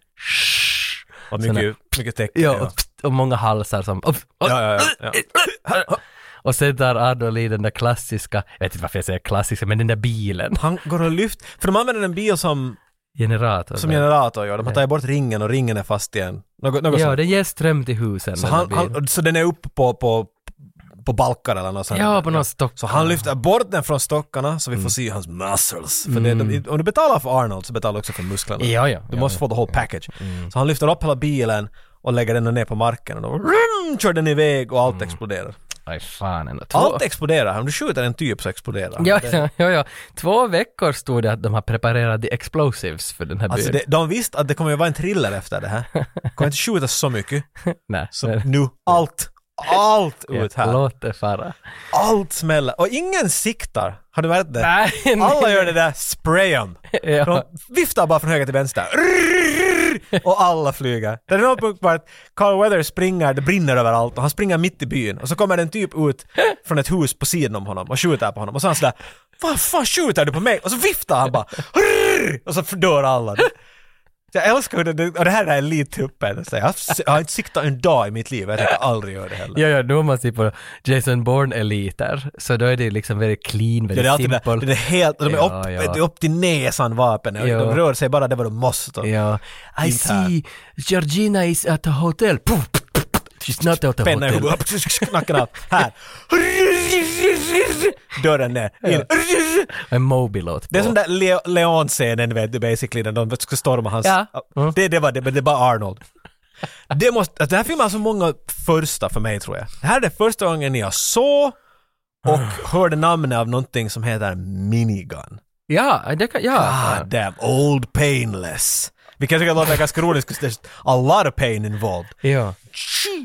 S2: Och
S1: Sån där-
S2: mycket, mycket tecken.
S1: Ja, och, pst, och många halsar som... Och, och,
S2: Ja, ja, ja,
S1: och sen tar Arnold i den där klassiska, jag vet inte varför jag säger klassiska, men den där bilen.
S2: Han går och lyfter, för de använder en bil som,
S1: Generator.
S2: som generator, ja. De har tagit bort ringen och ringen är fast igen. Något, något
S1: ja,
S2: sånt.
S1: den ger ström till husen.
S2: Så,
S1: den där
S2: han,
S1: bilen.
S2: han, så den är uppe på, på, på balkar eller något sånt.
S1: Ja, på Mm. någon stock.
S2: Så han lyfter bort den från stockarna så vi får se hans muscles. För det, de, om du betalar för Arnold så betalar du också för musklerna.
S1: Mm. Ja, ja,
S2: Du
S1: ja, Mm.
S2: måste
S1: ja.
S2: få the whole package. Så han lyfter upp hela bilen och lägger den ner på marken och då vroom, kör den iväg och allt exploderar.
S1: Aj fan ändå. Mm. Två...
S2: Allt exploderar. Om du skjuter en typ så exploderar han.
S1: Ja,
S2: Det-
S1: ja, ja, ja. Två veckor stod det att de har preparerat the explosives för den här
S2: Alltså
S1: byn.
S2: det, de visste att det kommer ju vara en thriller efter det här. Kommer inte skjuta så mycket.
S1: Nej,
S2: Så
S1: nej.
S2: nu, allt, allt
S1: Ja,
S2: ut här.
S1: Låt det fara.
S2: Allt smäller. Och ingen siktar. Har du märkt det?
S1: Nej, nej.
S2: Alla gör det där spray 'em. De
S1: Ja.
S2: viftar bara från höger till vänster. Och alla flyger. Det är någon punkt på att Carl Weather springer, det brinner överallt och han springer mitt i byn och så kommer den typ ut från ett hus på sidan om honom och skjuter på honom och så är han sådär Vad fan skjuter du på mig? Och så viftar han bara och så dör alla. Jag älskar hur det, och det här är elittuppen. Jag, jag har inte siktat en dag i mitt liv, jag tänker aldrig göra det heller.
S1: Ja, ja, nu om man ser på Jason Bourne-eliter, så då är det liksom väldigt clean,
S2: Ja,
S1: väldigt
S2: det är alltid det där,
S1: simpel.
S2: den är helt, de är
S1: Ja,
S2: upp,
S1: ja.
S2: det är upp till näsan vapen och
S1: Ja.
S2: de rör sig bara det vad de måste.
S1: Ja. I
S2: Inte här.
S1: see, Georgina is at a hotel. Puff, puff, puff, puff. She's not at a
S2: Penna i
S1: hotel.
S2: huvudet, upp, knacken av. Här! Dörren ner, in.
S1: En Moby-låt
S2: Det är som
S1: på.
S2: där Le- Leon-scenen vet du basically, när de ska storma hans...
S1: Ja.
S2: Det, det var det, men det är bara Arnold. Det måste, alltså, den här filmen har så många första för mig tror jag. Det här är det första gången jag såg och hörde namnet av någonting som heter Minigun.
S1: Ja, det kan, ja.
S2: Ah, damn, old painless. Vi kanske kan låta ganska roligt, 'cause there's a lot of pain involved.
S1: ja.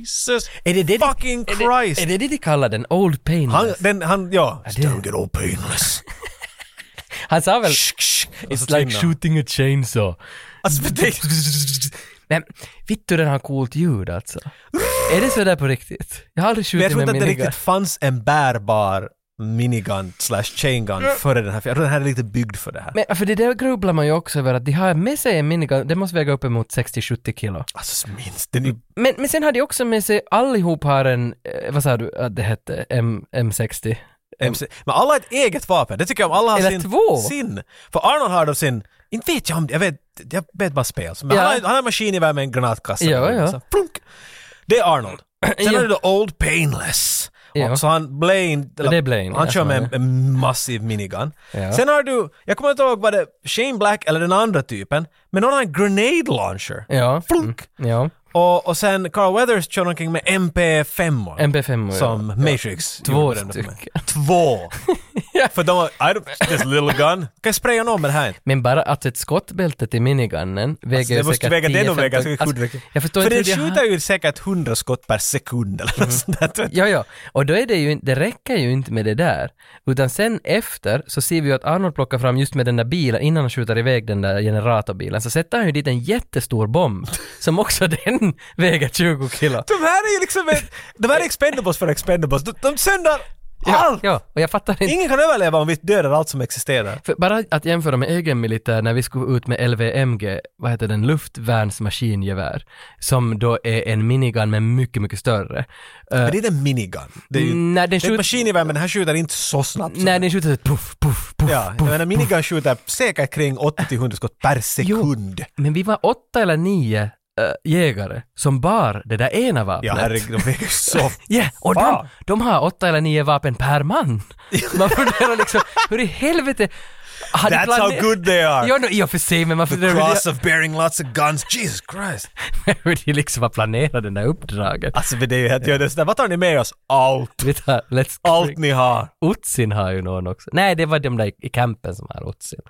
S2: Jesus
S1: Är det det de-
S2: fucking
S1: är det-
S2: Christ!
S1: Är det det de kallar den? Old pain?
S2: han,
S1: Han,
S2: den, han, ja.
S1: det-
S2: Don't get old painless.
S1: sa väl
S2: Och
S1: It's
S2: så
S1: like
S2: tvingar han.
S1: shooting a chainsaw.
S2: Alltså, men det,
S1: Men vittu den har coolt ljud alltså. är det sådär på riktigt? Jag har aldrig
S2: Men jag
S1: skjutit
S2: tror
S1: med
S2: inte att det
S1: minigun.
S2: riktigt fanns en bärbar minigun slash chain gun före den här. Jag tror den här är lite byggd för det här.
S1: Men för det där grubblar man ju också över att de har med sig en minigun, det måste väga uppemot 60-70 kilo.
S2: alltså minst, den är
S1: Men, men sen har de också med sig, allihop har en, eh, vad sa du att det hette, M, M60?
S2: MC. Men alla har ett eget vapen. Det tycker jag om. Alla har
S1: Eller
S2: sin,
S1: två.
S2: sin. För Arnold har då sin, inte vet jag om, jag vet, jag vet bara spel. Men
S1: Ja.
S2: han, har, han har en maskingevär med en granatkasse.
S1: Ja, ja.
S2: Så, plunk. Det är Arnold. Sen
S1: Ja.
S2: har du då Old Painless.
S1: Ja.
S2: Och Så han Blaine,
S1: det är Blaine,
S2: han
S1: ja,
S2: kör med
S1: så
S2: en, en massiv minigun.
S1: Ja.
S2: Sen har du, jag kommer inte ihåg vad det Shane Black eller den andra typen, men någon har en grenade launcher.
S1: Ja. Mm,
S2: Flunk.
S1: Ja,
S2: Och, och sen Carl Weathers kör omkring med MP5.
S1: MP5
S2: Som Matrix.
S1: Två
S2: gjorde den för mig.
S1: stycken.
S2: Två! För de var, I don't, this little gun. Kan jag spraya någon med det här?
S1: Men bara att ett skottbälte till minigunnen väger
S2: Alltså, det måste
S1: säkert
S2: väga den och
S1: 10-15
S2: väga säkert
S1: alltså,
S2: 100
S1: Jag förstår
S2: För
S1: inte
S2: den
S1: hur de har-
S2: skjuter ju säkert 100 skott per sekund eller något sånt där.
S1: Ja, ja, och då är det ju inte, det räcker ju inte med det där, utan sen efter så ser vi ju att Arnold plockar fram just med den där bilen, innan han skjuter iväg den där generatorbilen, så sätter han ju dit en jättestor bomb, som också den väger 20 kilo.
S2: De här är ju liksom, ett- de här är expendables för expendables. De, de söndrar allt!
S1: Ja, och jag fattar inte.
S2: Ingen kan överleva om vi dödar allt som existerar.
S1: För bara att jämföra med egen militär när vi skulle ut med LVMG, vad heter den, luftvärnsmaskingevär, som då är en minigun men mycket, mycket större. Eh,
S2: Men det är en minigun. Det är ju
S1: Mm, nej, den
S2: det är ett
S1: skjut-
S2: maskingevär men den här skjuter inte så snabbt. som-
S1: när den skjuter så puff, puff, puff,
S2: Ja, jag
S1: puff.
S2: menar minigun skjuter säkert kring 80-100 skott per sekund.
S1: Men vi var åtta eller nio eh, jägare som bar det där ena
S2: Ja,
S1: vapnet.
S2: herregud, de väger ju så
S1: Ja, och de,
S2: Fan.
S1: de har åtta eller nio vapen per man. Man funderar liksom, hur i helvete... hade
S2: That's how
S1: plane-
S2: good they are.
S1: Ja, no, i och för sig, men man
S2: The
S1: funderar hur
S2: cross
S1: de-
S2: of bearing lots of guns, Jesus Christ!
S1: hur de liksom har planerat det där uppdraget.
S2: Alltså men det är ju helt göddes där. Vad tar ni med oss? Allt!
S1: Vi tar, let's
S2: Allt ni har!
S1: Otsin har ju någon också. Nej, det var de där i- i campen som har Otsin.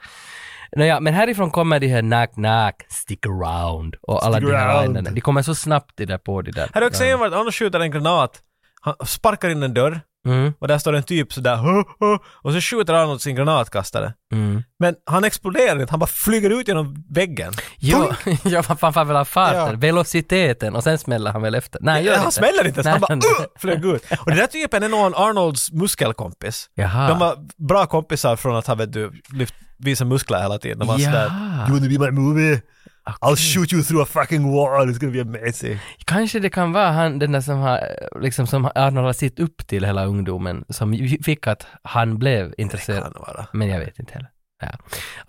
S1: Nåja, men härifrån kommer de här knack knack, stick around och alla de här
S2: around.
S1: linerna. De kommer så snabbt de där på de där.
S2: Här är också en vart han skjuter en granat, han sparkar in en dörr
S1: Mm,
S2: och där står en typ sådär "Hå, hå", och så skjuter han åt sin granatkastare.
S1: mm.
S2: Men han exploderar inte, han bara flyger ut genom väggen.
S1: Jo, ja, vad fan fan vill ha farten,
S2: Ja.
S1: velociteten och sen smäller han väl efter. Nej, gör
S2: han
S1: inte.
S2: smäller inte ens, han bara
S1: Nej, nej.
S2: "Ugh", flög ut. Och den där typen är någon Arnolds muskelkompis.
S1: Jaha.
S2: De var bra kompisar från att han vet du, lyft, visa muskler hela tiden. De var
S1: Ja. Ah,
S2: sådär “You wanna be my movie? I'll shoot you through a fucking wall, it's gonna be amazing”.
S1: Kanske det kan vara han, den där som har, liksom som Arnold har sett upp till hela ungdomen, som ju fick att han blev intresserad.
S2: Kan vara.
S1: Men jag vet inte heller. Ja.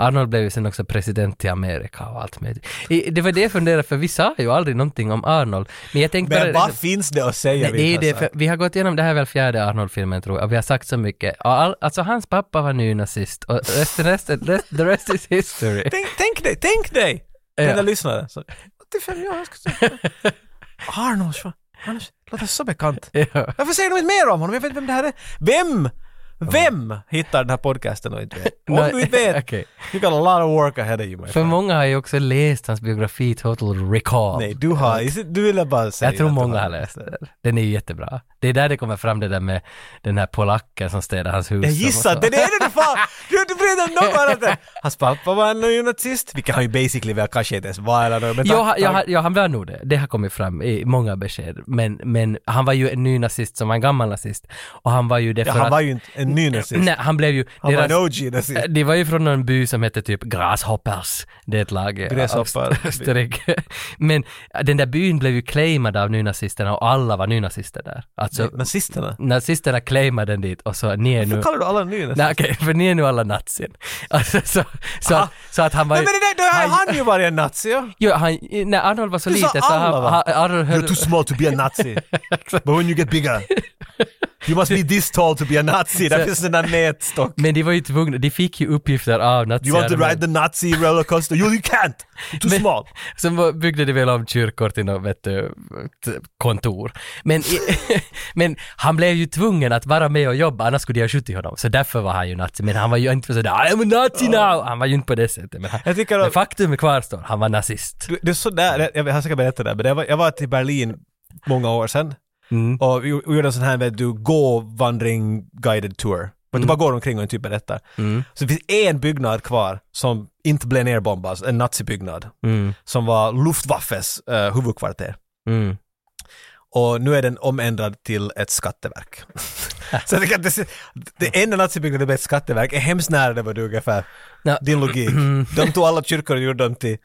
S1: Arnold blev ju sen också president i Amerika och allt möjligt. I- Det var det jag funderade för vi sa ju aldrig någonting om Arnold. Men jag tänkte
S2: Men
S1: bara...
S2: vad finns det att säga?
S1: Nej, det är
S2: vid
S1: det,
S2: här
S1: för vi har gått igenom, det här är väl fjärde Arnold-filmen tror jag, och vi har sagt så mycket. Och All, alltså hans pappa var nynazist och resten, resten, rest, the rest is history.
S2: Tänk, tänk dig, tänk dig!
S1: Ja.
S2: Den där lyssnaren. Så, 85 år, jag ska säga. Arnold Schwar- Arnold Schwar- låter så bekant.
S1: Ja.
S2: Varför säger de inte mer om honom? Jag vet inte vem det här är. Vem? Vem hittar den här podcasten och inte vet? Om
S1: Nej,
S2: du inte vet,
S1: okej.
S2: you got a lot of work ahead of you my
S1: För
S2: friend.
S1: många har ju också läst hans biografi Total Recall.
S2: Nej, du har, du ville bara säga
S1: jag tror
S2: att du
S1: många
S2: har
S1: har läst den. Den är ju jättebra. Det är där det kommer fram det där med den här polacken som städar hans hus.
S2: Jag gissar att det är det du fan! Du har inte berättat något annat! än- Hans pappa var en nazist, vilket han ju basically väl kanske inte ens var eller något, men
S1: Jo,
S2: tack-
S1: han- ja,
S2: tack.
S1: han- ja, han var nog det. Det har kommit fram i många besked. Men, men han var ju en ny nazist som var en gammal nazist. Och han var ju det
S2: Ja,
S1: för
S2: han
S1: att...
S2: var ju inte en ny nazist.
S1: Nej, han blev ju...
S2: Han var en
S1: deras-
S2: OG-nazist.
S1: Eh, Det var ju från någon by som hette typ Grasshoppers. Det är ett lag i
S2: Gräshoppar.
S1: Öst- Österrike. Men eh, den där byn blev ju claimad av nynazisterna och alla var nynazister där. Alltså,
S2: Nazisterna?
S1: nazisterna claimade den dit och så ni är nu...
S2: Varför kallar du alla nynazister?
S1: Nej okej, för ni är nu alla nazin. Alltså, så, så,
S2: Aha.
S1: att, så att han var
S2: Nej men det där, då har han ju varit en nazi ja.
S1: Jo, han, när Arnold var så
S2: Du sa
S1: liten så han,
S2: alla, va?
S1: han, Arnold höll...
S2: You're too small to be a nazi. But when you get bigger, you must be this tall to be a nazi. Där finns den där nätstock.
S1: Men de var ju tvungna, de fick ju uppgifter av
S2: Do you want to ride
S1: nazierna.
S2: the nazi roller coaster? You, you can't! You're too
S1: Men-
S2: small.
S1: Sen var- byggde de väl om kyrkor till något vet du, t- kontor. Men, i- men han blev ju tvungen att vara med och jobba, annars skulle de ha skjutit honom. Så därför var han ju nazi. Men han var ju inte sådär ”I'm a nazi now”. Han var ju inte på det sättet. Men, han,
S2: Jag tycker att-
S1: men faktum kvarstår, han var nazist.
S2: Du, det är sådär, jag har säkert berättat det här, men jag var, jag var till Berlin många år sedan
S1: Mm.
S2: och vi gjorde en sån här vet du, gå-vandring guided tour. Men
S1: Mm.
S2: du bara går omkring och typ berättar. Så det finns en byggnad kvar som inte blev nerbombad, en nazibyggnad,
S1: Mm,
S2: som var Luftwaffes eh, huvudkvarter.
S1: mm.
S2: och nu är den omändrad till ett skatteverk. så jag tycker att det, det enda nazibyggnaden med ett skatteverk är hemskt nära det var du ungefär.
S1: Ja. Mm.
S2: Din logik. De tog alla kyrkor och gjorde dem till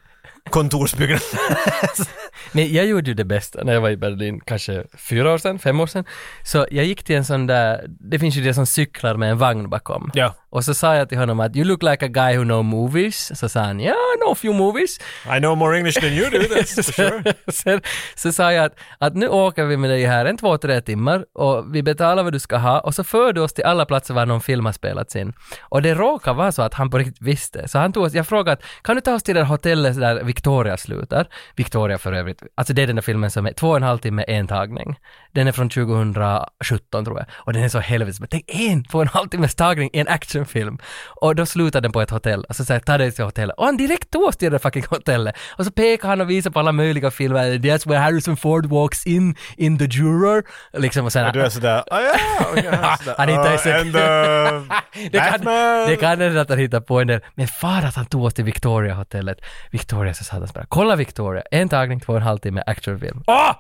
S2: kontorsbyggnader.
S1: Men jag gjorde ju det bästa när jag var i Berlin, kanske fyra år sedan, fem år sedan. Så jag gick till en sån där, det finns ju det som cyklar med en vagn bakom.
S2: Ja.
S1: Och så sa jag till honom att you look like a guy who know movies. Så sa han, yeah, I know a few movies.
S2: I know more English than you do, that's for sure.
S1: Sen, så sa jag att, att nu åker vi med dig här en två, tre timmar och vi betalar vad du ska ha och så för du oss till alla platser var någon film har spelats in. Och det råkar vara så att han på riktigt visste. Så han tog oss, jag frågade att, kan du ta oss till det där hotellet där Victoria slutar? Victoria för övrigt, alltså det är den där filmen som är två och en halv timme, en tagning. Den är från 2017 tror jag. Och den är så helvetes men tänk en, två och en halv timmes tagning i en actionfilm. Och då slutar den på ett hotell. Och så säger jag, ta dig till hotellet. Och han direkt tog oss till det där fucking hotellet. Och så pekar han och visar på alla möjliga filmer. That's where Harrison Ford walks in, in the juror. Liksom och sen...
S2: Du är sådär, ah, ja, ja.
S1: Han hittar ju sig-
S2: And uh,
S1: Det kan,
S2: Batman.
S1: det kan hända att han hittar på en del. Men fan att han tog oss till Victoria-hotellet. Victoria så sa han bara, kolla Victoria, en tagning, två och en halv timme actionfilm.
S2: Ah!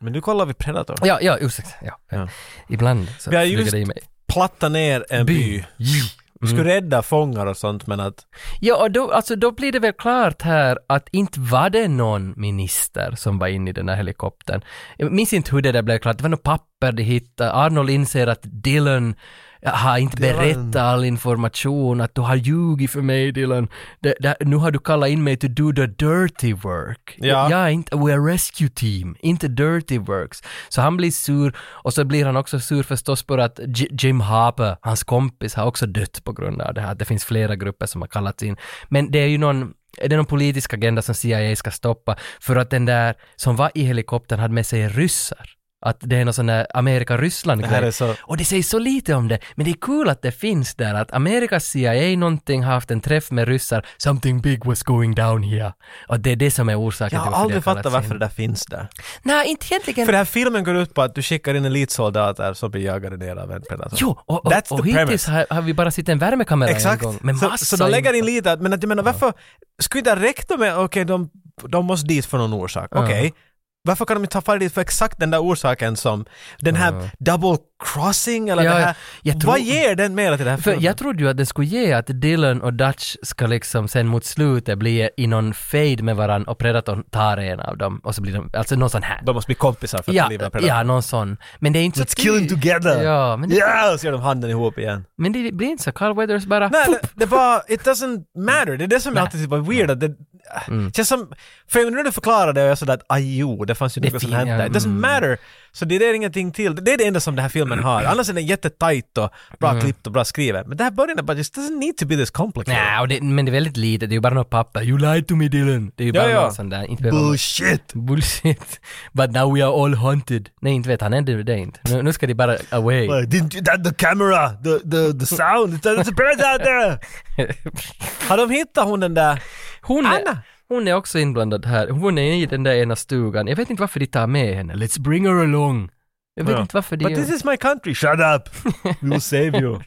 S2: Men nu kollar vi Predator.
S1: Ja, ja, ursäkta. Ja.
S2: Ja.
S1: Ibland så
S2: Vi har
S1: flyger
S2: just
S1: det i mig.
S2: platta ner en by. Mm.
S1: Ja.
S2: Vi skulle rädda fångar och sånt men att
S1: Ja, och då, alltså, då blir det väl klart här att inte var det någon minister som var inne i den här helikoptern. Jag minns inte hur det där blev klart, det var något papper de hittade. Arnold inser att Dylan har inte berättat all information, att du har ljugit för mig Dylan. Det, det, nu har du kallat in mig to do the dirty work.
S2: Ja.
S1: Jag är inte, we are rescue team, inte dirty works. Så han blir sur och så blir han också sur förstås på att J- Jim Harper, hans kompis, har också dött på grund av det här. Det finns flera grupper som har kallats in. Men det är ju någon är det någon politisk agenda som CIA ska stoppa? För att den där som var i helikoptern hade med sig ryssar. Att det är någon sån där Amerika-Ryssland-grej.
S2: Det här är så-
S1: Och det sägs så lite om det, men det är kul att det finns där att Amerikas CIA någonting har haft en träff med ryssar, something big was going down here. Och det är det som är orsaken
S2: jag har
S1: till varför
S2: aldrig
S1: det har
S2: fattat
S1: kallats
S2: varför det
S1: in.
S2: där finns där.
S1: Nej, inte egentligen.
S2: För den här filmen går ut på att du skickar in elitsoldater som blir jagade ner av en predator.
S1: Jo, och, och,
S2: That's the
S1: och hittills
S2: premise.
S1: har, har vi bara sett en värmekamera
S2: Exakt.
S1: en gång. Men
S2: så,
S1: massa
S2: så de lägger in
S1: info.
S2: lite, att- men att jag menar varför, skulle det räcka med, okej de, de måste dit för någon orsak,
S1: Ja.
S2: okej. Varför kan de inte ta fara dit för exakt den där orsaken som den här double crossing eller
S1: Ja,
S2: det
S1: ja.
S2: här,
S1: Jag tror-
S2: vad ger den mera till det här
S1: För
S2: filmen?
S1: jag trodde ju att det skulle ge att Dylan och Dutch ska liksom sen mot slutet bli i någon fade med varann och Predatorn tar en av dem och så blir de, alltså någon sån här.
S2: De måste bli kompisar för att
S1: Ja,
S2: livet predator.
S1: ja, någon sån. Men det är inte så
S2: Let's kill them
S1: tydligt.
S2: together!
S1: Ja, men det,
S2: Ja, så gör de handen ihop igen.
S1: men det blir inte så. Carl Weathers bara...
S2: Nej, det, det bara, it doesn't matter. Det är det som jag alltid tyckte var weird. att Det,
S1: Mm.
S2: känns som, för nu när du förklarade det och jag sådär att aj jo, det fanns ju
S1: Det
S2: något som
S1: fin-
S2: hände. It doesn't
S1: mm.
S2: matter. Så det är det ingenting till. Det är det enda som den här filmen har. Annars är den jättetajt och bra
S1: Mm.
S2: klippt och bra skriven. Men det här början är bara, just doesn't need to be this complicated.
S1: Nej, och det, men det är väldigt lite. Det är ju bara något papper. You lied to me Dylan. Det är ju
S2: Ja,
S1: bara
S2: ja.
S1: någon sån där. Inte
S2: Oh,
S1: behöver-
S2: Bullshit!
S1: Bullshit. But now we are all hunted. Nej, inte vet han ändå det inte. Nu, nu ska de bara away.
S2: Like, didn't you, that the camera, the, the, the sound, it's it's a bird out there! Har de hittat hon den där?
S1: Hon är,
S2: Anna.
S1: hon är också inblandad här. Hon är i den där ena stugan. Jag vet inte varför de tar med henne. Let's bring her along. Jag vet
S2: Ja.
S1: inte varför det
S2: But this is my country, shut up! We will save you.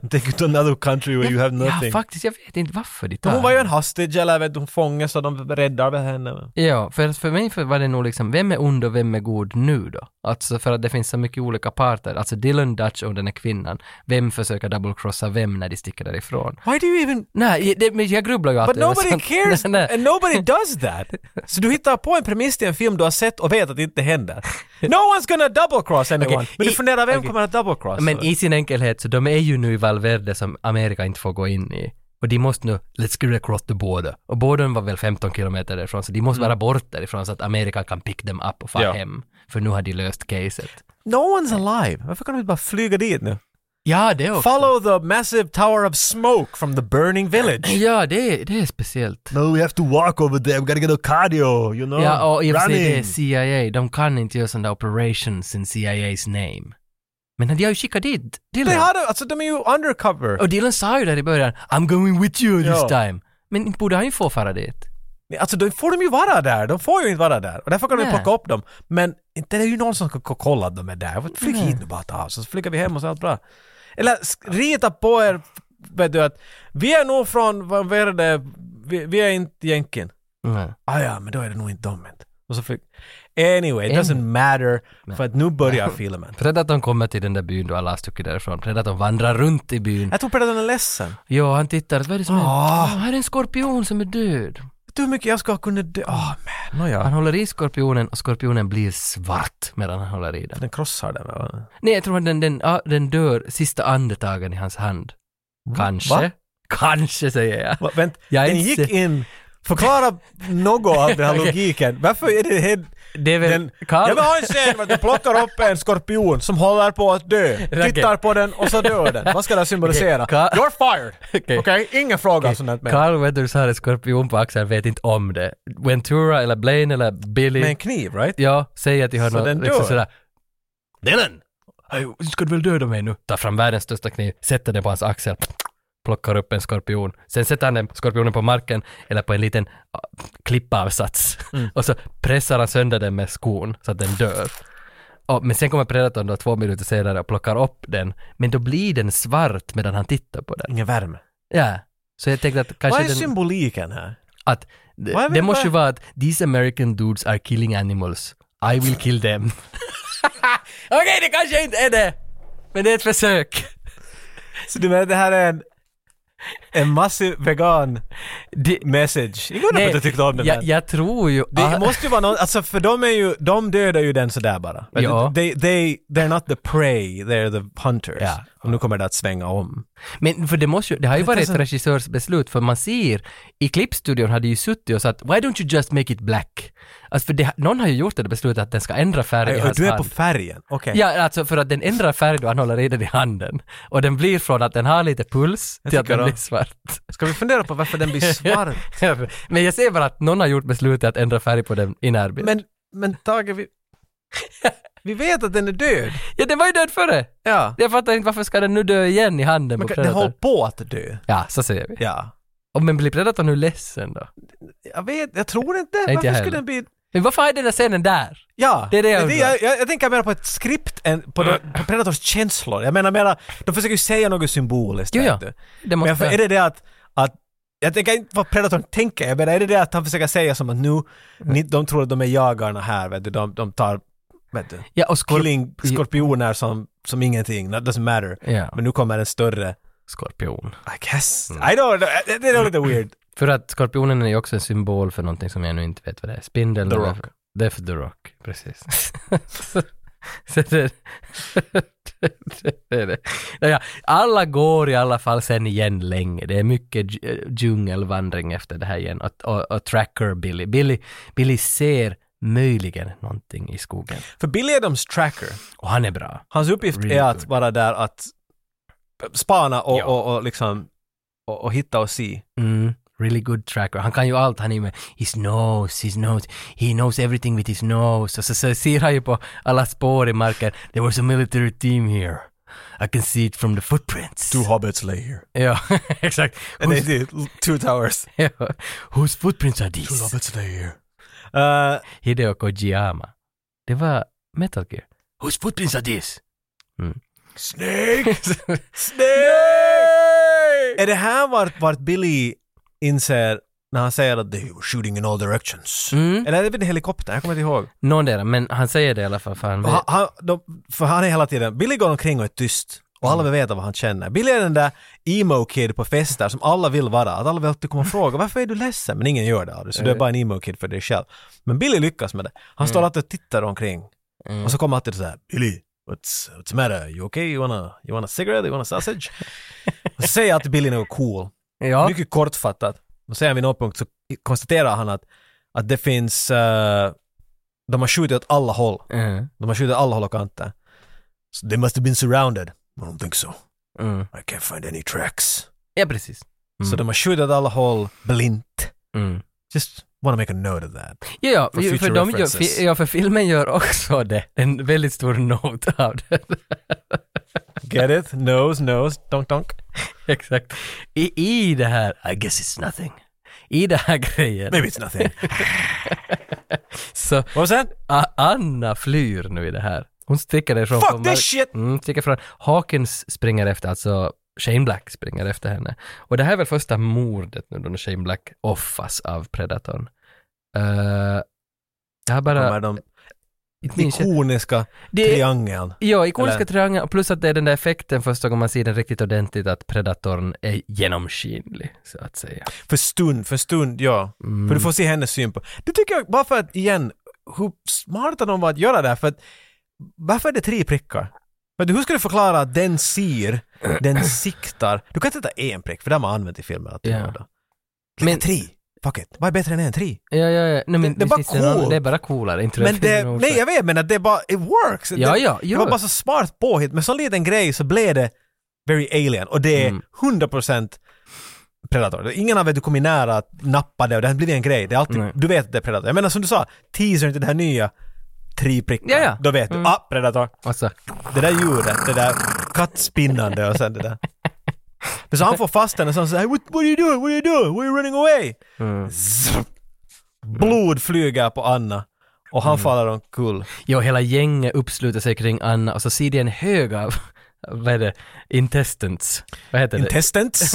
S2: Take you to another country where you have
S1: Ja,
S2: nothing.
S1: faktiskt, jag vet inte varför de tar
S2: hon var ju en
S1: henne.
S2: hostage eller vet, du, hon fångas och de räddar väl henne.
S1: Ja, för, att för mig för- var det nog liksom, vem är ond och vem är god nu då? Alltså för att det finns så mycket olika parter. Alltså Dylan Dutch och den här kvinnan, vem försöker double-crossa vem när de sticker därifrån?
S2: Why do you even...
S1: Nej, det, men jag grubblar ju
S2: But
S1: alltid över
S2: nobody
S1: sånt.
S2: cares
S1: Nej, nej.
S2: and nobody does that. Så du hittar på en premiss till en film du har sett och vet att det inte händer. No one's gonna double cross anyone.
S1: Okej,
S2: Men du
S1: i-
S2: funderar, vem
S1: okej.
S2: kommer att double cross?
S1: Men i sin enkelhet, så de är ju nu i Valverde som Amerika inte får gå in i. Och de måste nu, let's get across the border. Och bordern var väl 15 kilometer därifrån, så de måste vara bort därifrån så att Amerika kan pick them up och fara
S2: Mm. Ja.
S1: hem. För nu har de löst caset.
S2: No one's alive. Varför kan de inte bara flyga dit nu?
S1: Ja, det också.
S2: Follow the massive tower of smoke from the burning village.
S1: Ja, det, är- det är speciellt.
S2: No, we have to walk over there. We gotta get a cardio, you know?
S1: Ja, och i och för sig det är CIA. De kan inte göra sådana operations in CIA's name. Men de har ju skickat dit
S2: De
S1: Dylan.
S2: hade, alltså de är ju undercover.
S1: Och Dylan sa ju där i början, I'm going with you this
S2: Ja.
S1: time. Men inte borde han ju få fara dit.
S2: Nej, Alltså då får de ju vara där, de får ju inte vara där. Och därför kan de
S1: Nej.
S2: plocka upp dem. Men inte är det ju någon som ska k- kolla att de är där. Flyg
S1: Nej.
S2: hit nu bara ta av så flyger vi hem och så är allt bra. Eller sk- rita på er, vet du att vi är nog från, vad vad är det, vi, vi är inte jänken.
S1: Mm.
S2: Ah, ja, men då är det nog inte dem inte. Och så flyg. Anyway, it
S1: En-
S2: doesn't matter, för att nu börjar filmen.
S1: Predatorn kommer till den där byn då alla har stuckit därifrån. Predatorn vandrar runt i byn.
S2: Jag tror Predatorn är ledsen.
S1: Jo, han tittar, vad är det som händer?
S2: Ah.
S1: Ah, här är en skorpion som är död.
S2: Vet du hur mycket jag ska kunna dö? Åh man,
S1: Han
S2: nåja.
S1: håller i skorpionen och skorpionen blir svart medan han håller i den.
S2: Den krossar den va?
S1: Nej, jag tror att den, den, ja, den dör sista andetagen i hans hand. Kanske.
S2: Va?
S1: Kanske säger jag.
S2: Va, vänt,
S1: Jag är
S2: den
S1: inte
S2: gick
S1: sä-
S2: in. Förklara något av den här
S1: Okej.
S2: logiken. Varför är det helt...
S1: Det är väl...
S2: Den,
S1: Karl-
S2: jag vill ha en scen där du plockar upp en skorpion som håller på att dö.
S1: Okej.
S2: Tittar på den och så dör den. Vad ska det symbolisera?
S1: Okej, Ka-
S2: You're fired! Okej,
S1: Okej.
S2: ingen fråga om sånt här mer.
S1: Carl Weathers har en skorpion på axeln, vet inte om det. Ventura eller Blaine eller Billy,
S2: Med en kniv, right?
S1: ja, säger till
S2: Så
S1: honom
S2: den dör.
S1: liksom sådär Dylan! "Aj, Ska du väl döda mig nu? Tar fram världens största kniv, sätter den på hans axel, plockar upp en skorpion. Sen sätter han den, skorpionen på marken eller på en liten ah, klippavsats.
S2: Mm.
S1: Och så pressar han sönder den med skon så att den dör. Och, men sen kommer predatorn då två minuter senare och plockar upp den. Men då blir den svart medan han tittar på den.
S2: Ingen värme.
S1: Ja. Så jag tänkte att
S2: Vad
S1: kanske
S2: är
S1: den...
S2: symboliken här?
S1: att
S2: Vad
S1: det,
S2: är
S1: det
S2: väl-
S1: måste ju
S2: vad-
S1: vara att these American dudes are killing animals. I will kill them. Okej, det kanske inte är det. Men det är ett försök.
S2: Så du menar det här är en, en massiv vegan
S1: Det,
S2: message? Jag undrar om du tyckte om den
S1: jag,
S2: men-
S1: jag tror ju...
S2: Det
S1: ah,
S2: måste ju vara någon, alltså för de är ju, de dödar ju den sådär bara. Men
S1: Ja.
S2: They, they, they're not the prey, they're the hunters.
S1: Ja.
S2: Och nu kommer det att svänga om.
S1: Men för det måste ju, det har ju varit
S2: alltså-
S1: ett regissörsbeslut för man ser, i klippstudion hade ju suttit och sagt “Why don't you just make it black?” Alltså för det, någon har ju gjort det beslutet att den ska ändra färg i
S2: Aj, och
S1: hans
S2: du är på
S1: hand.
S2: färgen, okej.
S1: Ja, alltså för att den ändrar färg då han håller i den i handen. Och den blir från att den har lite puls till att
S2: tycker
S1: den
S2: det.
S1: blir svart.
S2: Ska vi fundera på varför den blir svart?
S1: Men jag ser bara att någon har gjort beslutet att ändra färg på den i närbild.
S2: men, men Tage, vi, vi vet att den är död.
S1: ja, den var ju död före!
S2: Ja.
S1: Jag fattar inte varför ska den nu dö igen i handen
S2: Men
S1: på
S2: den håller
S1: Predator?
S2: på att dö.
S1: Ja, så säger vi.
S2: Ja.
S1: Och men blir Predator nu ledsen då?
S2: Jag vet, jag tror inte.
S1: jag
S2: varför
S1: heller.
S2: skulle den bli...
S1: Men varför är den där scenen där?
S2: Ja,
S1: Det är det jag
S2: men
S1: undrar.
S2: jag, jag, jag tänker mer på ett skript än på, de, på Predators känslor. Jag menar mera, de försöker ju säga något symboliskt.
S1: Jo,
S2: vet
S1: ja.
S2: du.
S1: Det
S2: Men
S1: måste...
S2: för, är det det att, att jag tänker inte vad Predatorn tänker, jag menar är det det att han försöker säga som att
S1: Mm.
S2: nu, ni, de tror att de är jagarna här, vet du, de, de tar, vet du,
S1: ja, och skor...
S2: killing skorpioner som, som ingenting, that doesn't matter.
S1: Ja.
S2: Men nu kommer en större,
S1: Skorpion.
S2: I guess,
S1: Mm.
S2: I don't know, det- det är lite weird.
S1: För att skorpionen är ju också en symbol för någonting som jag nu inte vet vad det är. Spindeln.
S2: The
S1: eller-
S2: Rock.
S1: Det är för The Rock, precis. så, så det, det, det, det. Naja, alla går i alla fall sen igen länge. Det är mycket dj- eh, djungelvandring efter det här igen. Och, och, och tracker Billy. Billy. Billy ser möjligen någonting i skogen.
S2: För Billy Adams tracker,
S1: Och han är bra.
S2: hans uppgift
S1: Really
S2: är att
S1: good.
S2: vara där att spana och,
S1: Ja.
S2: och, och liksom och, och hitta och se.
S1: Mm. Really good tracker. Han kan ju allt. Han är ju med his nose, his nose. He knows everything with his nose. Och så, så ser han ju på alla spår i marken. There was a military team here. I can see it from the footprints.
S2: hobbits lay here.
S1: Ja, exakt.
S2: And they
S1: Whose,
S2: did, two towers.
S1: ja, whose footprints are these?
S2: hobbits lay here. Uh,
S1: Hideo Kojima. Det var Metal Gear. Whose footprints are these?
S2: Snake! Snake! Är det här vart, vart Billy inser när han säger att they were shooting in all directions?
S1: Mm.
S2: Eller är det vid en helikopter? Jag kommer inte ihåg.
S1: Någondera, men han säger det i alla fall för han
S2: Och
S1: vet.
S2: Han, han, de, för han är hela tiden, Billy går omkring och är tyst. Och alla vill veta vad han känner. Billy är den där emo-kid på fester som alla vill vara. Att alla vill alltid komma och fråga varför är du ledsen? Men ingen gör det av det, så du är bara en emo-kid för dig själv. Men Billy lyckas med det. Han står alltid och tittar omkring. Och så kommer alltid så här, Billy, what's, what's the matter? You okay? You wanna, you wanna cigarette? You wanna sausage? och så säger alltid Billy något cool.
S1: Ja.
S2: Mycket kortfattat. Och sen vid någon punkt så konstaterar han att, att det finns, eh, de har skjutit åt alla håll.
S1: Mm.
S2: De har skjutit alla håll och kanter. So they must have been surrounded. I don't think so.
S1: Mm.
S2: I can't find any tracks.
S1: Ja, precis. Mm.
S2: Så de har skjutit åt alla håll blint.
S1: Mm.
S2: Just wanna make a note of that.
S1: Ja, ja,
S2: For
S1: ju- för,
S2: future
S1: de gör,
S2: references.
S1: fi, ja, för filmen gör också det. En väldigt stor not av det.
S2: Get it? Nose, nose, donk, donk.
S1: Exakt. I, I det här, I guess it's nothing. I det här grejen.
S2: Maybe it's nothing.
S1: Så
S2: Vad sen?
S1: A- Anna flyr nu i det här. Hon sticker ifrån.
S2: Fuck
S1: från
S2: this
S1: mark-
S2: shit!
S1: Mm, sticker ifrån. Hawkins springer efter, alltså Shane Black springer efter henne. Och det här är väl första mordet nu då när Shane Black offas av Predatorn. Uh, jag har
S2: De
S1: bara...
S2: är de
S1: inte minns jag.
S2: ikoniska
S1: Det-
S2: triangeln.
S1: Ja, ikoniska
S2: Eller-
S1: triangeln, plus att det är den där effekten första gången man ser den riktigt ordentligt, att predatorn är genomskinlig, så att säga.
S2: För stund, för stund, ja.
S1: Mm.
S2: För du får se hennes syn på. Det tycker jag, bara för att igen, hur smarta de var att göra det här. För att, varför är det tre prickar? För att hur ska du förklara att den ser, den siktar? Du kan inte ta en prick, för det har man använt i filmen. Att
S1: Ja.
S2: yeah.
S1: Men-
S2: Men tre, fuck it. Vad är bättre än en tre?
S1: Ja, ja, ja. Nej, men
S2: det är bara
S1: visst finns någon-
S2: coolt.
S1: det är bara coolare, inte
S2: Men det,
S1: någon
S2: nej
S1: orsak.
S2: jag vet men att det bara, it works.
S1: Ja,
S2: det,
S1: ja,
S2: det var
S1: ja.
S2: bara så smart påhitt. Med sån liten grej så blev det very alien och det är
S1: Mm.
S2: 100% Predator. Ingen av er du kommer nära att nappa det och det har blivit en grej. Det är alltid,
S1: Nej.
S2: du vet att det är Predator. Jag menar som du sa, teasern till det här nya, tre prickar.
S1: Ja, Mm. ja.
S2: Då vet du, ah, Predator.
S1: Alltså,
S2: Det där ljudet, det där kattspinnande och sen det där. Men så han får fast henne och så säger what, what are you doing? What are you doing? Why are you running away?
S1: Mm.
S2: Zzzp. Blod flyger på Anna och han
S1: Mm.
S2: faller omkull.
S1: ja, hela gänget uppsluter sig kring Anna och så ser de en hög av, vad är det, intestants. Vad heter det?
S2: Intestants?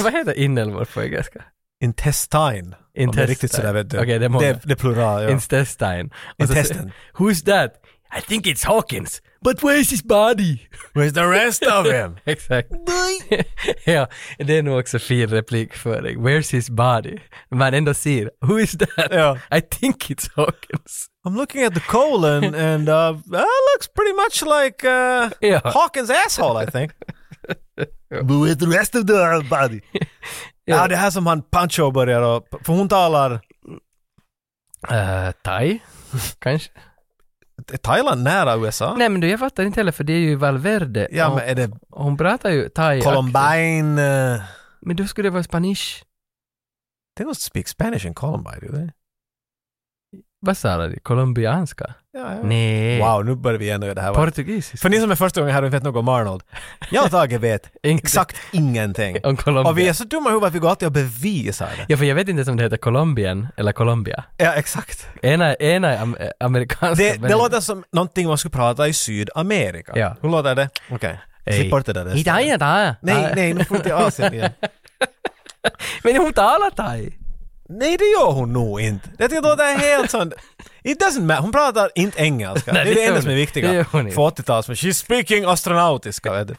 S1: vad heter inälvor på engelska?
S2: Intestine. Om det är
S1: Intestine.
S2: riktigt sådär vet du.
S1: Okej, det är många.
S2: det, det är plural. Ja.
S1: Intestine. Och så
S2: Intestine.
S1: säger- Who's that? I think it's Hawkins. But where is his body?
S2: Where's the rest of him?
S1: Exakt. ja, det är nog också fin replikföring. Where's his body? Man ändå ser, who is that?
S2: Ja.
S1: I think it's Hawkins.
S2: I'm looking at the colon and uh, that looks pretty much like uh,
S1: Ja.
S2: Hawkins asshole I think. But with the rest of the body. Ja, det här som han Pancho börjar och, för hon talar
S1: Eh, thai? Kanske?
S2: är Thailand nära USA.
S1: Nej men du, jag fattar inte heller för det är ju Valverde.
S2: Ja,
S1: och,
S2: men är det
S1: och hon pratar ju thai.
S2: Columbine? Uh,
S1: Men då skulle det vara spanish.
S2: they don't speak Spanish in Columbine, do they?
S1: Vad sa du? Colombianska?
S2: Ja, ja.
S1: Nej.
S2: Wow, nu börjar vi igen göra det här.
S1: Portugisiska?
S2: För ni som är första gången här och inte vet något om Arnold. Jag och Tage vet
S1: Ingenting.
S2: exakt ingenting.
S1: Om Colombia.
S2: Och vi är så dumma i huvudet att vi går alltid och bevisar det.
S1: Ja, för jag vet inte ens om det heter Colombien eller Colombia.
S2: Ja, exakt.
S1: Ena, ena är am- eh, amerikanska.
S2: Det,
S1: men-
S2: det låter som någonting man skulle prata i Sydamerika.
S1: Ja.
S2: Hur låter det? Okej.
S1: Ej. Ah.
S2: Slipp bort det där. resten.
S1: Italien, thai.
S2: Nej, nej, nu får du till Asien igen.
S1: Men hon talar thai.
S2: Nej, det gör hon nog inte. Jag tycker att det är helt sånt... It doesn't matter. Hon pratar inte engelska.
S1: Nej,
S2: det är
S1: det
S2: det
S1: gör
S2: enda
S1: hon
S2: som är
S1: inte. Det
S2: viktiga.
S1: gör hon inte.
S2: För 80-tals, men she's speaking astronautiska, vet du.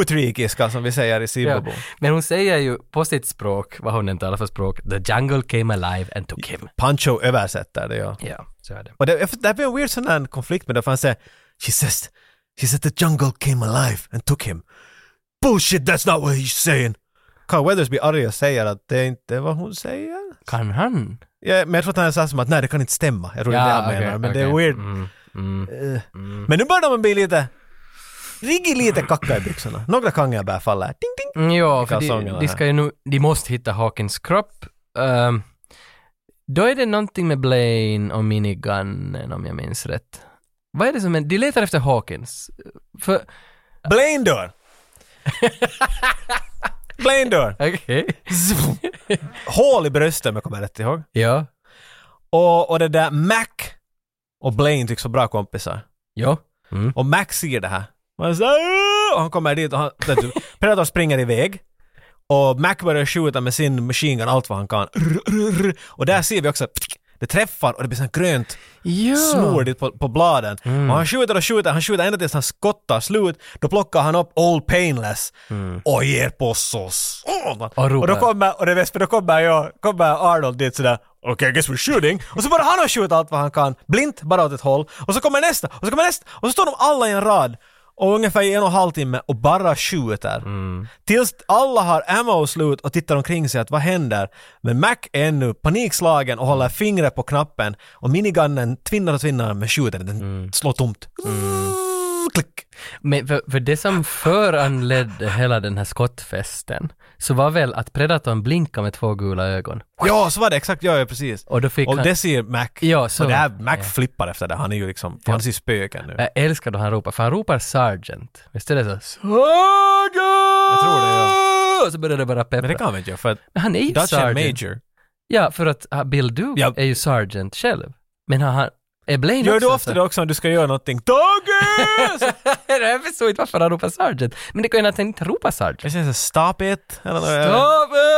S2: Utrikiska, som vi säger i
S1: Ja.
S2: Zimbabwe.
S1: Men hon säger ju på sitt språk, vad hon än talar för språk, the jungle came alive and took him.
S2: Pancho översätter det, ja.
S1: Ja, så är det.
S2: Och det, det blir en weird sån här konflikt med det, för han säger She says, she said the jungle came alive and took him. Bullshit, that's not what he's saying. Carl Weathers blir arg och säger att det är inte vad hon säger.
S1: Kan han?
S2: Ja, men jag tror att han sa som att nej, det kan inte stämma. Jag tror inte det han menar, men det är weird.
S1: Mm, mm.
S2: Eh, Men nu börjar de bli lite... Riggi lite kacka i byxorna. Några kangar bara faller. Ding, ding.
S1: Mm, Ja, för de,
S2: kalsongerna
S1: de
S2: här.
S1: ska ju nu, de måste hitta Hawkins kropp. Ehm, då är det någonting med Blaine och minigunnen om jag minns rätt. Vad är det som är, de letar efter Hawkins. För,
S2: Blaine dör! Blaine dör!
S1: okej.
S2: Zoom. Hål i bröstet om jag kommer rätt ihåg.
S1: Ja,
S2: Och, och det där Mac och Blaine tycks vara bra kompisar.
S1: ja.
S2: Och Max ser det här. Och han, säger, och han kommer dit och han, vet du, Predator springer iväg. Och Mac börjar skjuta med sin machine gun allt vad han kan. Och där ser vi också det träffar och det blir sånt grönt
S1: Ja.
S2: snordigt på, på bladen. Och han skjuter och skjuter, han skjuter ända tills han skottar slut. Då plockar han upp Old Painless och ger på så sådant.
S1: Och ropar.
S2: då kommer, och det är bäst för då kommer jag, kommer Arnold dit sådär Okej, I guess we're shooting. Och så börjar han att skjuta allt vad han kan, blint, bara åt ett håll. Och så kommer nästa, och så kommer nästa, och så står de alla i en rad. Och ungefär i en och en halv timme och bara skjuter. Tills alla har ammo slut och tittar omkring sig att vad händer? Men Mac är ännu panikslagen och håller fingret på knappen och minigunnen tvinnar och tvinnar men skjuter den slår tomt. Klick!
S1: Men för, för det som föranledde hela den här skottfesten så var väl att Predatorn blinkade med två gula ögon.
S2: Ja, så var det exakt, ja, ja precis.
S1: Och då fick
S2: och
S1: han-
S2: det ser Mac.
S1: Ja, så
S2: och det här,
S1: var det.
S2: Mac
S1: Ja.
S2: flippar efter det, han är ju liksom, han ser spöken nu.
S1: Jag älskar då han ropar, för han ropar Sergeant. Visst är det så? Sergeant!
S2: Jag tror det,
S1: ja. Och så börjar det bara peppra.
S2: Men det kan han väl inte göra för att
S1: Men han är ju
S2: Dutch and
S1: Sergeant.
S2: Major.
S1: Ja, för att ah, Bill Duke
S2: Ja.
S1: är ju Sergeant själv. Men har han... Är Blaine
S2: Gör
S1: också
S2: du ofta
S1: så?
S2: det också om du ska göra någonting? Dogge!
S1: jag förstår inte varför han ropar Sergeant. Men det kan ju att han inte ropar
S2: Jag
S1: Sergeant.
S2: känner så stop it. Eller, Stop.
S1: Stop it!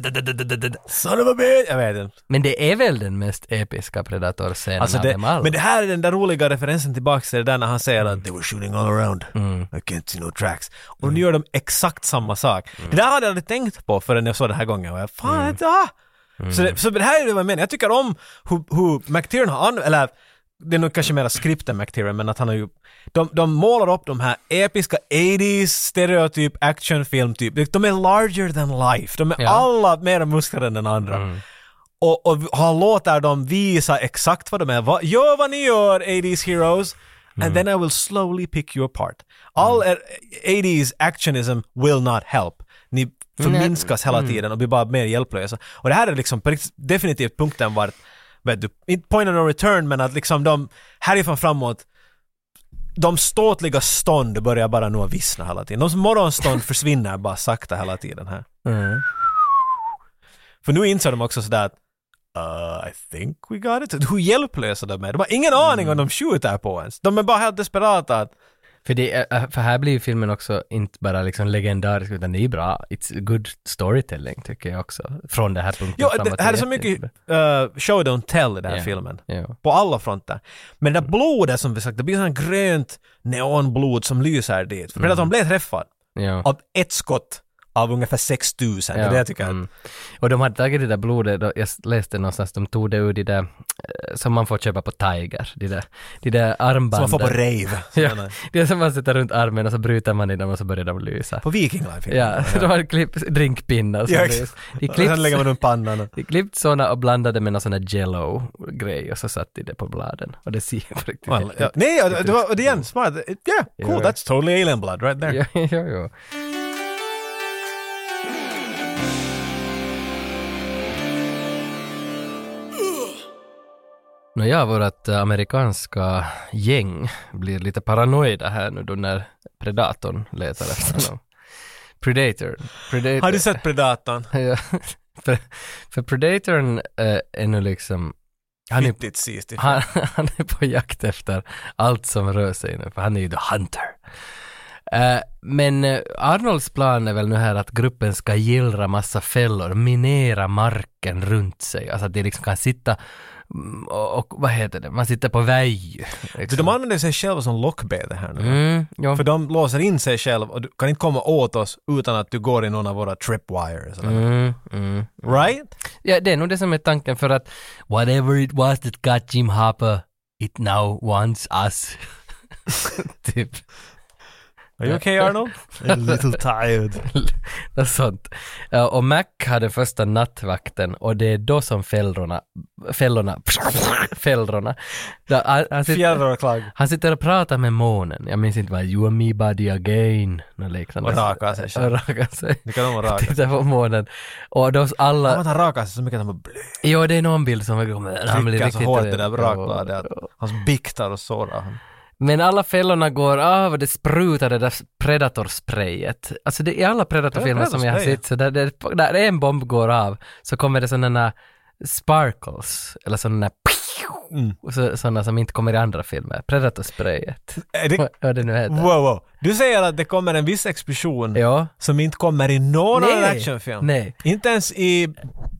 S1: Da-da-da-da-da-da-da.
S2: Son of a bitch! Jag vet inte.
S1: Men det är väl den mest episka Predator-scenen
S2: Alltså
S1: av
S2: det,
S1: dem alla?
S2: men det här är den där roliga referensen tillbaks till det där när han säger att “They were shooting all around, I can't see no tracks”. Och nu gör de exakt samma sak. Det där hade jag aldrig tänkt på förrän jag såg det här gången. Och jag, Fan, det, ah! så, det, så det här är det vad jag menar. Jag tycker om hur, hur McTiernan har använt, eller det är nog kanske mera skript än McTiernan, men att han har ju... De, de målar upp de här episka 80s stereotyp actionfilm typ. De är larger than life. De är
S1: Ja.
S2: alla mera muskler än den andra och, och han låter dem visa exakt vad de är. Va, gör vad ni gör, 80s heroes, and then I will slowly pick you apart. All er, 80s actionism will not help. Ni förminskas hela tiden och blir bara mer hjälplösa. Och det här är liksom på rikt- definitivt punkten vart, vet du, inte point of no return, men att liksom de härifrån framåt de ståtliga stånd börjar bara nu att vissna hela tiden. De morgonstånd försvinner bara sakta hela tiden här.
S1: Mm.
S2: För nu inser de också sådär att uh, I think we got it. Hur hjälplösa de är. De har ingen aning om
S1: Mm.
S2: de skjuter på ens. De är bara helt desperata. Att,
S1: För, det, är- äh, för här blir ju filmen också inte bara liksom legendarisk utan det är ju bra. It's good storytelling tycker jag också. Från det här punkten
S2: jo,
S1: framåt.
S2: det här är så
S1: jätte-
S2: mycket uh, show don't tell i den här
S1: Ja. Mm.
S2: filmen.
S1: Ja.
S2: På alla fronter. Men det där blodet som vi sagt, det blir sånt grönt neonblod som lyser dit. För
S1: Mm.
S2: Predatorn blev träffad
S1: Ja.
S2: av ett skott av ungefär 6000. Det är
S1: Ja,
S2: det jag tycker.
S1: mm. Och de hade tagit det där blodet, då- jag läste någonstans, de tog det ur det där eh, som man får köpa på Tiger, det där, det där
S2: Som man
S1: armbanden.
S2: får på rave.
S1: ja,
S2: Sådana-
S1: det är som man sätter runt armen och så bryter man i dem och så börjar de lysa.
S2: På Viking Life.
S1: Ja, så de har klippt drinkpinnar som
S2: Ja,
S1: lyser.
S2: exakt.
S1: De
S2: Och sen lägger
S1: klipps-
S2: man runt pannan. och-
S1: de klippt såna och blandade med någon sån där jello-grej och så satte de det på bladen. Och det ser jag riktigt
S2: Well,
S1: häftigt
S2: ja. Nej, ja, det det var och det är igen smart. It- Yeah, cool.
S1: Ja.
S2: That's totally alien blood right there.
S1: Ja, ja, ja. Nåja, vårt eh, amerikanska gäng blir lite paranoida här nu då när predatorn letar efter honom. Predator. Predator.
S2: Har du sett Predatorn?
S1: Ja, för, för predatorn eh, är nu liksom... Han är,
S2: Riktigt sist.
S1: han, han är på jakt efter allt som rör sig nu, för han är ju the hunter. Eh, men eh, Arnolds plan är väl nu här att gruppen ska gillra massa fällor, minera marken runt sig, alltså att de liksom kan sitta mm, och, och vad heter det, man sitter på väj.
S2: Så de använder sig själva som lockbete här nu.
S1: Mm, ja.
S2: För de låser in sig själv och du kan inte komma åt oss utan att du går i någon av våra tripwires. eller-
S1: Mm, mm.
S2: Right?
S1: Ja, det är nog det som är tanken för att whatever it was that got Jim Hopper, it now wants us. typ.
S2: Are you okay Arnold? A little tired.
S1: Något sånt. Ja, Och Mac hade första nattvakten och det är då som fällorna, fällorna, fällorna. Där Han, han, sitter,
S2: Fjärrar och klagg.
S1: han sitter och pratar med månen. Jag minns inte vad, you and me buddy again, något liknande.
S2: Och rakar sig själv.
S1: Och rakar sig.
S2: Tycker de om att raka sig?
S1: Tittar på månen. Och då alla...
S2: Han rakar sig så mycket att han bara
S1: Jo, det är någon bild som kommer. Han blir
S2: trycker
S1: riktigt
S2: så hårt i det där
S1: rädd.
S2: rakbladet att hans biktar och sårar honom.
S1: Men alla fällorna går av och det sprutar det där predatorsprayet. Alltså det, i alla predatorfilmer som jag har
S2: Predatorspray,
S1: sett, så där, det, där en bomb går av så kommer det sådana sparkles, eller sådana
S2: Mm.
S1: Och så, sådana som inte kommer i andra filmer. Predator-sprayet.
S2: Är det-
S1: Vad- Vad det nu heter.
S2: Wow, wow. Du säger att det kommer en viss explosion
S1: Ja.
S2: som inte kommer i någon
S1: Nej.
S2: annan actionfilm.
S1: Nej.
S2: Inte ens i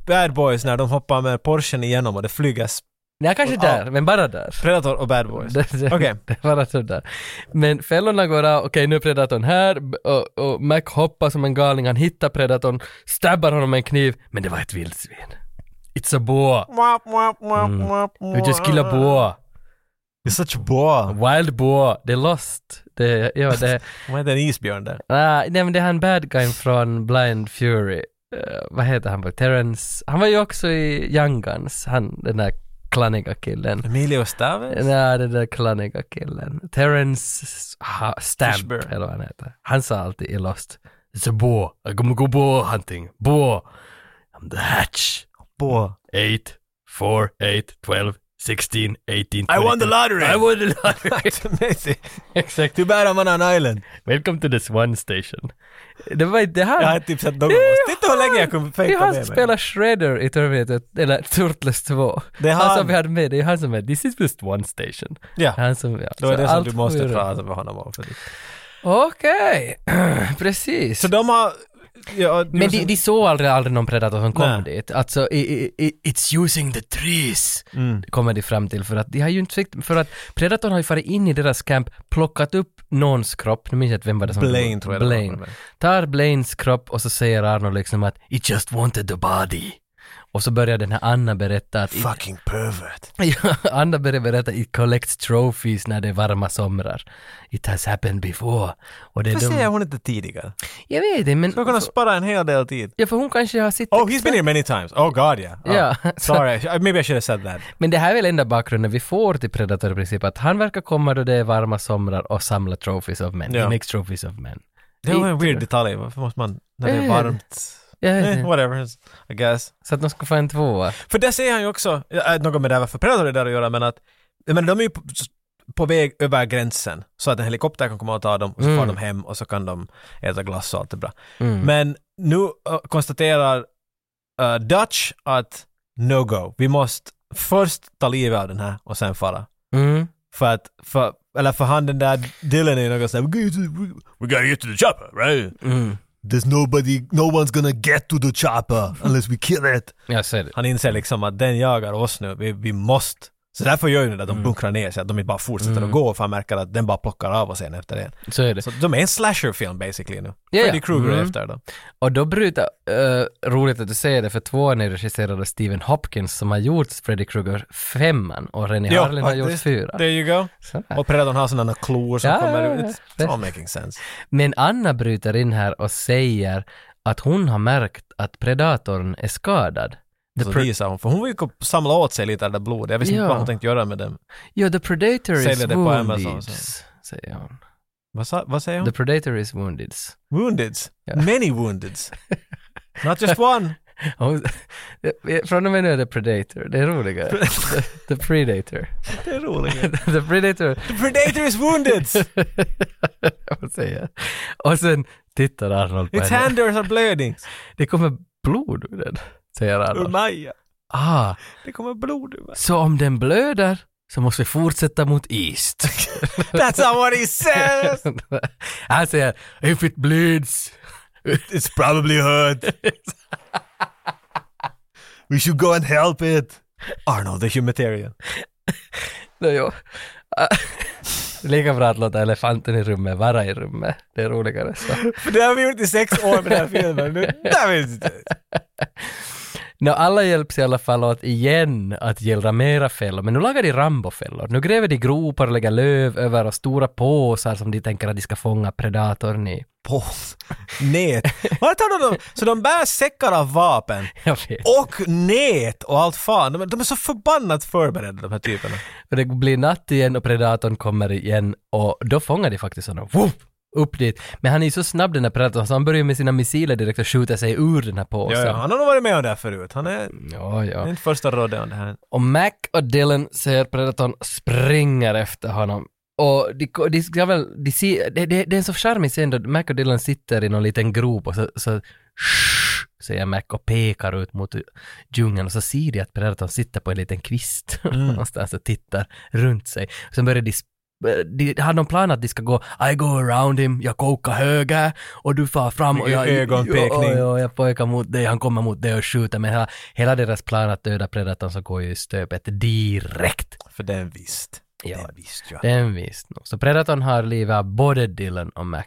S2: Bad Boys när de hoppar med Porschen igenom och det flyger s-
S1: Nej, kanske där, men bara där.
S2: Predator och Bad Boys.
S1: Det- det-
S2: Okej.
S1: Det var rätt sådär. Men fällorna går av, okej nu är predatorn här b- och, och Mac hoppar som en galning, han hittar predatorn, stabbar honom med en kniv, men det var ett vildsvin. It's a boa. We just kill a boa.
S2: You're such a boa.
S1: Wild boa. They lost. Det, ja, det,
S2: Vad heter en isbjörn där?
S1: ah, nej men det är han bad guy från Blind Fury. Eh, vad heter han? Terrence. Han var ju också i Young Guns, han den där klanniga killen.
S2: Emilio Stavins?
S1: Nej, den där klanniga killen. Terrence ha, Stamp,
S2: Fishburne.
S1: eller vad han heter. Han sa alltid i Lost, It's a boar, I'm gonna go boar hunting, boar. I'm the hatch.
S2: Boa.
S1: 8, 4, 8, 12, 16, 18, 20.
S2: I won the lottery!
S1: I won the lottery!
S2: Amazing.
S1: Exakt.
S2: Too bad I'm on an island.
S1: Welcome to the Swan Station. Det var inte han.
S2: Jag har typ sett någon av
S1: Det är
S2: oss. Titta hur länge jag kunde
S1: Det är
S2: fejka
S1: han
S2: med
S1: som
S2: mig.
S1: spelar Shredder i Terminator, eller Turtles 2.
S2: Det är
S1: han.
S2: han.
S1: som vi hade med, det är han som är This is just one station.
S2: Ja.
S1: Han som, ja.
S2: Det var
S1: Så
S2: det som
S1: allt
S2: du
S1: går
S2: måste
S1: ju runt.
S2: prata med honom om. för det-
S1: Okej, precis.
S2: Så de har... Ja, du
S1: men
S2: har
S1: de,
S2: sett-
S1: de såg aldrig, aldrig någon predator som kom
S2: Nej.
S1: dit. Alltså, i, i, i, it's using the trees,
S2: Mm.
S1: kommer de fram till. För att de har ju inte fick, för att predatorn har ju farit in i deras camp, plockat upp någons kropp, nu minns jag inte vem var det som...
S2: Blaine, tror jag det var.
S1: Blaine. Tar Blaines kropp och så säger Arno liksom att it just wanted the body. Och så börjar den här Anna berätta att...
S2: Fucking pervert.
S1: Ja, Anna började berätta it collects trophies när det är varma somrar. It has happened before. Och det är
S2: Varför
S1: de- Alltså-
S2: säger hon inte tidigare?
S1: Jag vet inte men...
S2: Skulle kunna spara en hel del tid.
S1: Ja, för hon kanske har sett...
S2: Oh, he's been here many times. Oh god yeah. Oh,
S1: Ja.
S2: Sorry, I- maybe I should have said that.
S1: Men det här är väl enda bakgrunden vi får till Predator i princip, att han verkar komma då det är varma somrar och samla trophies of men.
S2: Ja.
S1: He makes trophies of men.
S2: Det var en
S1: Inte-
S2: weird detalj. Varför måste man... När det är
S1: Eh.
S2: varmt...
S1: Jag vet
S2: Eh,
S1: inte.
S2: whatever, I guess.
S1: Så att de ska få en tvåa.
S2: För där säger han ju också, äh, något med det här varför Predator är där att göra, men att jag menar, de är ju på, på väg över gränsen så att en helikopter kan komma och ta dem och så far
S1: Mm.
S2: de hem och så kan de äta glass och allt är bra.
S1: Mm.
S2: Men nu äh, konstaterar äh, Dutch att no go, vi måste först ta livet av den här och sen fara.
S1: Mm.
S2: För att, för, eller för han den där Dylan är ju något sådär "We gotta get to the- We gotta get to the chopper, right?
S1: Mm.
S2: There's nobody, no one's gonna get to the chopper unless we kill it.
S1: Ja, så är det.
S2: Han inser liksom att den jagar oss nu, vi, vi måste. Så därför gör ju det att de bunkrar ner sig, att de inte bara fortsätter att gå för han märker att den bara plockar av oss en efter en.
S1: Så är det.
S2: Så de är en slasherfilm basically nu.
S1: Ja, ja.
S2: Freddy Krueger
S1: Mm.
S2: efter dem.
S1: Och då bryter, eh, roligt att du säger det, för tvåan är regisserad av Stephen Hopkins som har gjort Freddy Krueger femman och René Harlin har gjort
S2: faktiskt.
S1: fyra.
S2: There you go.
S1: Sådär.
S2: Och Predatorn har sådana klor som
S1: Ja, ja,
S2: kommer
S1: ja.
S2: ut. It's all making sense.
S1: Men Anna bryter in här och säger att hon har märkt att Predatorn är skadad. The
S2: Så
S1: pre-
S2: visar hon, för hon vill ju samla åt sig lite av det där blodet. Jag visste
S1: Ja.
S2: inte vad hon tänkte göra med dem.
S1: Ja, the predator is
S2: Säljer det på
S1: wounded,
S2: Amazon,
S1: säger hon.
S2: Vad, sa, vad säger hon?
S1: The predator is wounded.
S2: Woundeds.
S1: Ja.
S2: Many woundeds. Not just one.
S1: Hon- Från och med nu är det predator, det är roligare. the, the predator.
S2: Det är roligt.
S1: the predator,
S2: The predator is wounded!
S1: vad säger jag? Och sen tittar Arnold på
S2: Its
S1: henne.
S2: handers are bleeding.
S1: Det kommer blod ur den, säger
S2: Ur
S1: Arnold.
S2: Maja.
S1: Ah,
S2: Det kommer blod ur mig.
S1: så om den blöder så måste vi fortsätta mot east.
S2: That's not what he says!
S1: Han säger if it bleeds.
S2: It's probably hurt. We should go and help it. Arnold the humanitarian.
S1: Nå, jo. Ah, Lika bra att låta elefanten i rummet vara i rummet. Det är roligare så.
S2: För det har vi gjort i sex år med den här filmen. Nu, där finns det.
S1: Nå, alla hjälps i alla fall åt igen att gällra mera fällor, men nu lagar de Rambo-fällor. Nu gräver de gropar och lägger löv över och stora påsar som de tänker att de ska fånga predatorn i.
S2: På nät. Var tar de dem? Så de bär säckar av vapen.
S1: Jag vet.
S2: Och nät och allt fan. De, de är så förbannat förberedda de här typerna.
S1: Och det blir natt igen och predatorn kommer igen och då fångar de faktiskt honom. Woof! Upp dit. Men han är ju så snabb den här predatorn så han börjar med sina missiler direkt och skjuter sig ur den här påsen.
S2: Ja, ja, han har nog varit med om det här förut. Han är
S1: ja, ja.
S2: han är inte första rodeon det här.
S1: Och Mac och Dylan ser Predatorn springer efter honom. Och de, de ska väl, de ser, det, det, det är en så charmig scen då Mac och Dylan sitter i någon liten grop och så, så säger Mac och pekar ut mot djungeln och så ser de att Predatorn sitter på en liten kvist någonstans och tittar runt sig. Sen börjar de sp- de har någon plan att de ska gå I go around him, jag kokar höger och du far fram och jag,
S2: Ögonpekning.
S1: och, och jag pekar mot dig, han kommer mot dig och skjuter. Men hela, hela deras plan att döda Predatorn så går ju i stöpet direkt.
S2: För den visst.
S1: Ja,
S2: Den visst ja.
S1: Den visst nog. Så Predatorn har livet av både Dylan och Mac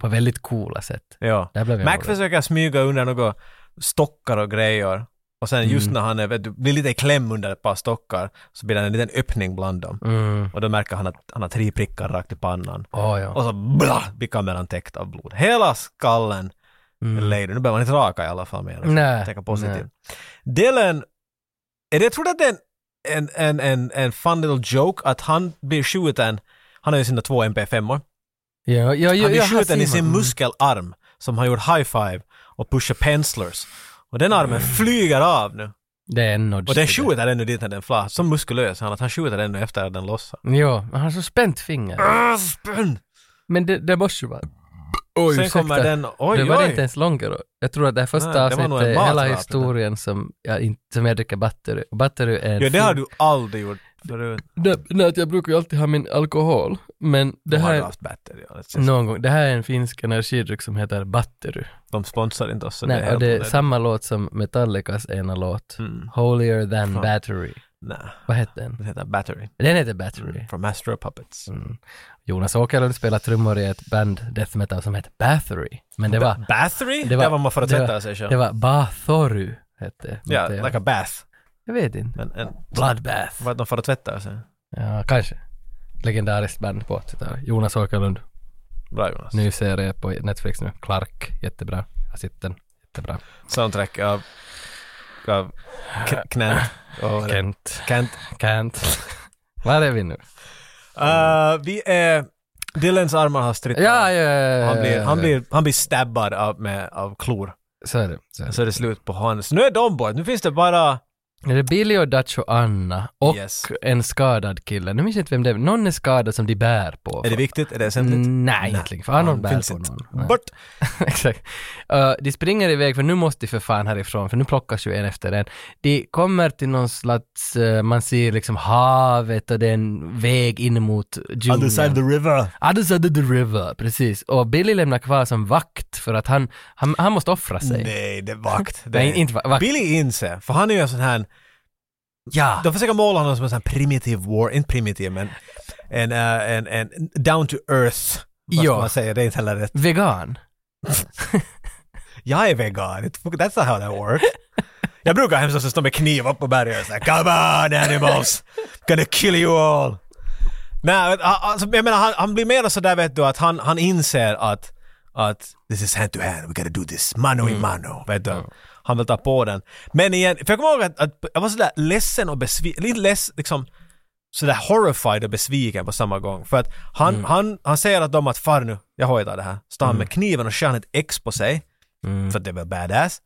S1: på väldigt coola sätt.
S2: Ja.
S1: Där blev jag
S2: Mac
S1: orolig.
S2: försöker smyga under några stockar och grejer. Och sen just
S1: Mm.
S2: när han är, vet du, blir lite i kläm under ett par stockar så blir det en liten öppning bland dem.
S1: Mm.
S2: Och då märker han att han har tre prickar rakt i pannan.
S1: Åh, ja.
S2: Och så bla, blir kameran täckt av blod. Hela skallen är ledig. Nu behöver man inte raka i alla fall mer.
S1: Mm. Nej,
S2: Tänka positivt. Dylan, är det, jag trodde att det är en, en, en, en, en fun little joke att han blir skjuten, han har ju sina två MP5-or.
S1: Ja, ja, ja,
S2: Han blir
S1: ja, här
S2: skjuten i
S1: ser
S2: sin
S1: man.
S2: muskelarm som har gjort high-five och pushar penslers. Och den armen flyger av nu.
S1: Det är en nudge.
S2: Och den
S1: till
S2: skjuter ännu dit när den flar. Så muskulös är han att han skjuter ännu efter att den lossar.
S1: det. Ja, han har så spänt finger.
S2: Ah, spänn!
S1: Men det, det måste ju vara... Oj,
S2: Sen
S1: ursäkta.
S2: kommer den, oj,
S1: det var det
S2: oj.
S1: inte ens långt. Jag tror att det här första
S2: Nej, det var
S1: avsnittet
S2: nog en
S1: är hela
S2: matrap,
S1: historien som jag, inte, som jag dricker Battery. Battery är en
S2: Ja, det
S1: fin-
S2: har du aldrig gjort förut.
S1: Det, nej, att jag brukar ju alltid ha min alkohol, men det
S2: De har
S1: här...
S2: haft battery. ja, det känns-
S1: Någon gång. Det här är en finsk energidryck som heter Battery.
S2: De sponsrar inte oss. Så
S1: Nej,
S2: det är
S1: och det är
S2: helt
S1: samma låt som Metallicas ena låt.
S2: Mm.
S1: Holier than Battery.
S2: Nej,
S1: Vad hette den?
S2: det heter battery.
S1: Den heter Battery.
S2: Från Master of Puppets.
S1: Mm. Jonas Åkerlund spelar trummor i ett band death metal som heter Bathory. Men det var...
S2: Battery?
S1: Det
S2: Det
S1: var-
S2: var, var man för att
S1: det var-
S2: tvätta sig själv.
S1: Det var Bathory hette
S2: ja,
S1: hette jag.
S2: like a bath.
S1: Jag vet inte.
S2: En, en,
S1: Bloodbath.
S2: var de för att tvätta sig?
S1: Ja, kanske. Legendariskt band på 80-talet. Jonas Åkerlund.
S2: Bra Jonas.
S1: Ny serie på Netflix nu. Clark. Jättebra. Jag har sett den. Jättebra.
S2: soundtrack av, av K- Knant. Och
S1: Kent.
S2: Kent.
S1: Kent. Var är vi nu?
S2: Uh, vi är... Dylans armar har stritt.
S1: Ja, ja, ja, ja,
S2: han, blir,
S1: ja,
S2: han,
S1: ja.
S2: blir, han blir stabbad av, med, av klor.
S1: Så är det. Så är det.
S2: Så är det slut på hans. Nu är de bort. Nu finns det bara...
S1: Är det Billy och Dutch och Anna och
S2: Yes.
S1: en skadad kille? Nu minns jag inte vem det är. Någon är skadad som de bär på.
S2: Är det viktigt? Är det väsentligt?
S1: Nej, egentligen. För Arnold bär
S2: finns
S1: på
S2: inte.
S1: någon. Nej.
S2: Bort!
S1: Exakt. Uh, de springer iväg för nu måste de för fan härifrån för nu plockas ju en efter en. De kommer till någon slags, eh, man ser liksom havet och det är en väg in mot djungeln.
S2: river.
S1: Other side of the river, precis. Och Billy lämnar kvar som vakt för att han, han, han måste offra sig.
S2: Nej, det är vakt. Det
S1: Nej, inte va- vakt.
S2: Billy inser, för han är ju en sån här...
S1: Ja.
S2: De försöker måla honom som en sån här primitiv war, inte primitiv men en, eh, en, en down to earth. Vad
S1: Ja.
S2: ska man säga? Det är inte heller rätt.
S1: Vegan.
S2: Jag är vegan, It- that's not how that works. Jag brukar hemskt ofta stå med kniv upp på berget och säga “Come on animals, gonna kill you all”. Nej, men, a- alltså, jag menar han, han blir mer sådär vet du att han, han inser att, att “This is hand to hand, we gotta do this, mano i mano”. Vet du? Han vill ta på den. Men igen, för jag kommer ihåg att, att jag var sådär ledsen och besviken, lite less, liksom sådär horrified och besviken på samma gång. För att han, han, han säger att de att “Far nu, jag hojar det här”. Står han med kniven och skär han ett X på sig.
S1: Mm.
S2: För att det är väl badass.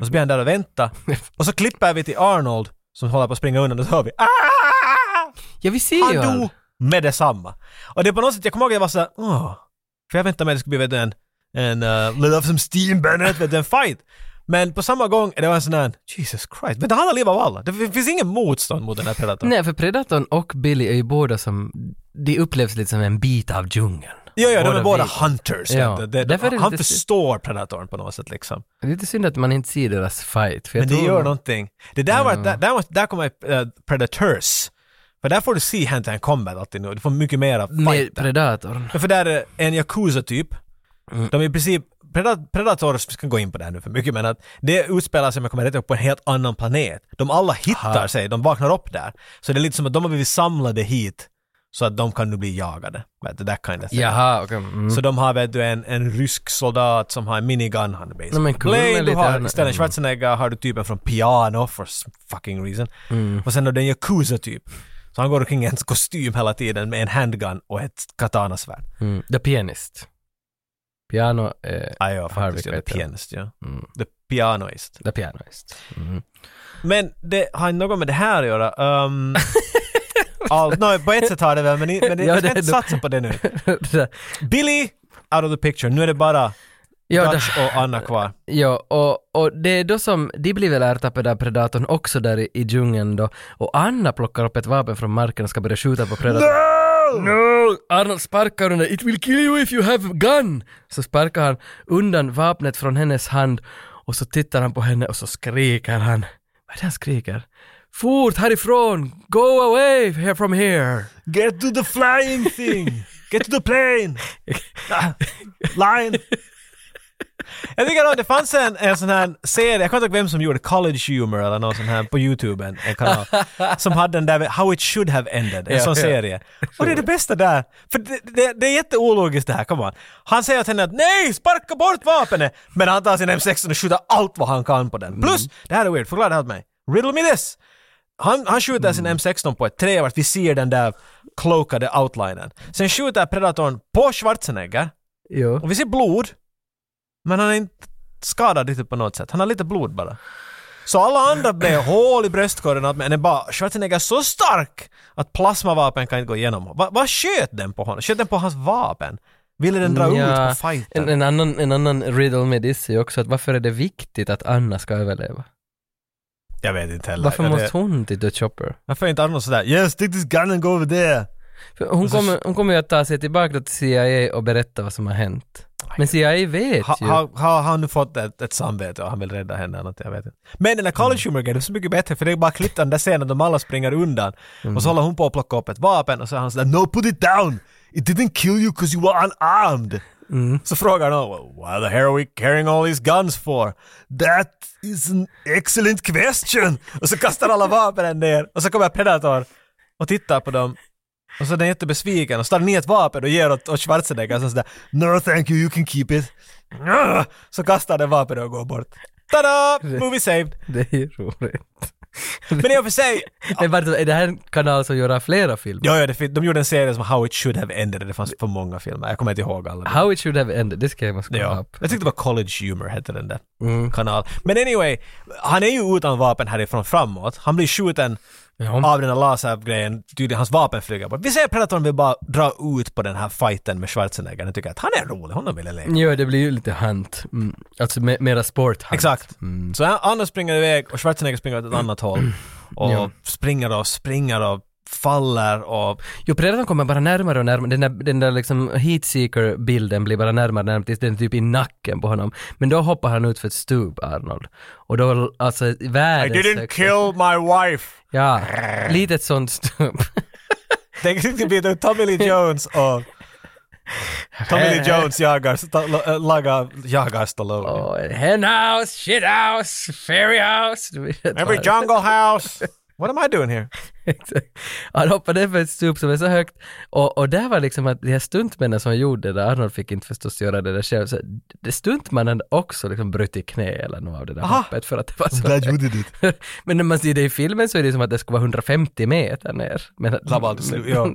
S2: Och så blir han där och väntar. Och så klipper vi till Arnold som håller på att springa undan och så hör vi "Ah!"
S1: Ja, vi ser
S2: Han
S1: ju
S2: dog med detsamma. Och det är på något sätt, jag kommer ihåg att jag var såhär åh. För jag väntade mig att det skulle bli vet du, en, en uh, let off some steam Bennett, vet du, en fight. Men på samma gång, det var en sån där Jesus Christ, men han har liv av alla. Det finns ingen motstånd mot den här predatorn.
S1: Nej, för Predatorn och Billy är ju båda som, de upplevs lite som en bit av djungeln.
S2: Jo, jo, de är båda
S1: vi.
S2: hunters.
S1: Ja.
S2: vet du. Det-
S1: Därför är det
S2: han
S1: lite-
S2: förstår predatorn på något sätt liksom.
S1: Det är lite synd att man inte ser deras fight. För jag
S2: Men det
S1: tror
S2: gör någonting. Det där var, där, där, var- där kommer eh, Predators. För där får du se hand hand combat alltid nu. Du får mycket mera
S1: Med
S2: fighter.
S1: Predatorn.
S2: För där är en Yakuza-typ.
S1: Mm.
S2: De är i princip, Predat- Predators, vi ska gå in på det här nu för mycket, men att det utspelar sig, om jag kommer rätt ihåg, på en helt annan planet. De alla hittar sig, de vaknar upp där. Så det är lite som att de har blivit samlade hit så att de kan nu bli jagade. Vet du, that kind of thing.
S1: Jaha, okej. Mm.
S2: Så de har vet du en, en rysk soldat som har en minigun han är
S1: No,
S2: basically.
S1: men kul
S2: Blade,
S1: med
S2: du
S1: lite Mm.
S2: har
S1: annan-
S2: istället Schwarzenegger har du typen från Piano for some fucking reason.
S1: Mm,
S2: Och sen har du en Yakuza-typ. typ. Så han går omkring i en kostym hela tiden med en handgun och ett katanasvärd.
S1: Mm. The Pianist. Piano, eh,
S2: Ah, ja, faktiskt.
S1: Harvey
S2: Ja, the
S1: Keitel.
S2: pianist, ja. The pianoist.
S1: The Pianist. Mm.
S2: Men det har inte något med det här att göra. Um, all, no, på ett sätt har det väl, men, i- men det,
S1: Ja,
S2: jag ska
S1: det-
S2: inte satsa på det nu. Billy, out of the picture. Nu är det bara
S1: Ja,
S2: Dutch och Anna kvar.
S1: Ja, och, och det är då som, de blir väl ertappade av predatorn också där i, i djungeln då. Och Anna plockar upp ett vapen från marken och ska börja skjuta på predatorn. No! Arnold sparkar undan, it will kill you if you have a gun! Så sparkar han undan vapnet från hennes hand och så tittar han på henne och så skriker han. Vad är det han skriker? Fort härifrån! Go away here from here!
S2: Get to the flying thing! Get to the plane! Ah, Line! Jag tycker att det fanns en, en sån här serie, jag kommer inte ihåg vem som gjorde College Humor eller någon sån här på YouTube, en, en kanal, som hade den där How It Should Have Ended, en
S1: Ja,
S2: sån
S1: ja.
S2: serie. Och det är det bästa där, för det, det, det är jätteologiskt det här, come on. Han säger till henne att nej, sparka bort vapnet! Men han tar sin M16 och skjuter allt vad han kan på den. Plus, det här är weird, förklara det här åt mig. Riddle me this! Han, han skjuter
S1: Mm.
S2: sin M16 på ett träd vart vi ser den där klokade outlinen. Sen skjuter predatorn på Schwarzenegger
S1: Jo.
S2: och vi ser blod. Men han är inte skadad riktigt på något sätt. Han har lite blod bara. Så alla andra blev hål i bröstkorgen och allt, men det är bara Schwarzenegger är så stark att plasmavapen kan inte gå igenom. Va- Vad sköt den på honom? Sköt den på hans vapen? Ville den dra
S1: Mm, Ja,
S2: ut på fighten?
S1: En, en, annan, en annan riddle med this är ju också att varför är det viktigt att Anna ska överleva?
S2: Jag vet inte heller.
S1: Varför
S2: Ja, det-
S1: måste hon till The Chopper?
S2: Varför är inte Arnold sådär “Yes, take this gun and go over there”?
S1: För Hon
S2: Och Alltså, så-
S1: kommer, hon kommer ju att ta sig tillbaka till CIA och berätta vad som har hänt. Men CIA vet
S2: Ha-
S1: ju.
S2: ha- Har han nu fått ett, ett samvete och han vill rädda henne eller något, jag vet inte. Men den där
S1: Mm.
S2: College Humor-grejen är så mycket bättre för det är bara klippt den där scenen de alla springer undan.
S1: Mm.
S2: Och så håller hon på att plocka upp ett vapen och så är han sådär “No, put it down! It didn't kill you 'cause you were unarmed!”
S1: Mm.
S2: Så frågar någon well, “Why the hell are we carrying all these guns for?” “That is an excellent question!” Och så kastar alla vapnen ner och så kommer Predator och tittar på dem och så är den jättebesviken och ställer ner ett vapen och ger åt, åt Schwarzenegger och sådär “No thank you, you can keep it”. Nja! Så kastar den vapnet och går bort. Tada! Movie saved.
S1: Det är ju roligt.
S2: Men i och för sig...
S1: Men vänta, är det här en kanal som gör flera filmer?
S2: Ja, ja, det fin- de gjorde en serie som How It Should Have Ended det fanns för många filmer. Jag kommer inte ihåg alla.
S1: How it should have ended, det ska jag måste kolla
S2: Ja.
S1: upp.
S2: Jag tyckte det var College Humor hette den där
S1: Mm.
S2: kanal. Men anyway, han är ju utan vapen härifrån framåt. Han blir skjuten
S1: Ja. Mm.
S2: av den här lasergrejen, tydligen hans vapen flyger bort. Vi ser att Predatorn vill bara dra ut på den här fighten med Schwarzenegger. Jag tycker att han är rolig, honom vill jag leka.
S1: ja, det blir ju lite hunt. Mm. Alltså me- mera sport hunt.
S2: Exakt.
S1: Mm.
S2: Så Anna springer iväg och Schwarzenegger springer åt ett annat håll. Och
S1: Ja.
S2: springer och springer och faller och...
S1: Jo, Predatorn kommer bara närmare och närmare. Den där, den där liksom heatseeker-bilden blir bara närmare och närmare tills den är typ i nacken på honom. Men då hoppar han ut för ett stup, Arnold. Och då, alltså,
S2: I
S1: världens
S2: didn't
S1: högsta-
S2: kill my wife!
S1: Ja, litet sånt stup.
S2: Tänk dig bli det Tommy Lee Jones och... Tommy Lee Jones eh, jagar, sta, la- lagar, jagar Stallone.
S1: Oh, hen house, shit house, fairy house. Du vet vad
S2: Every
S1: det är.
S2: jungle house! What am I doing here?
S1: Exakt. Han hoppade ner för ett stup som är så högt och, och där var liksom att de här stuntmännen som gjorde det, Arnold fick inte förstås göra det där själv, så det- stuntmannen också liksom brutit knä eller något av det där
S2: Aha.
S1: hoppet för att det var så
S2: Glad you
S1: högt.
S2: did it.
S1: Men när man ser det i filmen så är det som att det skulle vara 150 meter ner. Men,
S2: Labbad, ja.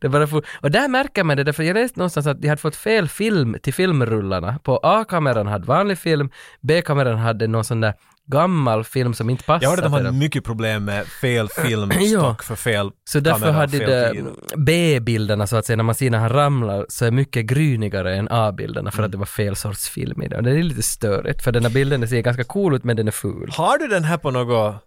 S1: det bara for, och där märker man det, därför jag läste någonstans att de hade fått fel film till filmrullarna. På A-kameran hade vanlig film, B-kameran hade någon sån där gammal film som inte passade.
S2: Jag hörde att de
S1: till
S2: hade
S1: dem.
S2: mycket problem med fel
S1: Ja.
S2: filmstock för fel
S1: Så därför
S2: kamera och
S1: hade
S2: fel
S1: det
S2: tid.
S1: B-bilderna så att säga, när man ser när han ramlar så är mycket grynigare än A-bilderna
S2: Mm.
S1: för att det var fel sorts film i det. Och det är lite störigt för den här bilden den ser ganska cool ut men den är ful.
S2: Har du den här på något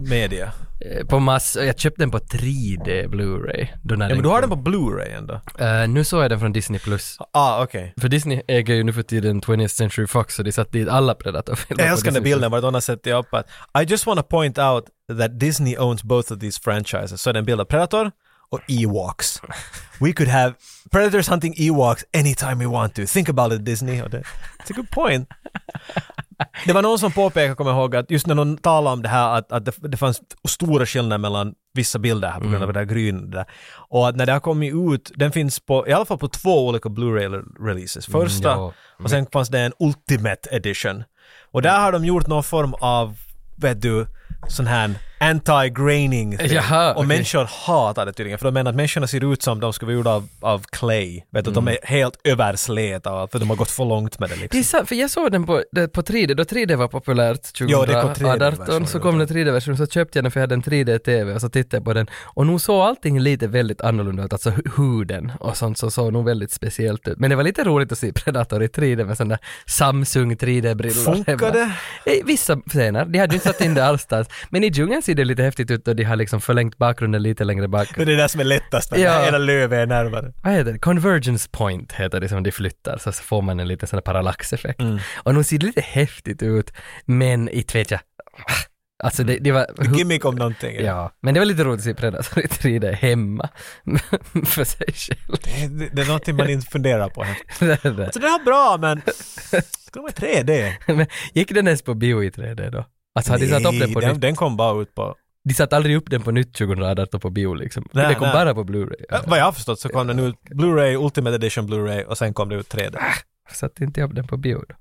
S2: media?
S1: Eh, På mass, och jag köpte den på 3D Blu-ray. Då när
S2: Ja, men du har den
S1: kom.
S2: på Blu-ray ändå?
S1: Eh, nu såg jag den från Disney+. Plus.
S2: Ah, okej.
S1: För Disney äger ju nu för tiden 20th Century Fox så de satt dit alla Predator-filmer.
S2: Jag
S1: på
S2: älskar den
S1: Disney+.
S2: bilden, vartannat sätter jag upp att I just want to point out that Disney owns both of these franchises. Så är det en bild av Predator och Ewoks. We could have Predators hunting Ewoks anytime we want to. Think about it Disney. Och det, it's a good point. Det var någon som påpekade, kommer jag ihåg, att just när någon talade om det här att, att det, det fanns stora skillnader mellan vissa bilder här på grund
S1: Mm.
S2: av det där gryn där. Och att när det har kommit ut, den finns på, i alla fall på två olika Blu-ray-releases. Första
S1: Mm, ja.
S2: och sen fanns det en Ultimate Edition. Och där har de gjort någon form av, vet du, sån här anti-graining thing.
S1: Jaha,
S2: Och
S1: okej.
S2: människor hatar det tydligen, för de menar att människorna ser ut som de skulle vara gjorda av, av clay. Vet du,
S1: Mm.
S2: de är helt översleta och allt, för de har gått för långt med det
S1: Det är
S2: liksom.
S1: sant, för jag såg den på, det- på 3D, då 3D var populärt
S2: Ja, det kom 3D-version,
S1: 2018, så kom den 3D-version, så köpte jag den för jag hade en 3D-TV och så tittade jag på den och nog såg allting lite väldigt annorlunda ut, alltså hu- huden och sånt så såg nog väldigt speciellt ut. Men det var lite roligt att se Predator i 3D med sådana Samsung 3D-brillor.
S2: Funkar det?
S1: I Eh, Vissa scener, de hade ju inte satt in det alls men i djungeln ser det lite häftigt ut och de har liksom förlängt bakgrunden lite längre bak.
S2: Det är det där som är lättast, när
S1: Ja.
S2: hela lövet är närmare.
S1: vad heter det, convergence point heter det som de flyttar, så så får man en liten sån här parallaxeffekt. Och nog ser det lite häftigt ut, men inte vet jag. Alltså det, det var...
S2: Gimmick om någonting.
S1: Ja, men det var lite roligt att se Predator i 3D hemma för sig själv.
S2: Det, det är någonting man inte funderar på.
S1: Det där.
S2: Så det är bra, men ska de vara 3D?
S1: Men Gick den ens på bio i 3D då? Alltså hade de satt upp den på
S2: den,
S1: nytt?
S2: den kom bara ut på...
S1: De satt aldrig upp den på nytt 2018 på bio liksom.
S2: Nej,
S1: det kom
S2: nej.
S1: bara på Blu-ray. Ja.
S2: Äh, Vad jag har förstått så kom den ut Blu-ray, Ultimate Edition Blu-ray och sen kom det ut 3D.
S1: Ah. satte inte jag upp den på bio då.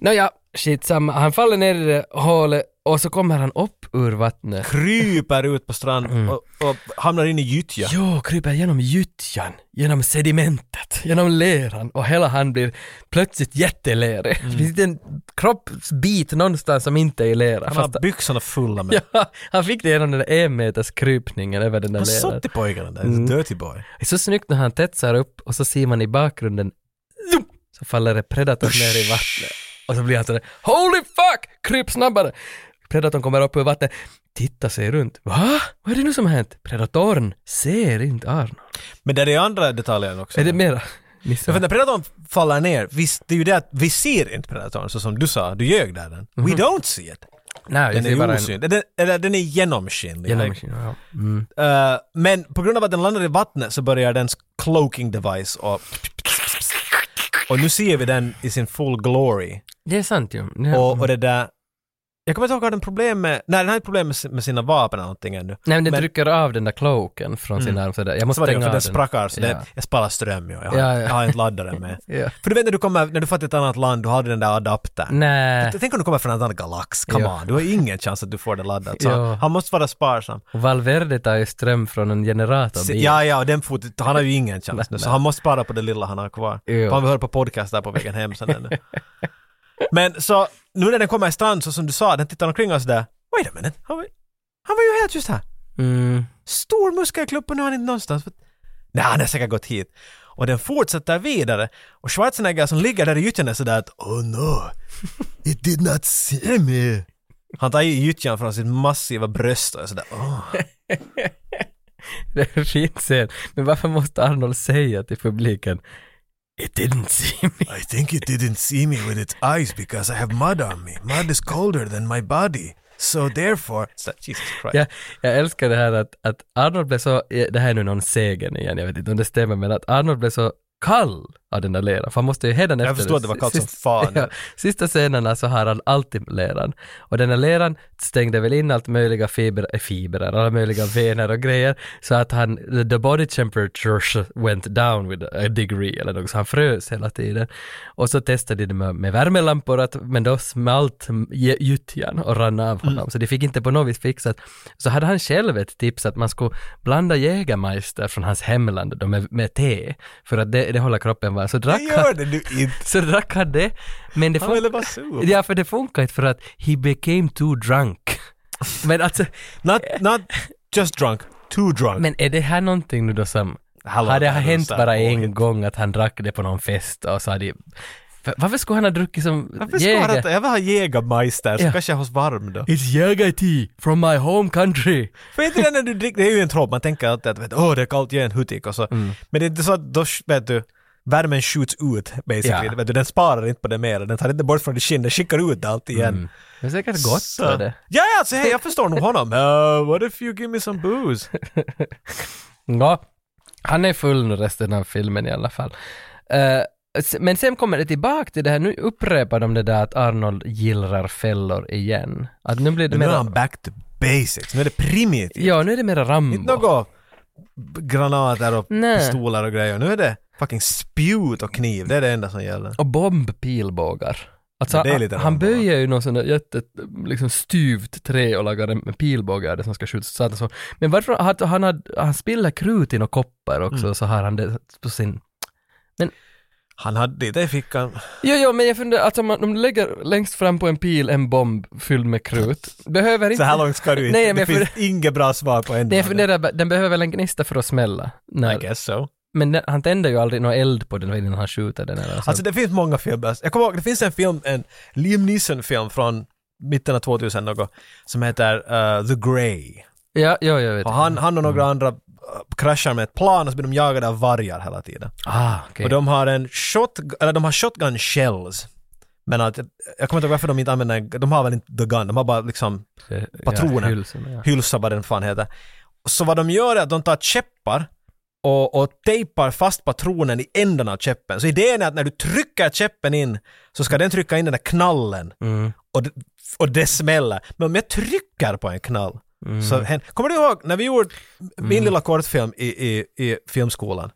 S1: Nåja, skitsamma. Han faller ner i det hålet och så kommer han upp ur vattnet.
S2: Kryper ut på stranden
S1: Mm.
S2: och, och hamnar in i gyttja.
S1: Jo, kryper genom gyttjan, genom sedimentet, genom leran och hela han blir plötsligt jättelerig.
S2: Mm.
S1: Det finns inte en kroppsbit någonstans som inte är lera.
S2: Han
S1: Fast,
S2: har byxorna fulla med...
S1: ja, han fick det genom den där en meters krypningen över den där
S2: Han
S1: leran.
S2: suttit pojken den där,
S1: Mm.
S2: dirty boy.
S1: Det är så snyggt när han tetsar upp och så ser man i bakgrunden zoom, så faller det Predator ner i vattnet. Och så blir han sådär Holy fuck! Kryp snabbare! Predatorn kommer upp ur vattnet. Titta sig runt. Va? Vad är det nu som har hänt? Predatorn ser inte Arnold.
S2: Men där är andra detaljer också.
S1: Är det mera? Missar.
S2: Men för när predatorn faller ner, visst, det är ju det att vi ser inte predatorn så som du sa, du ljög där den.
S1: Mhm.
S2: We don't see it.
S1: Nej, jag
S2: Den är
S1: ser bara
S2: ju
S1: en
S2: osynlig. Den, eller den är genomskinlig.
S1: genomskin. Ja. Mm.
S2: Eh, men på grund av att den landar i vattnet så börjar dens cloaking device och... Och nu ser vi den i sin full glory.
S1: Det är sant ju. Ja.
S2: Och, och det där... Jag kommer inte ihåg, har den problem med... Nej, den har ett problem med si- med sina vapen eller någonting ännu.
S1: Nej, men den
S2: men- Mm.
S1: trycker av den där cloaken från sin arm sådär. Jag
S2: Så
S1: måste
S2: var det,
S1: stänga
S2: ju, för
S1: av
S2: den
S1: den.
S2: sprackar så det,
S1: Ja.
S2: jag sparar ström ju. Jag, har-
S1: Ja, ja.
S2: jag har inte laddaren med.
S1: Ja.
S2: För du vet när du kommer, när du får till ett annat land, du har du den där adaptern.
S1: Nej,
S2: Tänk om du kommer från en annan galax, come
S1: Ja.
S2: on. Du har ingen chans att du får det laddat. Så
S1: Ja.
S2: han måste vara sparsam.
S1: och Valverde tar ju ström från en generator.
S2: Se- Ja, ja, och den fotot, han har ju ingen chans nu, så
S1: nej.
S2: han måste spara på det lilla han har kvar.
S1: Ja.
S2: Han hör på podcast där på vägen hem sen ännu. Men så, nu när den kommer i strand, så som du sa, den tittar omkring oss där. Wait a minute, han var, han var ju helt just här.
S1: Mm.
S2: Stor muskelklubb och nu är han inte någonstans. Nej, han har säkert gått hit. Och den fortsätter vidare. Och Schwarzenegger som ligger där i gyttjan är sådär att Oh no, it did not see me. Han tar i gyttjan från sitt massiva bröst och är sådär oh.
S1: Det är en fin scen. Men varför måste Arnold säga till publiken It didn't see me.
S2: I think it didn't see me with its eyes because I have mud on me. Mud is colder than my body. So therefore... Så, Jesus Christ.
S1: Jag, jag älskar det här att, att Arnold blev så, det här är nu någon sägen igen, jag vet inte om det stämmer, men att Arnold blev så kall av den där leran, för han måste ju hädan
S2: Jag förstår att det var kallt som fan.
S1: Ja, sista scenerna så har han alltid leran. Och den här leran stängde väl in allt möjliga fiber, eh, fibrer, alla möjliga vener och grejer, så att han, the body temperature went down with a degree eller något, så han frös hela tiden. Och så testade de med, med värmelampor, att, men då smalt gy- gyttjan och rann av honom,
S2: Mm.
S1: så det fick inte på något vis fixat. Så hade han själv ett tips att man skulle blanda Jägermeister från hans hemland då med, med te, för att det, det håller kroppen varm. Så drack
S2: Jag
S1: han
S2: gör det nu inte.
S1: så drack han det, men det
S2: Han ville
S1: funkar
S2: bara suga.
S1: Ja, för det funkar inte för att he became too drunk. Men alltså,
S2: Not, not just drunk, too drunk.
S1: men är det här någonting nu då som,
S2: Hallå,
S1: hade det
S2: det är
S1: hänt
S2: så här
S1: bara en
S2: påhitt.
S1: gång att han drack det på någon fest och så hade För- varför skulle han ha druckit som
S2: Varför ska han
S1: jäger?
S2: inte... Jag vill ha Jägermeister, så
S1: Ja.
S2: kanske jag har hos varm då.
S1: It's jäger tea from my home country.
S2: För inte det när du dricker, det är ju en tropp, man tänker alltid att vet, åh det är kallt, jag är en hutik och så.
S1: Mm.
S2: Men det är inte så att då, vet du, värmen skjuts ut basically.
S1: Ja.
S2: Vet du, den sparar inte på det mer, den tar inte bort från ditt skinn, den skickar ut allt igen.
S1: Det är säkert gott
S2: Så-
S1: var det.
S2: Ja, ja, alltså, hej, jag förstår nog honom. Uh, what if you give me some booze?
S1: Ja, han är full nu resten av filmen i alla fall. Eh, s- men sen kommer det tillbaka till det här, nu upprepar de det där att Arnold gillrar fällor igen. Att nu blir det
S2: Men nu är han
S1: mera,
S2: back to basics, nu är det primitivt.
S1: ja nu är det mera
S2: Inte
S1: Rambo.
S2: något b- granater och
S1: Nej.
S2: pistoler och grejer, nu är det fucking spjut och kniv, det är det enda som gäller.
S1: Och bombpilbågar. Alltså,
S2: Det är lite
S1: han
S2: random.
S1: böjer ju någon sån där jätte, liksom styvt trä och lagar en pilbåge av det som ska skjutas. Så att så. Men varför, han, han, hade- han spiller krut i några koppar också,
S2: Mm.
S1: så har han det på sin...
S2: Han hade det i fickan.
S1: Jo, jo, men jag funderar, alltså man, om du lägger längst fram på en pil en bomb fylld med krut, behöver
S2: Så
S1: inte...
S2: här långt ska du inte.
S1: Nej, men
S2: det
S1: jag
S2: finns inget bra svar på en.
S1: Nej, jag funderar, bara, den behöver väl en gnista för att smälla?
S2: I
S1: När,
S2: guess so.
S1: men den, han tänder ju aldrig någon eld på den innan han skjuter den eller så.
S2: Alltså det finns många filmer. Jag kommer ihåg, det finns en film, en Liam Neeson-film från mitten av 2000 något, som heter eh, The Grey.
S1: ja, ja, jag vet.
S2: Och han, han och några andra eh, kraschar med ett plan och så blir de jagade av vargar hela tiden.
S1: ah, okej.
S2: Och de har en shot, eller de har shotgun shells. Men att, jag kommer inte ihåg varför de inte använder, de har väl inte the gun, de har bara liksom
S1: Eh, ja,
S2: patroner.
S1: hylsorna, ja.
S2: hylsa vad den fan heter. Så vad de gör är att de tar käppar och, och tejpar fast patronen i änden av käppen. Så idén är att när du trycker käppen in så ska den trycka in den där knallen
S1: Mm.
S2: och, d- och det smäller. Men om jag trycker på en knall
S1: Mm.
S2: så hän- Kommer du ihåg när vi gjorde min lilla kortfilm i, i, i filmskolan?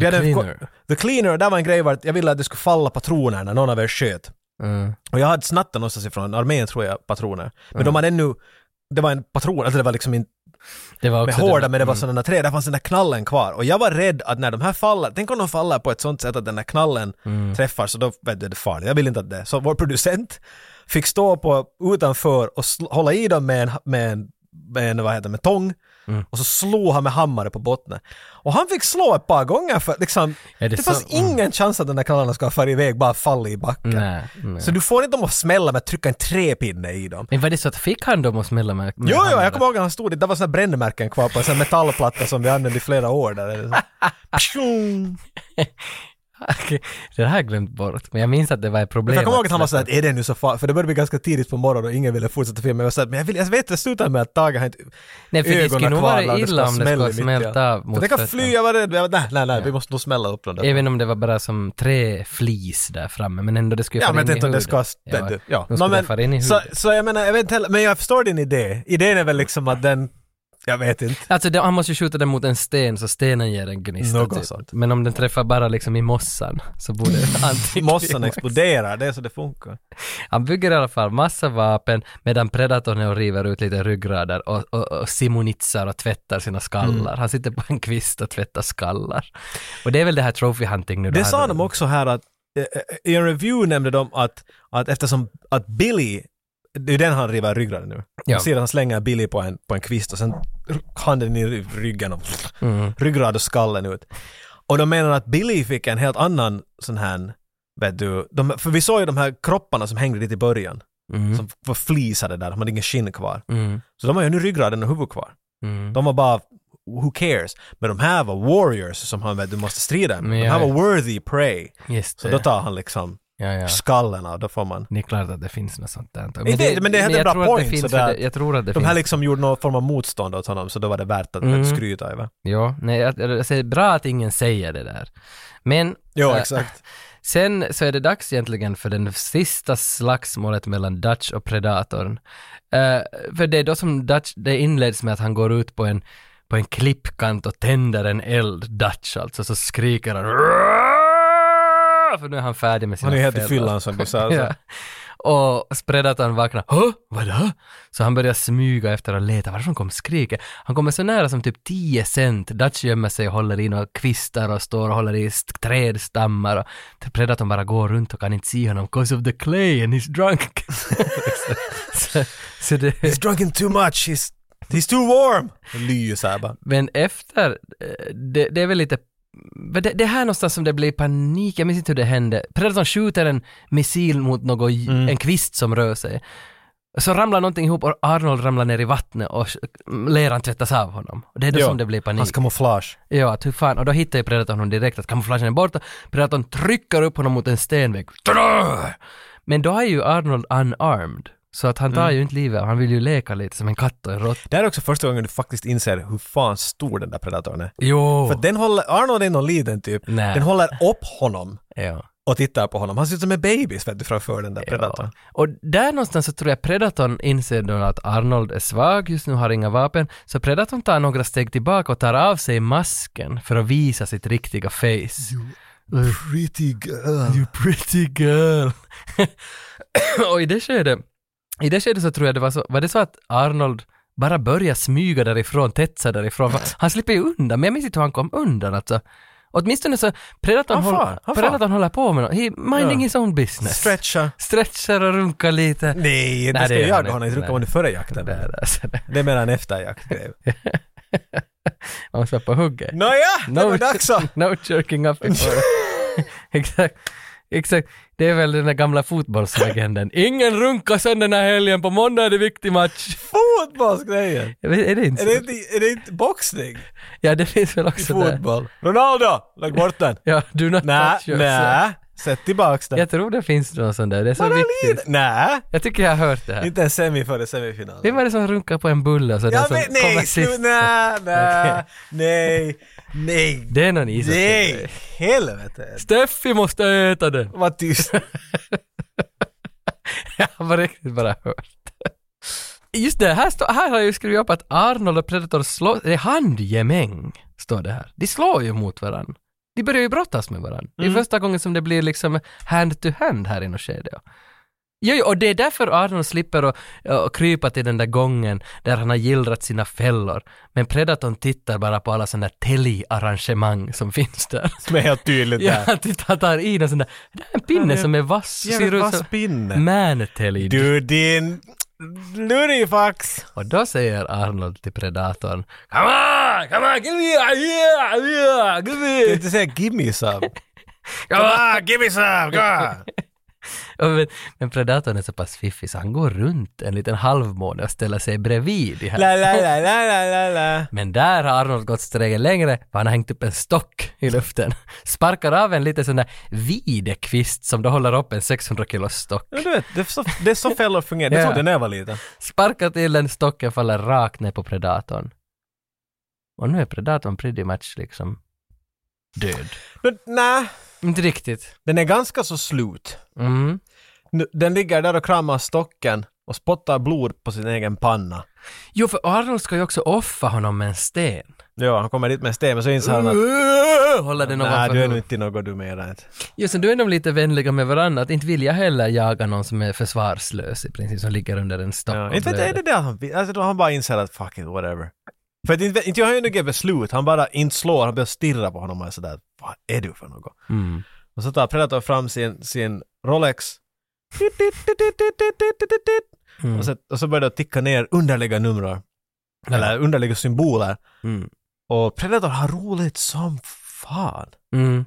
S1: The
S2: hade en ko-
S1: Cleaner.
S2: The Cleaner, där var en grej var att jag ville att det skulle falla patroner när någon av er sköt.
S1: Mm.
S2: Och jag hade snattat någonstans ifrån armén tror jag, patroner. Men de hade ännu, det var en patron, alltså det var liksom inte
S1: Det Mm. var
S2: med
S1: också
S2: hårda, men det var sådana där trä, där fanns den där knallen kvar. Och jag var rädd att när de här faller, tänk om de faller på ett sånt sätt att den där knallen
S1: Mm.
S2: träffar, så då vet du, det är farligt. Jag vill inte att det... Så vår producent fick stå på utanför och sl- hålla i dem med en, med en, med en vad heter det, med tång.
S1: Mm.
S2: Och så slog han med hammare på botten. Och han fick slå ett par gånger för att liksom,
S1: Är
S2: det,
S1: det
S2: fanns
S1: så? Mm.
S2: ingen chans att den där knallen ska fara iväg, bara falla i backen.
S1: Nej, nej.
S2: Så du får inte dem att smälla med att trycka en träpinne i dem.
S1: Men var det så att fick han dem att smälla med? med
S2: Jo, jo,
S1: handen?
S2: jag kommer ihåg att han stod dit, det var såna brännmärken kvar på en sån här metallplatta som vi använde i flera år där. Eller så. Pshung!
S1: Okej, det här har jag glömt bort. Men jag minns att det var ett problem.
S2: Jag kommer ihåg att han var sådär, att är det nu så farligt? För det började bli ganska tidigt på morgonen och ingen ville fortsätta filmen. Jag var sådär, men jag, vill, jag vet det slutar med att Tage har inte
S1: Nej, för det skulle nog vara illa om det skulle ha smält av
S2: mot
S1: mot
S2: Det kan
S1: fötterna.
S2: fly, jag var rädd. Jag var, nej, nej, nej, vi måste nog smälla upp den där.
S1: Även om det var bara som tre flis där framme, men ändå det skulle
S2: Ja,
S1: fara
S2: men jag
S1: in i
S2: tänkte om det
S1: huden.
S2: ska...
S1: Ja,
S2: Ja, ja.
S1: De skulle
S2: men,
S1: fara in i
S2: så,
S1: huden.
S2: så jag menar, jag vet inte heller, men jag förstår din idé. Idén är väl liksom att den, jag vet inte.
S1: Alltså det, han måste ju skjuta den mot en sten så stenen ger en gnista.
S2: Något sånt.
S1: Men om den träffar bara liksom i mossan så borde antingen...
S2: Mossan exploderar, det är så det funkar.
S1: Han bygger i alla fall massa vapen medan predatorn är och river ut lite ryggrader och, och, och simonitsar och tvättar sina skallar.
S2: Mm.
S1: Han sitter på en kvist och tvättar skallar. Och det är väl det här trophy hunting nu. då
S2: Det
S1: här-
S2: sa de också här att eh, i en review nämnde de att, att eftersom att Billy, det är den han river ryggraden nu.
S1: Ja.
S2: Man ser att han slänger Billy på en, på en kvist och sen r- handen i ry- ryggen och
S1: Mm.
S2: ryggrad och skallen ut. Och de menar att Billy fick en helt annan sån här, vet du, de, för vi såg ju de här kropparna som hängde dit i början,
S1: Mm.
S2: som var flisade där, de hade ingen skinn kvar.
S1: Mm.
S2: Så de har ju nu ryggraden och huvud kvar.
S1: Mm.
S2: De var bara Who cares? Men de här var warriors som han vet, du måste strida med.
S1: Men
S2: De här
S1: jag-
S2: var worthy prey.
S1: Just
S2: Så
S1: det.
S2: då tar han liksom
S1: ja, ja.
S2: skallen av, då får man...
S1: Det är klart att det finns något sånt där.
S2: Men det- men det hade
S1: jag
S2: en bra
S1: tror att det
S2: point,
S1: finns
S2: så
S1: för
S2: där
S1: det- Jag tror att det
S2: De här
S1: finns.
S2: liksom gjorde någon form av motstånd åt honom så då var det värt att
S1: Mm.
S2: skryta över.
S1: Ja, nej, jag, jag säger bra att ingen säger det där. Men
S2: Ja,
S1: eh,
S2: exakt.
S1: Sen så är det dags egentligen för den sista slagsmålet mellan Dutch och Predatorn. Eh, för det är då som Dutch, det inleds med att han går ut på en, på en klippkant och tänder en eld, Dutch alltså, så skriker han "Raaah!" för nu är han färdig med sina
S2: Han är ju helt i
S1: fällor.
S2: fyllan som du sa. Så.
S1: Ja. Och Predatorn vaknar. Hå? Vad det? Så han börjar smyga efter och leta. Varifrån kom skriket? Han kommer så nära som typ 10 cent. Dutch gömmer sig och håller i några kvistar och står och håller i st- trädstammar. Och Predatorn bara går runt och kan inte se honom. 'Cause of the clay and he's drunk. så, så, så det...
S2: He's drunken too much, he's, he's too warm! Ly ju såhär bara.
S1: Men efter, eh, det, det är väl lite men det, det här är någonstans som det blir panik, jag minns inte hur det hände. Predatorn skjuter en missil mot något, en kvist som rör sig. Så ramlar någonting ihop och Arnold ramlar ner i vattnet och sk- leran tvättas av honom. Och det är då
S2: Ja.
S1: som det blir panik.
S2: Hans kamouflage.
S1: Ja, att hur fan. Och då hittar ju Predatorn honom direkt, att kamouflagen är borta. Predatorn trycker upp honom mot en stenvägg. Tada! Men då är ju Arnold unarmed. Så att han tar ju inte livet av, han vill ju leka lite som en katt och en råtta.
S2: Det här är också första gången du faktiskt inser hur fan stor den där predatorn är.
S1: Jo!
S2: För den håller, Arnold är någon liten typ.
S1: Nej.
S2: Den håller upp honom
S1: ja.
S2: och tittar på honom. Han ser ut som en babys vet du framför den där predatorn.
S1: Ja. Och där någonstans så tror jag Predatorn inser då att Arnold är svag, just nu har inga vapen, så Predatorn tar några steg tillbaka och tar av sig masken för att visa sitt riktiga face.
S7: Pretty girl.
S1: You pretty girl. och i det skedet, i det skedet så tror jag det var så, var det så att Arnold bara började smyga därifrån, tätsa därifrån. För Han slipper ju undan, men jag minns inte hur han kom undan alltså. Åtminstone så, Predatorn,
S2: Han far,
S1: håller,
S2: han far.
S1: predatorn håller på med något, he minding
S2: Ja.
S1: his own business.
S2: Stretcha.
S1: Stretchar och runkar lite.
S2: Nej, det
S1: Nej,
S2: ska
S1: det
S2: ju
S1: gör
S2: jag
S1: han
S2: gå honom.
S1: inte.
S2: Jag tror det var före jakten.
S1: Där, alltså, där.
S2: Det är mer en efterjaktgrej.
S1: Man måste vara på hugget.
S2: Nåja, Mm. det var dags så.
S1: no jerking up before. Exakt. Exakt. Det är väl den där gamla fotbollslegenden. Ingen runka sönder den här helgen, på måndag är det viktig match.
S2: Fotbollsgrejen!
S1: Jag vet- Är det inte
S2: Är det
S1: så?
S2: inte, är det inte boxning?
S1: Ja, det finns väl också där.
S2: Fotboll. Ronaldo! Lägg bort den!
S1: Ja, do not
S2: Nä,
S1: touch yourself.
S2: nä. Sätt tillbaks den.
S1: Jag tror det finns någon sån där, det är så
S2: Bara
S1: viktigt.
S2: lite. Nä.
S1: Jag tycker jag har hört det här.
S2: Inte en semi före semifinalen.
S1: Vem var det som runkade på en bulle och så den
S2: Jag
S1: som
S2: vet,
S1: kommer
S2: nej,
S1: sist?
S2: slu, nej, nej,
S1: Okej.
S2: nej, nej,
S1: Det är någon ishockey.
S2: nej, helvete.
S1: Steffi måste äta den!
S2: Var tyst.
S1: Jag har bara riktigt bara hört. Just det, här, står- här har jag ju skrivit upp att Arnold och Predator slår, det är handgemäng, står det här. De slår ju mot varandra. De börjar ju brottas med varandra. Det är
S2: Mm.
S1: första gången som det blir liksom hand to hand här i något skede. ja. Jo, jo, och det är därför Arnold slipper att att krypa till den där gången där han har gillrat sina fällor. Men Predatorn tittar bara på alla sådana där telly-arrangemang som finns där.
S2: Som är helt tydligt
S1: Ja,
S2: där.
S1: han tittar, han tar i någon sån där, det här är en pinne
S2: Ja, det-
S1: som är vass.
S2: Jävligt
S1: ser ut
S2: vass
S1: som-
S2: pinne.
S1: Man-telly.
S2: Du din lurifax.
S1: Och då säger Arnold till predatorn Come on, come on, give me, yeah, yeah, give
S2: Du
S1: me,
S2: inte säga gimme some.
S1: come on.
S2: Ah, gimme some, go!
S1: Ja, Men, men predatorn är så pass fiffig så han går runt en liten halvmåne och ställer sig bredvid de här.
S2: La, la, la, la, la, la, la.
S1: Men där har Arnold gått steget längre för han har hängt upp en stock i luften. Sparkar av en liten sån där videkvist som då håller upp en 600 kilos stock.
S2: Ja, du vet, det är så, det är så fällor fungerar. Det
S1: Ja.
S2: trodde jag när jag var liten.
S1: Sparkar till den, stocken faller rakt ner på predatorn. Och nu är predatorn pretty much liksom död.
S2: Men, Nej,
S1: Inte riktigt.
S2: den är ganska så slut.
S1: Mm.
S2: Nu- Den ligger där och kramar stocken och spottar blod på sin egen panna.
S1: Jo, för Arnold ska ju också offa honom med en sten.
S2: Ja, han kommer dit med en sten men så inser han att
S1: Uh, Hålla den
S2: Nej,
S1: ovanför
S2: du är nog
S1: huvudet.
S2: inte något du menar inte.
S1: Jo, sen då är de lite vänliga med varandra. Att inte vill jag heller jaga någon som är försvarslös i princip, som ligger under en stock
S2: Ja,
S1: och
S2: inte vet jag, är
S1: blöder.
S2: det det han vill? Alltså, jag tror han bara inser att fuck it, whatever. För att inte, inte jag har ju något beslut, han bara inte slår, han börjar stirra på honom och är sådär, vad är du för något?
S1: Mm.
S2: Och så tar Predator fram sin, sin Rolex
S1: Mm.
S2: och så, och så börjar det ticka ner underliga numrar, eller underliga symboler.
S1: Mm.
S2: Och Predator har roligt som fan.
S1: Mm.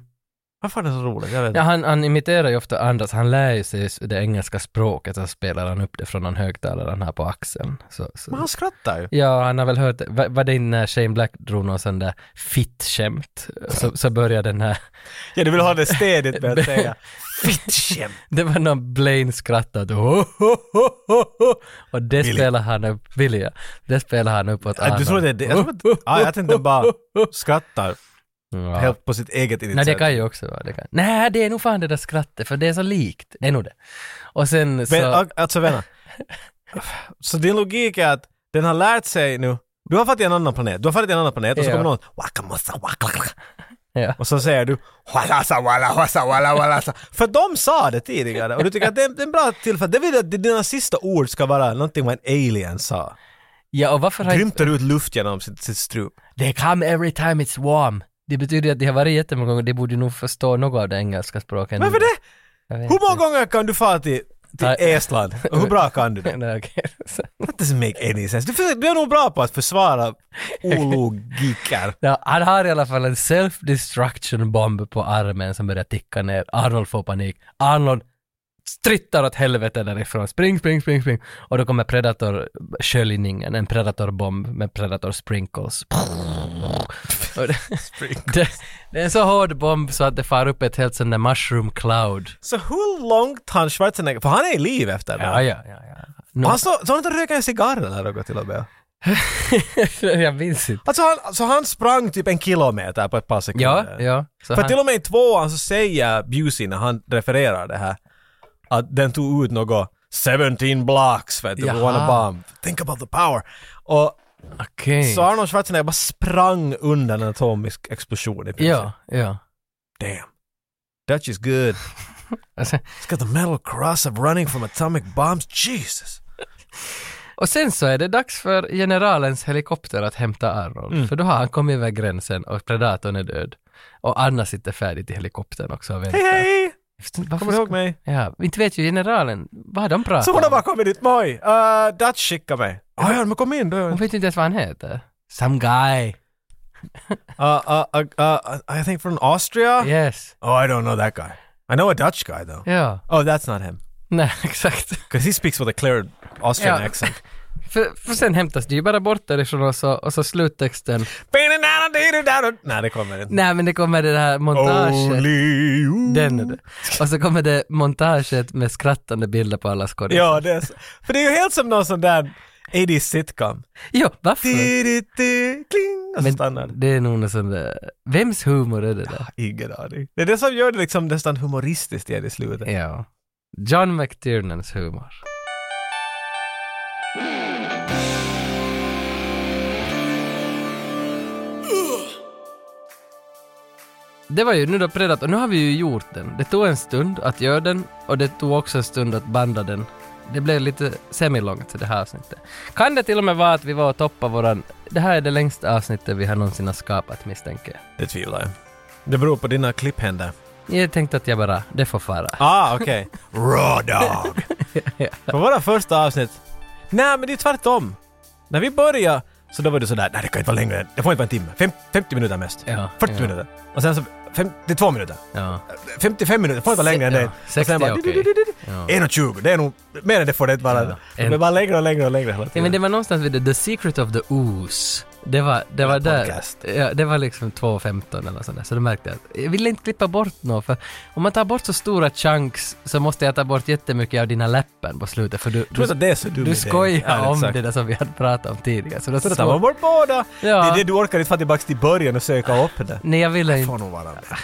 S2: Varför är det så roligt? Jag vet
S1: Ja,
S2: inte.
S1: han, han imiterar ju ofta andras, han lär ju sig det engelska språket, så spelar han upp det från någon högtalare han har på axeln. Så, så.
S2: Men han skrattar ju.
S1: Ja, han har väl hört, var, var det inte när Shane Black drog någon sån där fitt-skämt, så, så börjar den här
S2: Ja, du vill ha det städigt med att säga fittskämt.
S1: Det var någon Blaine skrattade ho, ho, ho, ho, ho. och det
S2: Billy.
S1: spelar han upp, Billy ja. Det spelar han upp åt
S2: Ja, du tror att det är det? Jag tror att, ja, jag tänkte bara skrattar
S1: ja.
S2: helt på sitt eget
S1: Nej det
S2: initiativ.
S1: kan ju också vara det kan. Nej det är nog fan det där skrattet för det är så likt, det är nog det. Och sen så,
S2: Men, och- alltså vänta. Så din logik är att den har lärt sig nu, du har farit till en annan planet, du har farit till en annan planet och så
S1: Ja.
S2: kommer någon "Wakamosa, wakalaka."
S1: ja.
S2: och så säger du "Walasa, wala, wasa, wala, walasa." För de sa det tidigare och du tycker att det är det är en bra tillfälle, det vill jag att dina sista ord ska vara någonting vad en alien sa.
S1: ja och varför har inte-
S2: Grymtar ut luft genom sitt, sitt strup.
S1: They come every time it's warm. Det betyder att de har varit jättemånga gånger, de borde nog förstå något av det engelska språket.
S2: Varför det?
S1: Jag vet
S2: Hur många gånger kan du fara till, till
S1: Nej.
S2: Estland? Och hur bra kan du det?
S1: inte. Nej, okej. Så-
S2: That doesn't make any sense. Du, försöker- du är nog bra på att försvara ologiker.
S1: Ja, han har i alla fall en self-destruction bomb på armen som börjar ticka ner. Arnold får panik. Arnold strittar åt helvete därifrån. Spring, spring, spring, spring. Och då kommer Predator-sköljningen, en Predator-bomb med Predator-sprinkles. Och det, det, det är en så hård bomb så att det far upp ett helt sånt där mushroom cloud.
S2: Så hur långt han Schwarzenegger, för han är i liv efter det.
S1: Ja, ja, ja. ja. Nu,
S2: Han så, så han inte röka en cigarr eller något till och med.
S1: jag minns inte.
S2: Alltså han, så han sprang typ en kilometer på ett par
S1: Ja,
S2: sekunder.
S1: ja. Så
S2: För
S1: han-
S2: till och med i tvåan så säger Busey när han refererar det här att den tog ut något 17 blocks för att
S1: Jaha.
S2: wanna bomb. Think about the power. Och
S1: Okej.
S2: så Arnold Schwarzenegger bara sprang undan en atomisk explosion i princip.
S1: Ja, ja.
S2: Damn. Dutch is good.
S1: Alltså,
S2: It's got the metal cross of running from atomic bombs. Jesus!
S1: Och sen så är det dags för generalens helikopter att hämta Arnold,
S2: Mm.
S1: för då har han kommit över gränsen och predatorn är död. Och Anna sitter färdigt i helikoptern också och väntar.
S2: Hej hej!
S1: Varför
S2: Kommer du
S1: ska-
S2: ihåg mig?
S1: Ja, inte vet ju generalen, vad har de pratat
S2: Så hon har
S1: om?
S2: bara kommit dit, moj! Uh, Dutch skickar mig. Ah, ja, men kom in då.
S1: Hon vet ju inte ens vad han heter. Some guy.
S2: Uh, uh, uh, uh, I think from Austria?
S1: Yes.
S2: Oh, I don't know that guy. I know a Dutch guy though.
S1: Ja.
S2: Oh, that's not him.
S1: Nej, exakt.
S2: Because he speaks with a clear Austrian
S1: Ja.
S2: accent.
S1: För, för sen hämtas det ju bara bort därifrån och så, och så sluttexten.
S2: Nej, det kommer inte.
S1: Nej men det kommer det här montaget.
S2: Only you.
S1: Den är det. Och så kommer det montaget med skrattande bilder på alla skådisar.
S2: Ja, det är så. För det är ju helt som någon sån där 80s sitcom.
S1: Jo, varför?
S2: Di-di-di, Kling! Och så stannar det.
S1: Mm. Men det är nog någon sån där, vems humor är det där?
S2: Ingen aning. Det är det som gör det liksom nästan humoristiskt igen i slutet.
S1: Ja. John McTiernans humor. Det var ju nu då Predator, nu har vi ju gjort den. Det tog en stund att göra den och det tog också en stund att banda den. Det blev lite semilångt det här avsnittet. Kan det till och med vara att vi var och toppade våran... Det här är det längsta avsnittet vi har någonsin har skapat misstänker jag.
S2: Det tvivlar jag. Det beror på dina klipphänder.
S1: Jag tänkte att jag bara, det får fara.
S2: Ah, okej. Raw dog. På våra första avsnitt. Nej, men det är tvärtom. När vi började så då var det sådär, nej det kan inte vara längre, det får inte vara en timme. Fem, 50 minuter mest.
S1: Ja,
S2: 40
S1: ja.
S2: minuter. Och sen så 52 minuter.
S1: Ja.
S2: 55 minuter, det får inte vara längre än
S1: Ja,
S2: det.
S1: 60 är okej. Ja.
S2: 1.20, det är nog, mer än det får det inte vara.
S1: Ja,
S2: Det
S1: en-
S2: blir bara längre och längre och längre hela
S1: Ja, men det
S2: tiden.
S1: var någonstans vid det, The Secret of the Ooze. Det var, det var där.
S2: podcast.
S1: Ja, det var liksom 2.15 eller något sånt där. Så då märkte jag att jag ville inte klippa bort något för om man tar bort så stora chunks så måste jag ta bort jättemycket av dina läppen på slutet för du,
S2: Jag tror inte
S1: du,
S2: att det är så dum
S1: du
S2: idé.
S1: skojar
S2: Ja,
S1: om
S2: exakt.
S1: det där som vi hade pratat om tidigare. Så det är
S2: Så då tar man
S1: svårt.
S2: bort båda.
S1: Ja.
S2: Det är det du orkar inte få tillbaka till början och söka upp det.
S1: Nej, jag ville inte.
S2: Får nog vara det.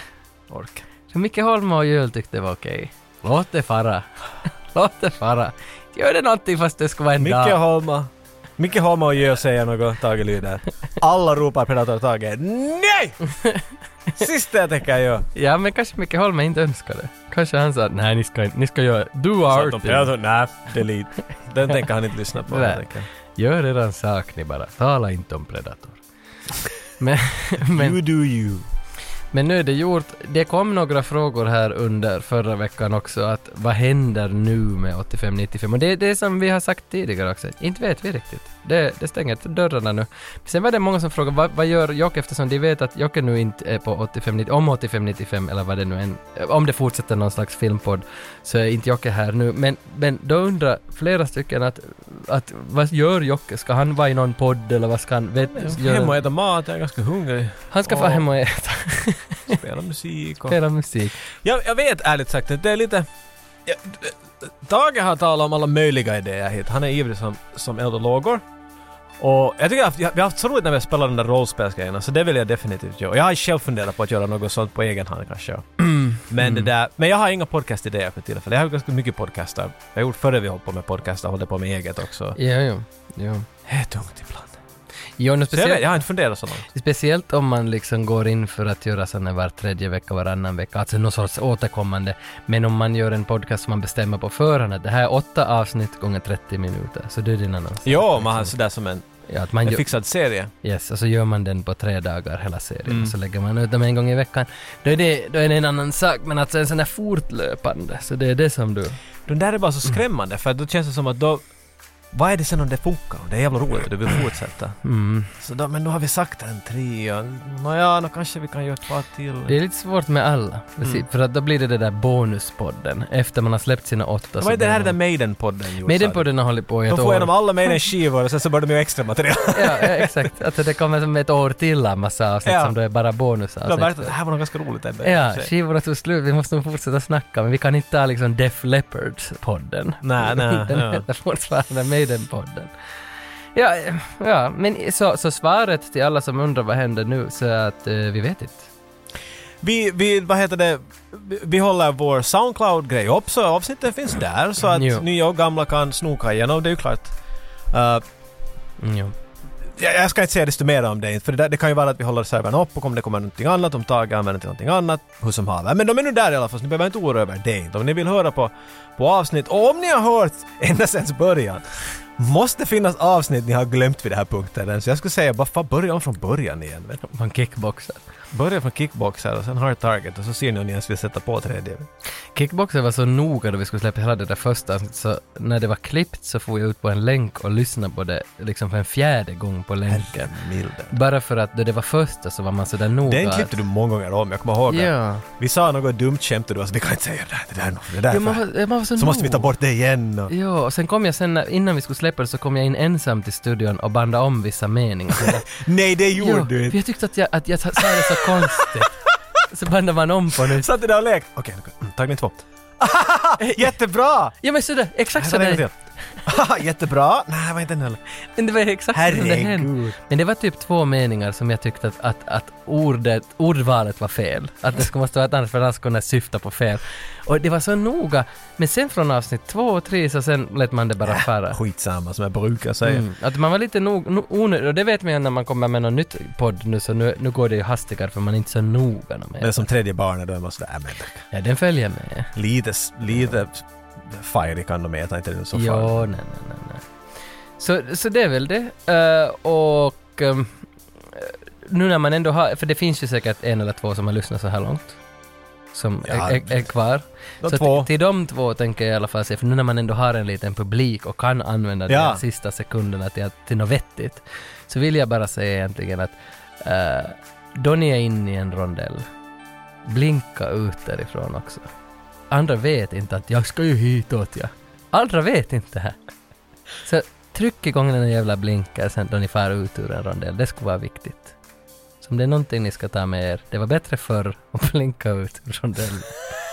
S2: Ork.
S1: Så Micke Holm och Jöl tyckte det var okej. Låt det fara. Låt det fara. Gör det någonting fast det ska vara en
S2: Micke
S1: dag.
S2: Holma. Micke Holma och Geo säger något, Tage lyder. Alla ropar Predator Siis Tage. Nej! Sista jag tänker göra.
S1: Ja, men kanske Micke Holm inte önskade. Kanske han sa att nej, ni ska, inte- ni ska göra, do
S2: Så att
S1: our
S2: de
S1: thing.
S2: Predator, nej, delete. Den tänker han inte lyssna på.
S1: Nej.
S2: jag tänker.
S1: Gör eran sak ni bara, tala inte om Predator. Men, men,
S2: You do you.
S1: men nu är det gjort. Det kom några frågor här under förra veckan också att vad händer nu med 85-95? Och det är det som vi har sagt tidigare också, inte vet vi riktigt. Det, det stänger inte dörrarna nu. Sen var det många som frågade vad, vad gör Jocke eftersom de vet att Jocke nu inte är på 85-95, om 85-95 eller vad det nu än, om det fortsätter någon slags filmpodd så är inte Jocke här nu. Men, men då undrar flera stycken att, att vad gör Jocke? Ska han vara i någon podd eller vad ska han vet,
S2: Hem och
S1: göra?
S2: äta mat, jag är ganska hungrig.
S1: Han ska få hem och äta,
S2: Spela musik och...
S1: spela musik.
S2: Jag, jag vet ärligt sagt att det är lite... Jag, Tage har talat om alla möjliga idéer hit. Han är ivrig som, som eld och lågor. Och jag tycker att vi har- vi har haft så roligt när vi spelar de där rollspelsgrejerna, så det vill jag definitivt göra. Jag har själv funderat på att göra något sånt på egen hand kanske. Men, det där, men jag har inga podcastidéer för tillfället. Jag har ganska mycket podcaster. Jag har gjort före vi höll på med podcaster, håller på med eget också.
S1: Ja, jo. jo.
S2: Det är tungt ibland.
S1: Jo, nu
S2: Så jag, vet,
S1: speciellt,
S2: jag har inte funderat så långt.
S1: speciellt om man liksom går in för att göra sådana var tredje vecka, varannan vecka, alltså någon sorts återkommande. Men om man gör en podcast som man bestämmer på förhand att det här är åtta avsnitt gånger 30 minuter, så det är din annons.
S2: Jo, man har sådär som en,
S1: Ja, att man
S2: en
S1: gör,
S2: fixad serie.
S1: yes, och så gör man den på tre dagar, hela serien,
S2: Mm.
S1: och så lägger man ut dem en gång i veckan. Då är det, då är det en annan sak, men alltså en sån där fortlöpande, så det är det som du...
S2: Den där är bara
S1: Mm.
S2: så skrämmande för då känns det som att då... Vad är det sen om det funkar? Det är jävla roligt och du vill fortsätta.
S1: Mm.
S2: Så då, men nu har vi sagt en trea. Nåja, nu kanske vi kan göra ett par till.
S1: Det är lite svårt med alla, precis,
S2: Mm.
S1: för att då blir det det där bonuspodden, efter man har släppt sina åtta.
S2: Vad är det
S1: blir
S2: här
S1: man-
S2: den Maiden-podden gjorde?
S1: Maidenpodden har hållit på i
S2: sa
S1: ett
S2: du? De får igenom
S1: år.
S2: alla Maiden-skivor och sen så börjar de göra extra material.
S1: Ja, ja, exakt. Alltså det kommer som ett år till av massa avsnitt
S2: Ja.
S1: som då är bara
S2: De har märkt
S1: bonusavsnitt.
S2: att det här var nog ganska roligt ändå.
S1: Ja,
S2: Så-
S1: skivorna tog slut. Vi måste nog fortsätta snacka, men vi kan inte ta liksom Def Leppard-podden.
S2: Nej, nej,
S1: Den
S2: ja.
S1: heter fortfarande Maiden-podden. Ja, ja, men så, så svaret till alla som undrar vad händer nu så är att eh, vi vet inte.
S2: Vi, vi, vad heter det, vi, vi håller vår Soundcloud-grej upp så avsnitten finns där så att
S1: Jo.
S2: nya och gamla kan snoka igenom, det är ju klart. Eh,
S1: Mm, jo.
S2: jag, jag ska inte säga desto mer om det, för det, där- det kan ju vara att vi håller servern upp och om det kommer någonting annat, om Tage använder till någonting annat, hur som haver. Men de är nu där i alla fall, så ni behöver inte oroa över det. Om ni vill höra på, på avsnitt, och om ni har hört ända sedan början, måste finnas avsnitt ni har glömt vid den här punkten än. Så jag skulle säga, bara fan, börja om från början igen. vet du.
S1: Man kickboxar.
S2: Börja från kickboxar och sen hard target och så ser ni om ni ens vill sätta på tredje.
S1: Kickboxer var så noga då vi skulle släppa hela det där första, så när det var klippt så får jag ut på en länk och lyssna på det liksom för en fjärde gång på länken.
S2: Milde.
S1: Bara för att då det var första så var man sådär noga.
S2: Den
S1: att-
S2: klippte du många gånger om, jag kommer ihåg att
S1: Oh, Ja.
S2: Vi sa något dumt skämt och du var så, vi kan inte säga det här, det där är nog- det där är
S1: ja
S2: för-
S1: man, var, man var så
S2: Så måste vi ta
S1: noga.
S2: bort det igen och...
S1: Ja, och sen kom jag sen, när- innan vi skulle släppa det så kom jag in ensam till studion och bandade om vissa meningar. Så där,
S2: Nej, det gjorde
S1: ja,
S2: du
S1: för
S2: inte!
S1: jag tyckte att jag, att jag sa det så konstigt. Så bandar man om på nu.
S2: Satt du där och lekte? Okej, okay, mm, tagning två.
S1: Eh,
S2: Jättebra!
S1: Ja men sådär, exakt
S2: Så det
S1: sådär.
S2: till. Jättebra! Nej, det var inte den heller.
S1: Det var exakt så det hände.
S2: Herregud.
S1: Men det var typ två meningar som jag tyckte att, att, att ordet, ordvalet var fel. Att det skulle måste vara ett annat för annars kunde jag syfta på fel. Och det var så noga. Men sen från avsnitt två och tre så sen lät man det bara fara.
S2: Skitsamma, som jag brukar säga.
S1: Mm. Att man var lite nog, no, onödig, och det vet man ju när man kommer med något nytt podd nu så nu, nu går det ju hastigare för man är inte så noga med
S2: Men
S1: det.
S2: som tredje barnet, då är man sådär, äh, men
S1: Ja, den följer med.
S2: lite, lite fire kan de äta, inte den så farlig.
S1: Ja, nej, nej, nej, nej. Så, så det är väl det. Eh, och ehm, nu när man ändå har, för det finns ju säkert en eller två som har lyssnat så här långt. Som
S2: Ja,
S1: är, är, är kvar.
S2: De
S1: så
S2: två.
S1: till- till de två tänker jag i alla fall säga, för nu när man ändå har en liten publik och kan använda
S2: Ja.
S1: de sista sekunderna till, att- till något vettigt, så vill jag bara säga egentligen att eh, då ni är inne i en rondell, blinka ut därifrån också. Andra vet inte att jag ska ju hitåt ja. Andra vet inte här. Så tryck igång den där jävla blinkar sen då ni far ut ur en rondell. Det skulle vara viktigt. Så om det är någonting ni ska ta med er, det var bättre förr att blinka ut ur rondellen.
S6: Oh,